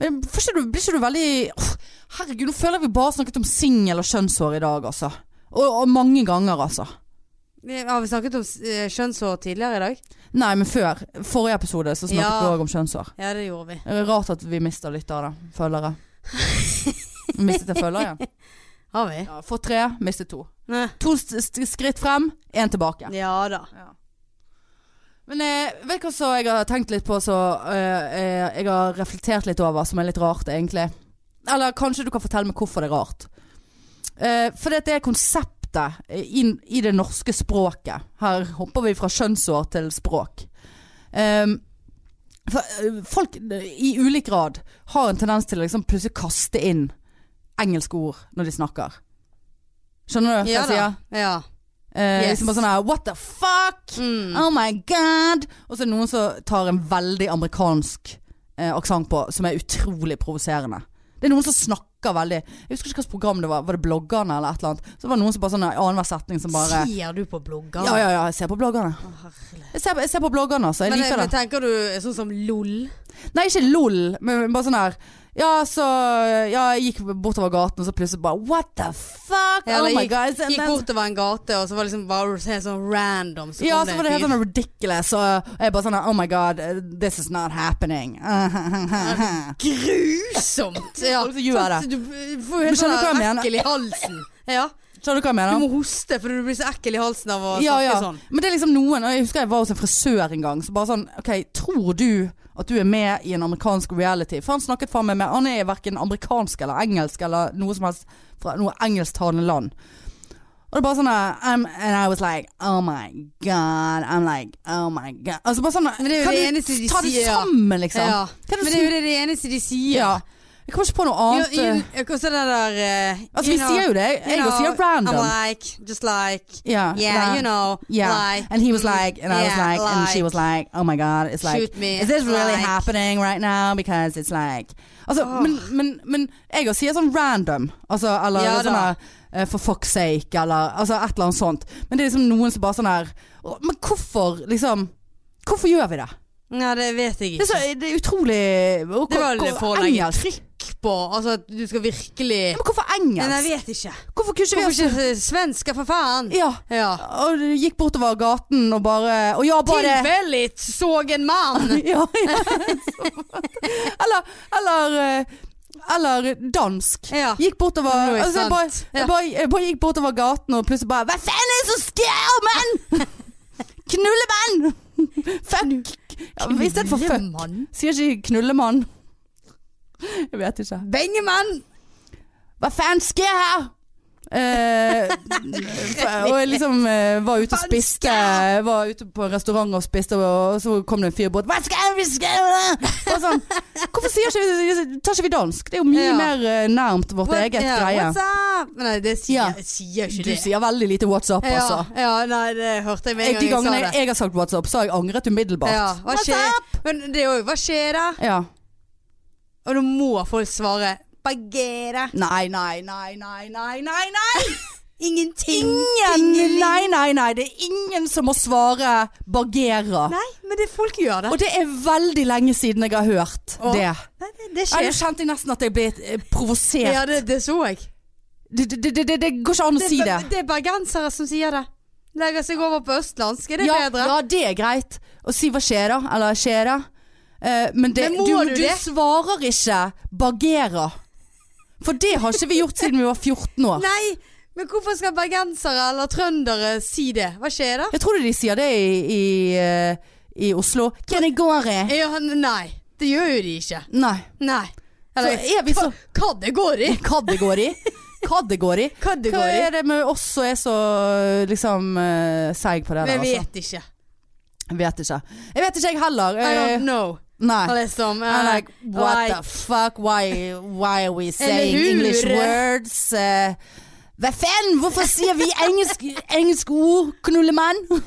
S1: Men får ikke du, blir ikke du veldig Åh, Herregud, nå føler jeg vi bare snakket om singel og kjønnshår i dag, altså. Og, og mange ganger, altså.
S2: Har vi snakket om eh, kjønnshår tidligere i dag?
S1: Nei, men før. Forrige episode så snakket
S2: Ja.
S1: vi òg om kjønnshår.
S2: Ja, det gjorde vi.
S1: Det er Rart at vi mister lyttere. [LAUGHS] Følgere. Mistet en følger [LAUGHS] igjen.
S2: Har vi?
S1: Ja, Fått tre, mistet to.
S2: Nei.
S1: To st st skritt frem, én tilbake.
S2: Ja da.
S1: Men eh, vet du hva så jeg har tenkt litt på, så eh, eh, jeg har reflektert litt over, som er litt rart egentlig. Eller kanskje du kan fortelle meg hvorfor det er rart. Eh, for det er konseptet eh, inn i det norske språket. Her hopper vi fra skjønnsår til språk. Ehm, for, eh, folk eh, i ulik grad har en tendens til å liksom plutselig kaste inn engelske ord når de snakker. Skjønner du hva
S2: Ja
S1: jeg
S2: da.
S1: sier?
S2: Ja.
S1: Eh,
S2: Yes.
S1: Liksom bare sånn her What the fuck?
S2: Mm.
S1: Oh my god! Og så er det noen som tar en veldig amerikansk eh, aksent på, som er utrolig provoserende. Det er noen som snakker veldig Jeg husker ikke hvilket program det var. Var det Bloggerne eller et eller annet? Så var det noen som bare sånn i annenhver setning som bare
S2: Sier du på blogger?
S1: Ja, ja, ja, jeg ser på bloggerne.
S2: Å, herlig.
S1: Jeg ser, jeg ser på bloggerne, altså. Jeg
S2: Men,
S1: liker
S2: men
S1: det.
S2: tenker du sånn som LOL?
S1: Nei, ikke lol, men bare sånn her ja, så ja, jeg gikk bortover gaten, og så plutselig bare What the fuck? oh
S2: Ja, eller
S1: my
S2: gikk-
S1: god. jeg ser-
S2: Gikk bortover en gate, og så var det liksom bare helt sånn random. Så
S1: Ja,
S2: kom
S1: så
S2: en
S1: var det helt
S2: fyr.
S1: sånn ridiculous. Og jeg bare sånn Oh my god, this is not
S2: [LAUGHS]
S1: happening.
S2: Grusomt! Ja.
S1: Folk som gjør
S2: Sånn, Du du får jo
S1: Men skjønner
S2: helt sånn
S1: du hva jeg mener?
S2: ekkel i halsen. Ja.
S1: Skjønner du hva jeg
S2: Du
S1: mener?
S2: må hoste fordi du blir så ekkel i halsen av å
S1: Ja,
S2: snakke
S1: ja.
S2: sånn.
S1: Men det er liksom noen Og jeg husker jeg var hos en frisør en gang, så bare sånn OK, tror du at du er med i en amerikansk reality? For han snakket faen meg med Han er verken amerikansk eller engelsk eller noe som helst fra noe engelsktalende land. Og det er bare sånn eh, I'm, And I was like Oh my god. I'm like Oh my god. Altså bare sånn
S2: det er jo
S1: Kan
S2: det
S1: du
S2: eneste de
S1: ta det
S2: sier, ja.
S1: sammen, liksom?
S2: Ja.
S1: Kan du
S2: Men det er jo det, det eneste de sier.
S1: Ja. Jeg kommer ikke på noe
S2: You,
S1: annet. eh.
S2: you, hva så det der eh,
S1: altså,
S2: you
S1: vi
S2: know,
S1: sier jo det. Jeg,
S2: you
S1: jeg også
S2: know,
S1: sier random.
S2: I'm like, just like
S1: yeah,
S2: Yeah,
S1: like,
S2: you know,
S1: yeah.
S2: like
S1: and he was
S2: mm,
S1: like, and I was
S2: yeah,
S1: like, and she was like, oh my god, it's like,
S2: Shoot me.
S1: is this really
S2: like.
S1: happening right now? Because it's like Altså,
S2: Åh.
S1: men, men, men jeg også sier sånn random, altså, eller
S2: Ja
S1: sånn
S2: da.
S1: her eh, for fuck's sake, eller altså, et eller annet sånt. Men det er liksom noen som bare sånn her «Å, Men hvorfor, liksom Hvorfor gjør vi det?
S2: Ja, det vet jeg
S1: Det er,
S2: ikke.
S1: så, det er utrolig og,
S2: Det var det for å legge
S1: engelsk.
S2: trykk på. Altså at du skal virkelig
S1: Ja, men hvorfor
S2: Men jeg
S1: engelsk?
S2: vet ikke.
S1: Hvorfor kunne ikke vi
S2: Hvorfor
S1: ha
S2: ikke svensker, for faen?
S1: Ja.
S2: Ja.
S1: Og du gikk bortover gaten og bare Og ja, bare
S2: Tilfeldig så en mann.
S1: [LAUGHS] ja, ja. Eller, eller, eh, eller dansk.
S2: Ja.
S1: Gikk bortover
S2: Nå er
S1: altså, jeg, bare,
S2: sant. Ja.
S1: jeg, bare, jeg bare gikk bortover gaten og plutselig bare Hva faen er det som skjer, mann?!
S2: [LAUGHS]
S1: Knullemann! Fuck! Ja, I stedet for fuck.
S2: Knullemann.
S1: Sier ikke knullemann. Jeg vet ikke.
S2: Bengemann!
S1: Hva faen skjer her? Eh, og jeg liksom eh, var ute og
S2: Faen
S1: spiste Var ute på en restaurant og spiste, og så kom det en fyr bort. Hva skal vi gjøre? Og sånn, Hvorfor sier ikke vi, tar ikke vi dansk? Det er jo mye
S2: Ja.
S1: mer eh, nærmt vårt
S2: What-
S1: eget
S2: ja,
S1: greie.
S2: What's up? Men Nei, det
S1: Ja.
S2: sier, jeg sier ikke
S1: Du
S2: det.
S1: sier veldig lite WhatsApp, altså.
S2: Ja, ja, nei, det hørte jeg med
S1: Jeg,
S2: en
S1: de
S2: gang
S1: gangene
S2: jeg sa det.
S1: jeg har sagt WhatsApp, så har jeg angret umiddelbart.
S2: Ja, hva
S1: What's
S2: skjer?
S1: up?
S2: Men det er jo Hva skjer da?
S1: Ja.
S2: Og da må folk svare Bagere.
S1: Nei, nei, nei, nei, nei, nei, nei.
S2: Ingenting.
S1: Ingen,
S2: Ingenting.
S1: nei, nei, nei. Det er ingen som må svare bagera.
S2: Nei, men det folk gjør det.
S1: Og det er veldig lenge siden jeg har hørt
S2: Åh,
S1: det.
S2: Nei, det,
S1: Jeg
S2: det skjer.
S1: kjente jeg nesten at jeg ble eh, provosert.
S2: Ja, det, det så jeg.
S1: Det, det, det, det, det går ikke an å si det.
S2: Det er bergensere som sier det. Legger seg over på østlandsk. Er det
S1: Ja,
S2: bedre?
S1: ja, det er greit. Å si hva skjer da, eller skjer da. Eh, men det,
S2: Men må
S1: du,
S2: du
S1: du
S2: det?
S1: svarer ikke bagera. For det har ikke vi gjort siden vi var 14 år.
S2: Nei, men hvorfor skal bergensere eller trøndere si det? Hva skjer da?
S1: Jeg tror de sier det i, i, eh, i Oslo. Hvem det går i? eh?
S2: Ja, nei, det gjør jo de ikke.
S1: Nei.
S2: Nei.
S1: Så
S2: Eller,
S1: er vi så
S2: hva det går i?
S1: Hva det går i? Hva det går i?
S2: Hva det
S1: Hva
S2: går i?
S1: er det med oss som er så liksom eh, seig på det der,
S2: Vi
S1: altså?
S2: vet ikke.
S1: Vet ikke. Jeg vet ikke, jeg heller.
S2: I
S1: Eh,
S2: don't know.
S1: Nei.
S2: Liksom, eh,
S1: I'm like, what
S2: like-
S1: the fuck, why, why are we saying
S2: hur?
S1: English words? Eh, hva faen, hvorfor sier vi engelsk, engelsk ord, knullemann?
S2: Hva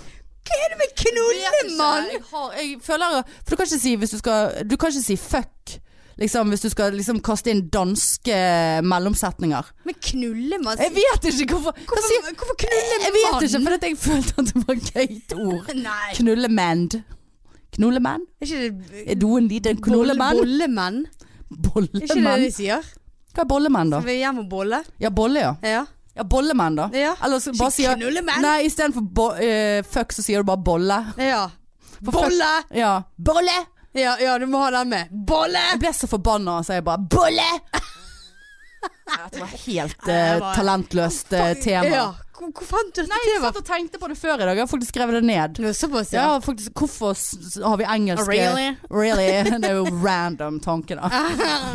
S2: er det med knullemann?
S1: Jeg, har- jeg føler For du kan ikke si hvis du skal Du kan ikke si fuck. Liksom, hvis du skal liksom, kaste inn danske mellomsetninger.
S2: Men knullemann
S1: Jeg vet ikke hvorfor. Hva sier,
S2: Hvorfor, hvorfor knullemann?
S1: jeg vet ikke, for at jeg følte at det var et gøyt ord.
S2: Nei.
S1: Knullemand. Knullemann?
S2: Er ikke det
S1: Er du en liten knullemann?
S2: Bollemann? Er ikke det
S1: Bollemann?
S2: de sier?
S1: Hva er bollemann, da?
S2: Skal vi hjem og bolle?
S1: Ja, bolle, ja.
S2: Ja.
S1: Ja, bollemann da
S2: Ja.
S1: Eller så bare sier
S2: knullemann.
S1: Nei, i stedet for bo eh, fuck så sier du bare bolle
S2: Ja.
S1: For
S2: Bolle!
S1: fuck- Ja, bolle
S2: Ja, ja, du må ha den med. Bolle!
S1: Jeg ble så forbannet, så jeg bare bolle
S2: [LAUGHS]
S1: Nei, Det var helt eh,
S2: det var-
S1: talentløst eh, tema
S2: Ja. Hvor, hvor fant du dette
S1: Nei, jeg
S2: temaet?
S1: satt og tenkte på det før i dag Jeg har faktisk skrevet det ned
S2: Det var Såpass,
S1: ja,
S2: ja. Oh,
S1: faktisk, hvorfor s- s- har vi engelske
S2: Really?
S1: Really? [LAUGHS] Det er jo random tanke
S2: [LAUGHS]
S1: da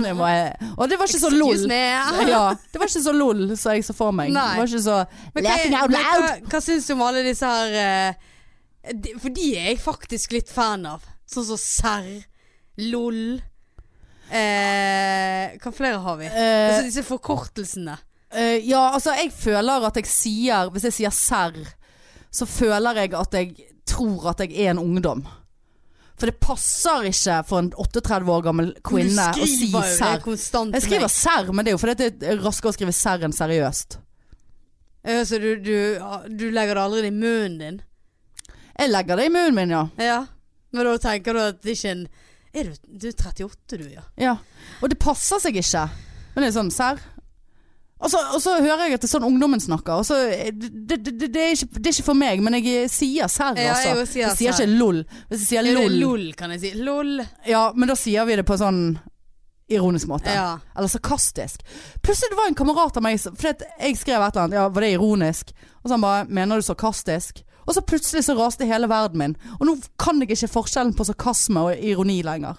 S1: det var, Og det var ikke så lol
S2: Excuse me.
S1: ja, Det var ikke så lol, så jeg så for meg
S2: Nei.
S1: Det var ikke så
S2: Men hva,
S1: Laughing out
S2: men
S1: loud
S2: hva, hva syns du om alle disse her eh, de, For de er jeg faktisk litt fan av. Sånn som serr, lol eh, Hva flere har vi?
S1: Eh,
S2: altså disse forkortelsene.
S1: Eh, ja, altså jeg føler at jeg sier Hvis jeg sier serr, så føler jeg at jeg tror at jeg er en ungdom. For det passer ikke for en 38 år gammel kvinne å si
S2: skriver jo det
S1: serr.
S2: konstant.
S1: Jeg
S2: til
S1: skriver
S2: meg.
S1: serr, men det er jo fordi det er raskere å skrive serr enn seriøst.
S2: Ja, Så du, du, du legger det aldri i munnen din?
S1: Jeg legger det i munnen min, ja.
S2: Ja. Men da tenker du at det ikke er en er du, du er 38 du, ja.
S1: ja. Og det passer seg ikke. Men det er sånn serr. Og så, og så hører jeg at det er sånn ungdommen snakker. Og så, det, det, det, det, er ikke, det er ikke for meg, men jeg sier serr,
S2: Ja,
S1: altså.
S2: jeg sier
S1: Jeg sier
S2: serr.
S1: ikke lol. Hvis jeg sier
S2: Lol.
S1: lol
S2: lol, kan jeg si. Lol.
S1: Ja, men da sier vi det på en sånn ironisk måte.
S2: Ja.
S1: Eller sarkastisk. Plutselig det var en kamerat av meg som- Fordi at jeg skrev et eller annet. Ja, var det ironisk? Og så han bare Mener du sarkastisk? Og så plutselig så raste hele verden min. Og nå kan jeg ikke forskjellen på sarkasme og ironi lenger.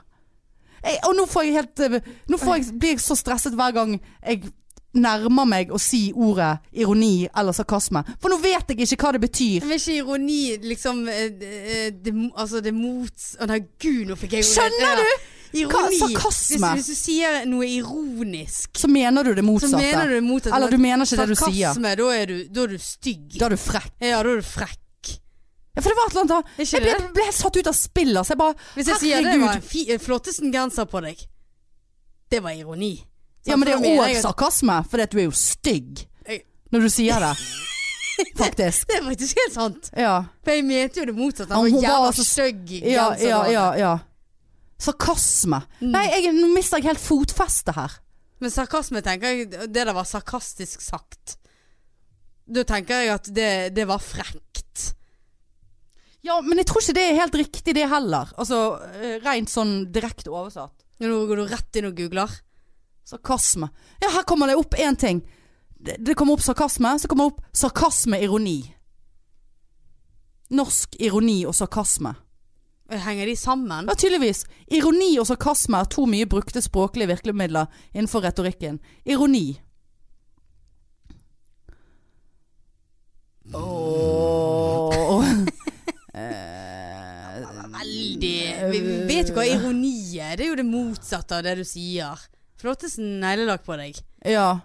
S1: Jeg, og nå får jeg helt eh, Nå får jeg, blir jeg så stresset hver gang jeg nærmer meg å si ordet ironi eller sarkasme. For nå vet jeg ikke hva det betyr.
S2: Men er ikke ironi liksom eh, eh, det, Altså det mots... Å nei, gud, nå fikk jeg
S1: Skjønner
S2: du?
S1: Hva-
S2: Ironi.
S1: sarkasme?
S2: Hvis, hvis du sier noe ironisk,
S1: Så mener du det
S2: så
S1: motsatte.
S2: mener du det motsatte.
S1: Eller du mener ikke det du sier.
S2: Sarkasme, da er du, da er du stygg.
S1: Da er du frekk.
S2: Ja, da er du frekk.
S1: Ja, for det var et eller annet da.
S2: Er ikke
S1: Jeg ble,
S2: det?
S1: ble helt satt ut av spill, altså. Jeg bare
S2: Hvis jeg sier det var en fi, eh, flottesten genser på deg, det var ironi. Sant?
S1: Ja, men det
S2: For
S1: er
S2: da mener
S1: òg
S2: jeg at-
S1: sarkasme, for du er jo stygg
S2: Jeg-
S1: når du sier
S2: [LAUGHS]
S1: det. Faktisk.
S2: Det er faktisk helt sant.
S1: Ja.
S2: For jeg mente jo det motsatte.
S1: Ja,
S2: Han
S1: hun
S2: var
S1: var
S2: jævla
S1: altså-
S2: stygg i
S1: Ja,
S2: genser
S1: ja,
S2: da.
S1: ja. ja. Sarkasme.
S2: Mm.
S1: Nei, jeg, nå mister jeg helt fotfestet her.
S2: Men sarkasme tenker jeg Det der var sarkastisk sagt. Da tenker jeg at det, det var frekt.
S1: Ja, men jeg tror ikke det er helt riktig, det heller. Altså eh, rent sånn direkte oversatt.
S2: Nå går du rett inn og googler.
S1: Sarkasme. Ja, her kommer det opp én ting. Det, det kommer opp sarkasme, så kommer det opp sarkasme-ironi. Norsk ironi og sarkasme.
S2: Henger de sammen?
S1: Ja, tydeligvis. Ironi og sarkasme er to mye brukte språklige virkemidler innenfor retorikken. Ironi. Ååå
S2: Veldig Vi vi vet jo hva ironi er. Det er jo det motsatte av det du sier. Flottesen neglelakk på deg.
S1: Ja.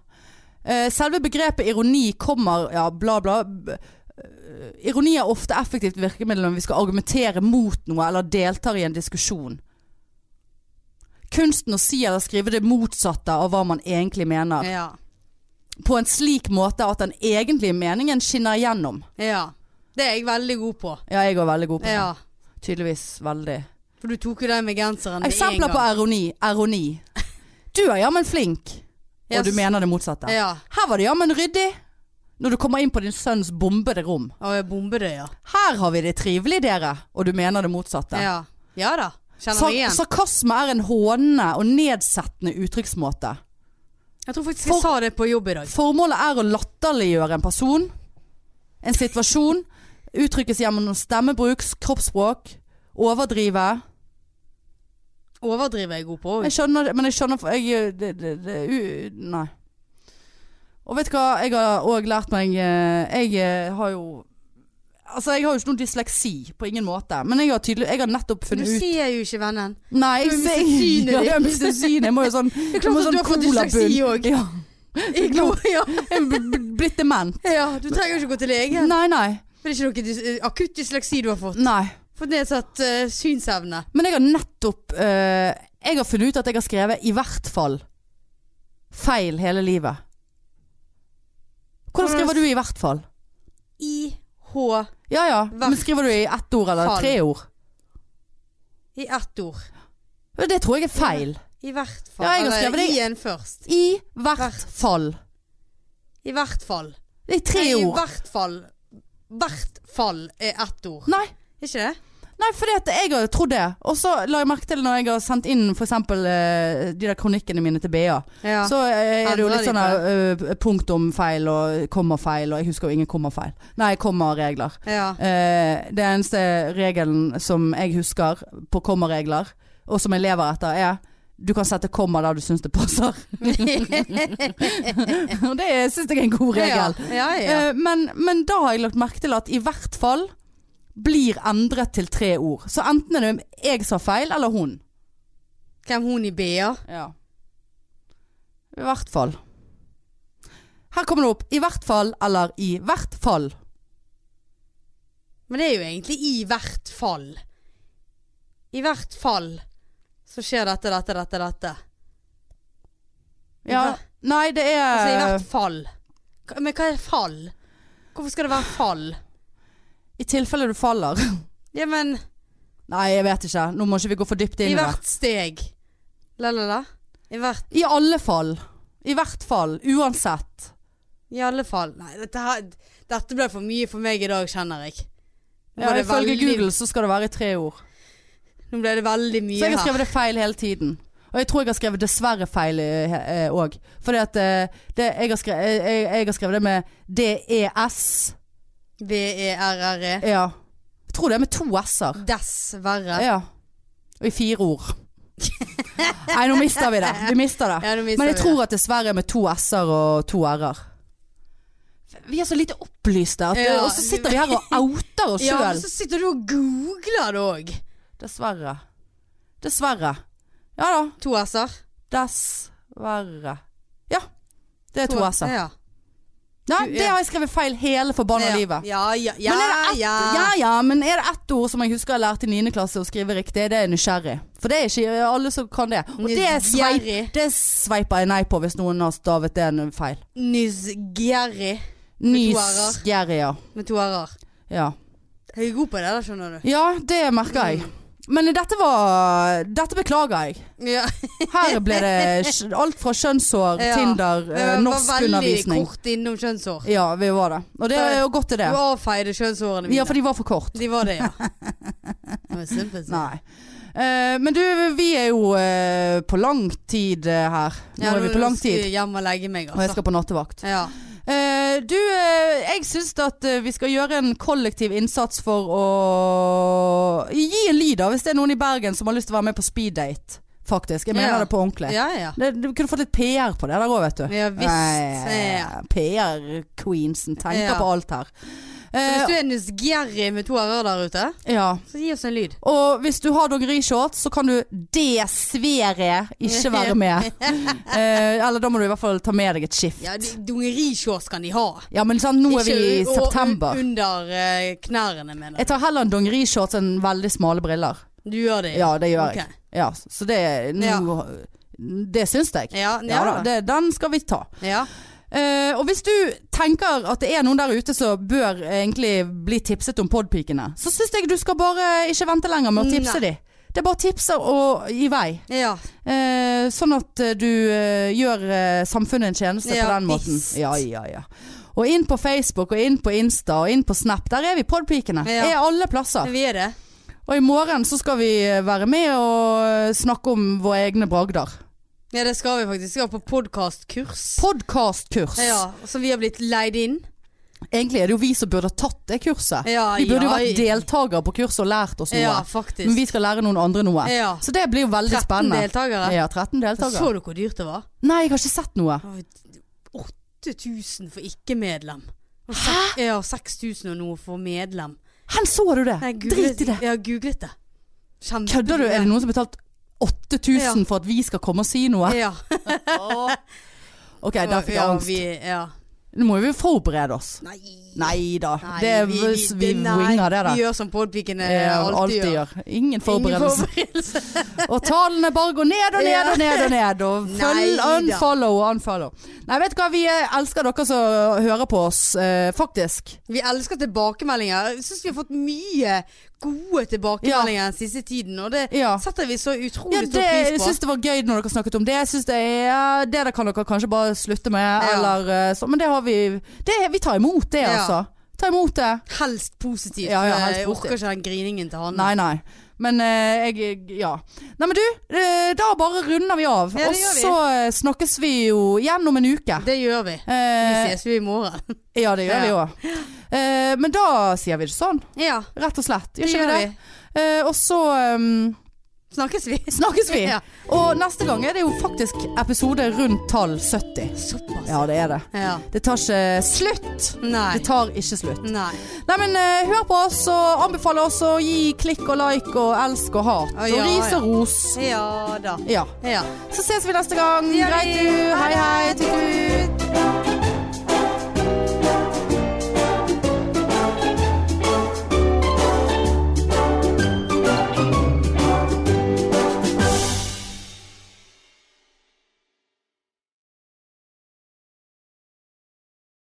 S1: Eh, Selve begrepet ironi kommer Ja, bla, bla. B- eh, Ironi er ofte effektivt virkemiddel når vi skal argumentere mot noe eller deltar i en diskusjon. Kunsten å si eller skrive det motsatte av hva man egentlig mener.
S2: Ja.
S1: på en slik måte at den egentlige meningen skinner igjennom.
S2: ja. Det er jeg veldig god på.
S1: Ja, jeg er veldig god på det.
S2: Ja.
S1: Tydeligvis veldig.
S2: For du tok jo den med genseren med en
S1: Eksempler
S2: gang.
S1: på ironi. Ironi. Du er jammen flink, og
S2: Ja,
S1: du
S2: s-
S1: mener det motsatte.
S2: Ja.
S1: Her var det jammen ryddig når du kommer inn på din sønns bombede rom.
S2: Å, jeg bomber det, ja.
S1: Her har vi det trivelig, dere, og du mener det motsatte.
S2: Ja, ja da. Kjenner
S1: Sar
S2: meg igjen.
S1: sarkasme er en hånende og nedsettende uttrykksmåte.
S2: Jeg tror faktisk
S1: For-
S2: jeg sa det på jobb i dag.
S1: Formålet er å latterliggjøre en person, en situasjon, uttrykkes gjennom stemmebruk, kroppsspråk, overdrive.
S2: Overdriver jeg god på òg.
S1: Jeg skjønner det, men jeg skjønner for jeg, eh, det, det, det, u, Nei. Og vet du hva, jeg har òg lært meg eh, Jeg eh, har jo Altså, jeg har jo ikke noen dysleksi, på ingen måte. Men jeg har, tydelig, jeg har nettopp
S2: Du
S1: funnet ut
S2: ser jo ikke vennen.
S1: Nei, jeg
S2: Du
S1: ser
S2: har mistet
S1: [LAUGHS]
S2: synet
S1: Ja,
S2: ditt.
S1: jeg har mistet synet. Jeg må jo sånn
S2: [LAUGHS] Det er
S1: jeg må
S2: klart at
S1: sånn
S2: du har fått
S1: colabunn.
S2: dysleksi òg.
S1: Ja.
S2: Ikke noe- Ja.
S1: Jeg er bl- bl- blitt dement.
S2: ja, du trenger jo ikke gå til legen.
S1: Nei, nei.
S2: Det er ikke noe dys eh, akutt dysleksi du har fått.
S1: Nei.
S2: Fått nedsatt eh, synsevne.
S1: Men jeg har nettopp eh, Jeg har funnet ut at jeg har skrevet i hvert fall feil hele livet. Hvordan skriver du i hvert fall?
S2: I H
S1: Ja ja, men
S2: Hvert
S1: skriver du i ett ord eller
S2: fall.
S1: tre ord?
S2: i ett ord.
S1: Det tror jeg er feil.
S2: I hvert fall.
S1: Ja, jeg har
S2: Eller
S1: skrevet det i-
S2: i-en først.
S1: I hvert
S2: Hvert.
S1: fall.
S2: I hvert fall.
S1: Det er tre
S2: Nei, I
S1: ord.
S2: hvert fall. Hvert fall er ett ord.
S1: Nei.
S2: Er ikke det?
S1: Nei, fordi at jeg har trodd det. Og så la jeg merke til når jeg har sendt inn f.eks. Uh, de der kronikkene mine til BA.
S2: Ja.
S1: Så eh, er det jo litt
S2: Endrer de
S1: sånn eh, punktumfeil og kommafeil, og jeg husker jo ingen kommafeil. Nei, kommaregler. [LAUGHS]
S2: ja.
S1: Eh, det eneste regelen som jeg husker på kommaregler, og som jeg lever etter, er du kan sette komma der du syns det
S2: [LAUGHS]
S1: passer. Og det syns jeg er en god regel.
S2: [LAUGHS] Ja, ja, ja.
S1: Eh, men, men da har jeg lagt merke til at i hvert fall blir endret til tre ord. Så enten er det jeg som har feil, eller hun.
S2: Hvem hun i BA?
S1: Ja. I hvert fall. Her kommer det opp. I hvert fall eller i hvert fall.
S2: Men det er jo egentlig i hvert fall. I hvert fall så skjer dette, dette, dette, dette. I
S1: Ja.
S2: hver-
S1: Nei, det er
S2: Altså i hvert fall. Hva- Men hva er fall? Hvorfor skal det være fall?
S1: I tilfelle du faller.
S2: Ja, men
S1: Nei, jeg vet ikke. Nå må ikke vi gå for dypt
S2: i
S1: inn i det.
S2: hvert steg. La, la, la. I hvert
S1: I alle fall. I hvert fall. Uansett.
S2: I alle fall. Nei, dette, her, dette ble for mye for meg i dag, kjenner jeg. Nå
S1: Ja,
S2: ble det
S1: ifølge
S2: veldig-
S1: Google så skal det være i tre ord.
S2: Nå ble det veldig
S1: Så
S2: mye
S1: jeg har
S2: her.
S1: skrevet det feil hele tiden. Og jeg tror jeg har skrevet dessverre feil òg. Fordi at eh, det, jeg, har skrevet, jeg, jeg- jeg har skrevet det med DES.
S2: E V-e-r-r-e.
S1: Ja. Jeg tror det er med to s-er.
S2: Dessverre.
S1: Ja. Og i fire [LAUGHS] ord. Nei, nå mister vi det. Vi mister det.
S2: Ja, nå mister
S1: Men jeg
S2: vi
S1: tror at dessverre med to s-er og to r-er. Vi er så lite opplyste, at,
S2: Ja,
S1: og så sitter
S2: du-
S1: vi her og outer [LAUGHS] oss
S2: det. Ja,
S1: sjøl.
S2: men så sitter du og googler det òg.
S1: Dessverre. Dessverre. Ja da.
S2: To s-er.
S1: Dessverre. Ja. Det er to s-er.
S2: Ja.
S1: Nei,
S2: Du er-
S1: det har jeg skrevet feil hele forbanna
S2: ja.
S1: livet.
S2: Ja, ja, ja.
S1: men er det ett,
S2: ja.
S1: ja, ja, men er det ett ord som jeg husker jeg lærte i 9. klasse å skrive riktig, det er nysgjerrig. For det er ikke alle som kan det. Og det er sveip
S2: Nysgjerrig.
S1: Det sveiper jeg nei på hvis noen har stavet det en feil.
S2: Nysgjerrig Med to r-er.
S1: Nysgjerrig, ja.
S2: med to r-er.
S1: ja.
S2: Jeg er god på det, da, skjønner du.
S1: Ja, det merker jeg. Men dette var Dette beklager jeg.
S2: Ja.
S1: Her ble det
S2: [LAUGHS]
S1: skj- alt fra skjønnshår,
S2: Ja.
S1: Tinder, eh,
S2: Vi var veldig
S1: norskundervisning.
S2: kort innom kjønnshår.
S1: Ja, vi var det. Og det er jo godt til det.
S2: Du avfeide kjønnshårene mine.
S1: Ja, for de var for kort.
S2: De var
S1: [LAUGHS]
S2: det, ja. Det var simpelt, så.
S1: Nei. Eh, men du, vi er jo eh, på lang tid eh, her. Nå
S2: Ja,
S1: er vi på lang
S2: skal
S1: tid.
S2: jeg hjem og legge meg,
S1: Og jeg
S2: altså.
S1: skal på nattevakt.
S2: Ja.
S1: Eh, du, eh, jeg syns at eh, vi skal gjøre en kollektiv innsats for å Gi en lyd, da, hvis det er noen i Bergen som har lyst til å være med på speeddate. Faktisk. Jeg mener
S2: Ja.
S1: det på ordentlig.
S2: ja, ja.
S1: Det, du kunne fått litt PR på det der òg, vet du.
S2: Ja, visst. Ja.
S1: PR-queensen tenker
S2: Ja.
S1: på alt her.
S2: Så hvis
S1: Eh,
S2: du er nysgjerrig med to r-er der ute,
S1: ja.
S2: så gi oss en lyd.
S1: Og hvis du har dongerishorts, så kan du dessverre ikke
S2: [LAUGHS]
S1: være med. Eh, eller da må du i hvert fall ta med deg et skift.
S2: Ja, de- Dongerishorts kan de ha.
S1: Ja, men sant, nå er vi i
S2: Ikke u- og
S1: september.
S2: un- Under eh, knærne, mener jeg.
S1: Jeg tar heller en dongerishorts enn veldig smale briller.
S2: Du gjør det?
S1: Ja, det gjør
S2: Ok.
S1: jeg. Ja, så det, nå, det syns jeg.
S2: Ja, ja,
S1: Ja da,
S2: da.
S1: det, den skal vi ta.
S2: Ja.
S1: Eh, og hvis du tenker at det er noen der ute som bør egentlig bli tipset om podpikene, så syns jeg du skal bare ikke vente lenger med å tipse
S2: Nei.
S1: de. Det er bare tipser og i vei.
S2: ja.
S1: Eh, sånn at eh, du eh, gjør eh, samfunnet en tjeneste på
S2: Ja,
S1: den måten.
S2: visst.
S1: Ja, ja, ja. Og inn på Facebook, og inn på Insta, og inn på Snap. Der er vi podpikene.
S2: Ja.
S1: Er alle plasser.
S2: Vi er det.
S1: Og i morgen så skal vi være med og snakke om våre egne bragder.
S2: Ja, det skal vi faktisk. Vi skal på podkastkurs.
S1: Podkastkurs.
S2: Ja, som vi har blitt leid inn.
S1: Egentlig er det jo vi som burde ha tatt det kurset.
S2: Ja,
S1: Vi burde jo
S2: ja,
S1: vært deltakere på kurset og lært oss noe.
S2: Ja, faktisk.
S1: Men vi skal lære noen andre noe.
S2: ja.
S1: Så det blir jo veldig
S2: 13
S1: spennende.
S2: deltakere.
S1: Ja, 13 deltakere.
S2: Så du hvor dyrt det var?
S1: Nei, jeg har ikke sett noe.
S2: 8000 for ikke-medlem. Og sek- Ja, 6000 og noe for medlem.
S1: Hen så du det?
S2: Nei, jeg googlet-
S1: Drit i det.
S2: Jeg har googlet det. Kjempe-
S1: Kødder du? Er det noen som har betalt 8000
S2: Ja.
S1: for at vi skal komme og si noe? [LAUGHS]
S2: Ja.
S1: Ok, der fikk jeg
S2: ja,
S1: angst.
S2: Vi, ja.
S1: Nå må vi jo forberede oss.
S2: Nei.
S1: Nei da.
S2: Nei,
S1: Det er vi, vi
S2: det- nei,
S1: winger det, da.
S2: Vi gjør som podpikene
S1: Eh,
S2: alltid,
S1: Alltid
S2: gjør.
S1: gjør. Ingen
S2: Ingen
S1: forberedelse.
S2: forberedelse. [LAUGHS]
S1: Og tallene bare går ned og ned og ned og ned. Og
S2: Nei
S1: følg,
S2: da.
S1: unfollow og unfollow. Nei, vet du hva. Vi eh, elsker dere som hører på oss, eh, faktisk.
S2: Vi elsker tilbakemeldinger. Jeg syns vi har fått mye gode tilbakemeldinger den siste tiden, og det
S1: Ja.
S2: setter vi så utrolig
S1: Ja, det,
S2: stor pris på.
S1: jeg syns det var gøy når dere snakket om det. Jeg synes det, er, det der kan dere kanskje bare slutte med. Eller, eh, så, men det har vi det, Vi tar imot det,
S2: Ja.
S1: altså. Ta imot det.
S2: Helst positivt.
S1: Ja, ja,
S2: for
S1: helst
S2: jeg orker ikke den griningen til han.
S1: Nei, nei. Men eh, jeg Ja. Nei, men du, eh, da bare runder vi av.
S2: Ja, det
S1: og
S2: gjør vi.
S1: så eh, snakkes vi jo igjen om en uke.
S2: Det gjør vi. Vi
S1: Eh,
S2: ses jo
S1: [LAUGHS]
S2: i morgen.
S1: ja, det gjør vi
S2: Ja.
S1: òg. Eh, men da sier vi det sånn,
S2: Ja,
S1: rett og slett.
S2: det
S1: Gjør ikke
S2: gjør
S1: vi
S2: vi.
S1: det? Eh, og så eh,
S2: Snakkes vi.
S1: snakkes vi.
S2: [LAUGHS] Ja.
S1: Og neste gang er det jo faktisk episode rundt tall 70.
S2: Såpass.
S1: Ja, det er det.
S2: Ja.
S1: Det tar ikke slutt.
S2: Nei.
S1: Det tar ikke slutt.
S2: Nei.
S1: Nei, men eh, hør på oss og anbefale oss å gi klikk og like og elsk og hat.
S2: Å,
S1: og
S2: ja,
S1: ris
S2: ja.
S1: og ros.
S2: Ja da.
S1: Ja.
S2: Ja.
S1: Så ses vi neste gang.
S2: Det gjør
S1: Greit
S2: vi.
S1: du. Hei, hei. Tut-tut.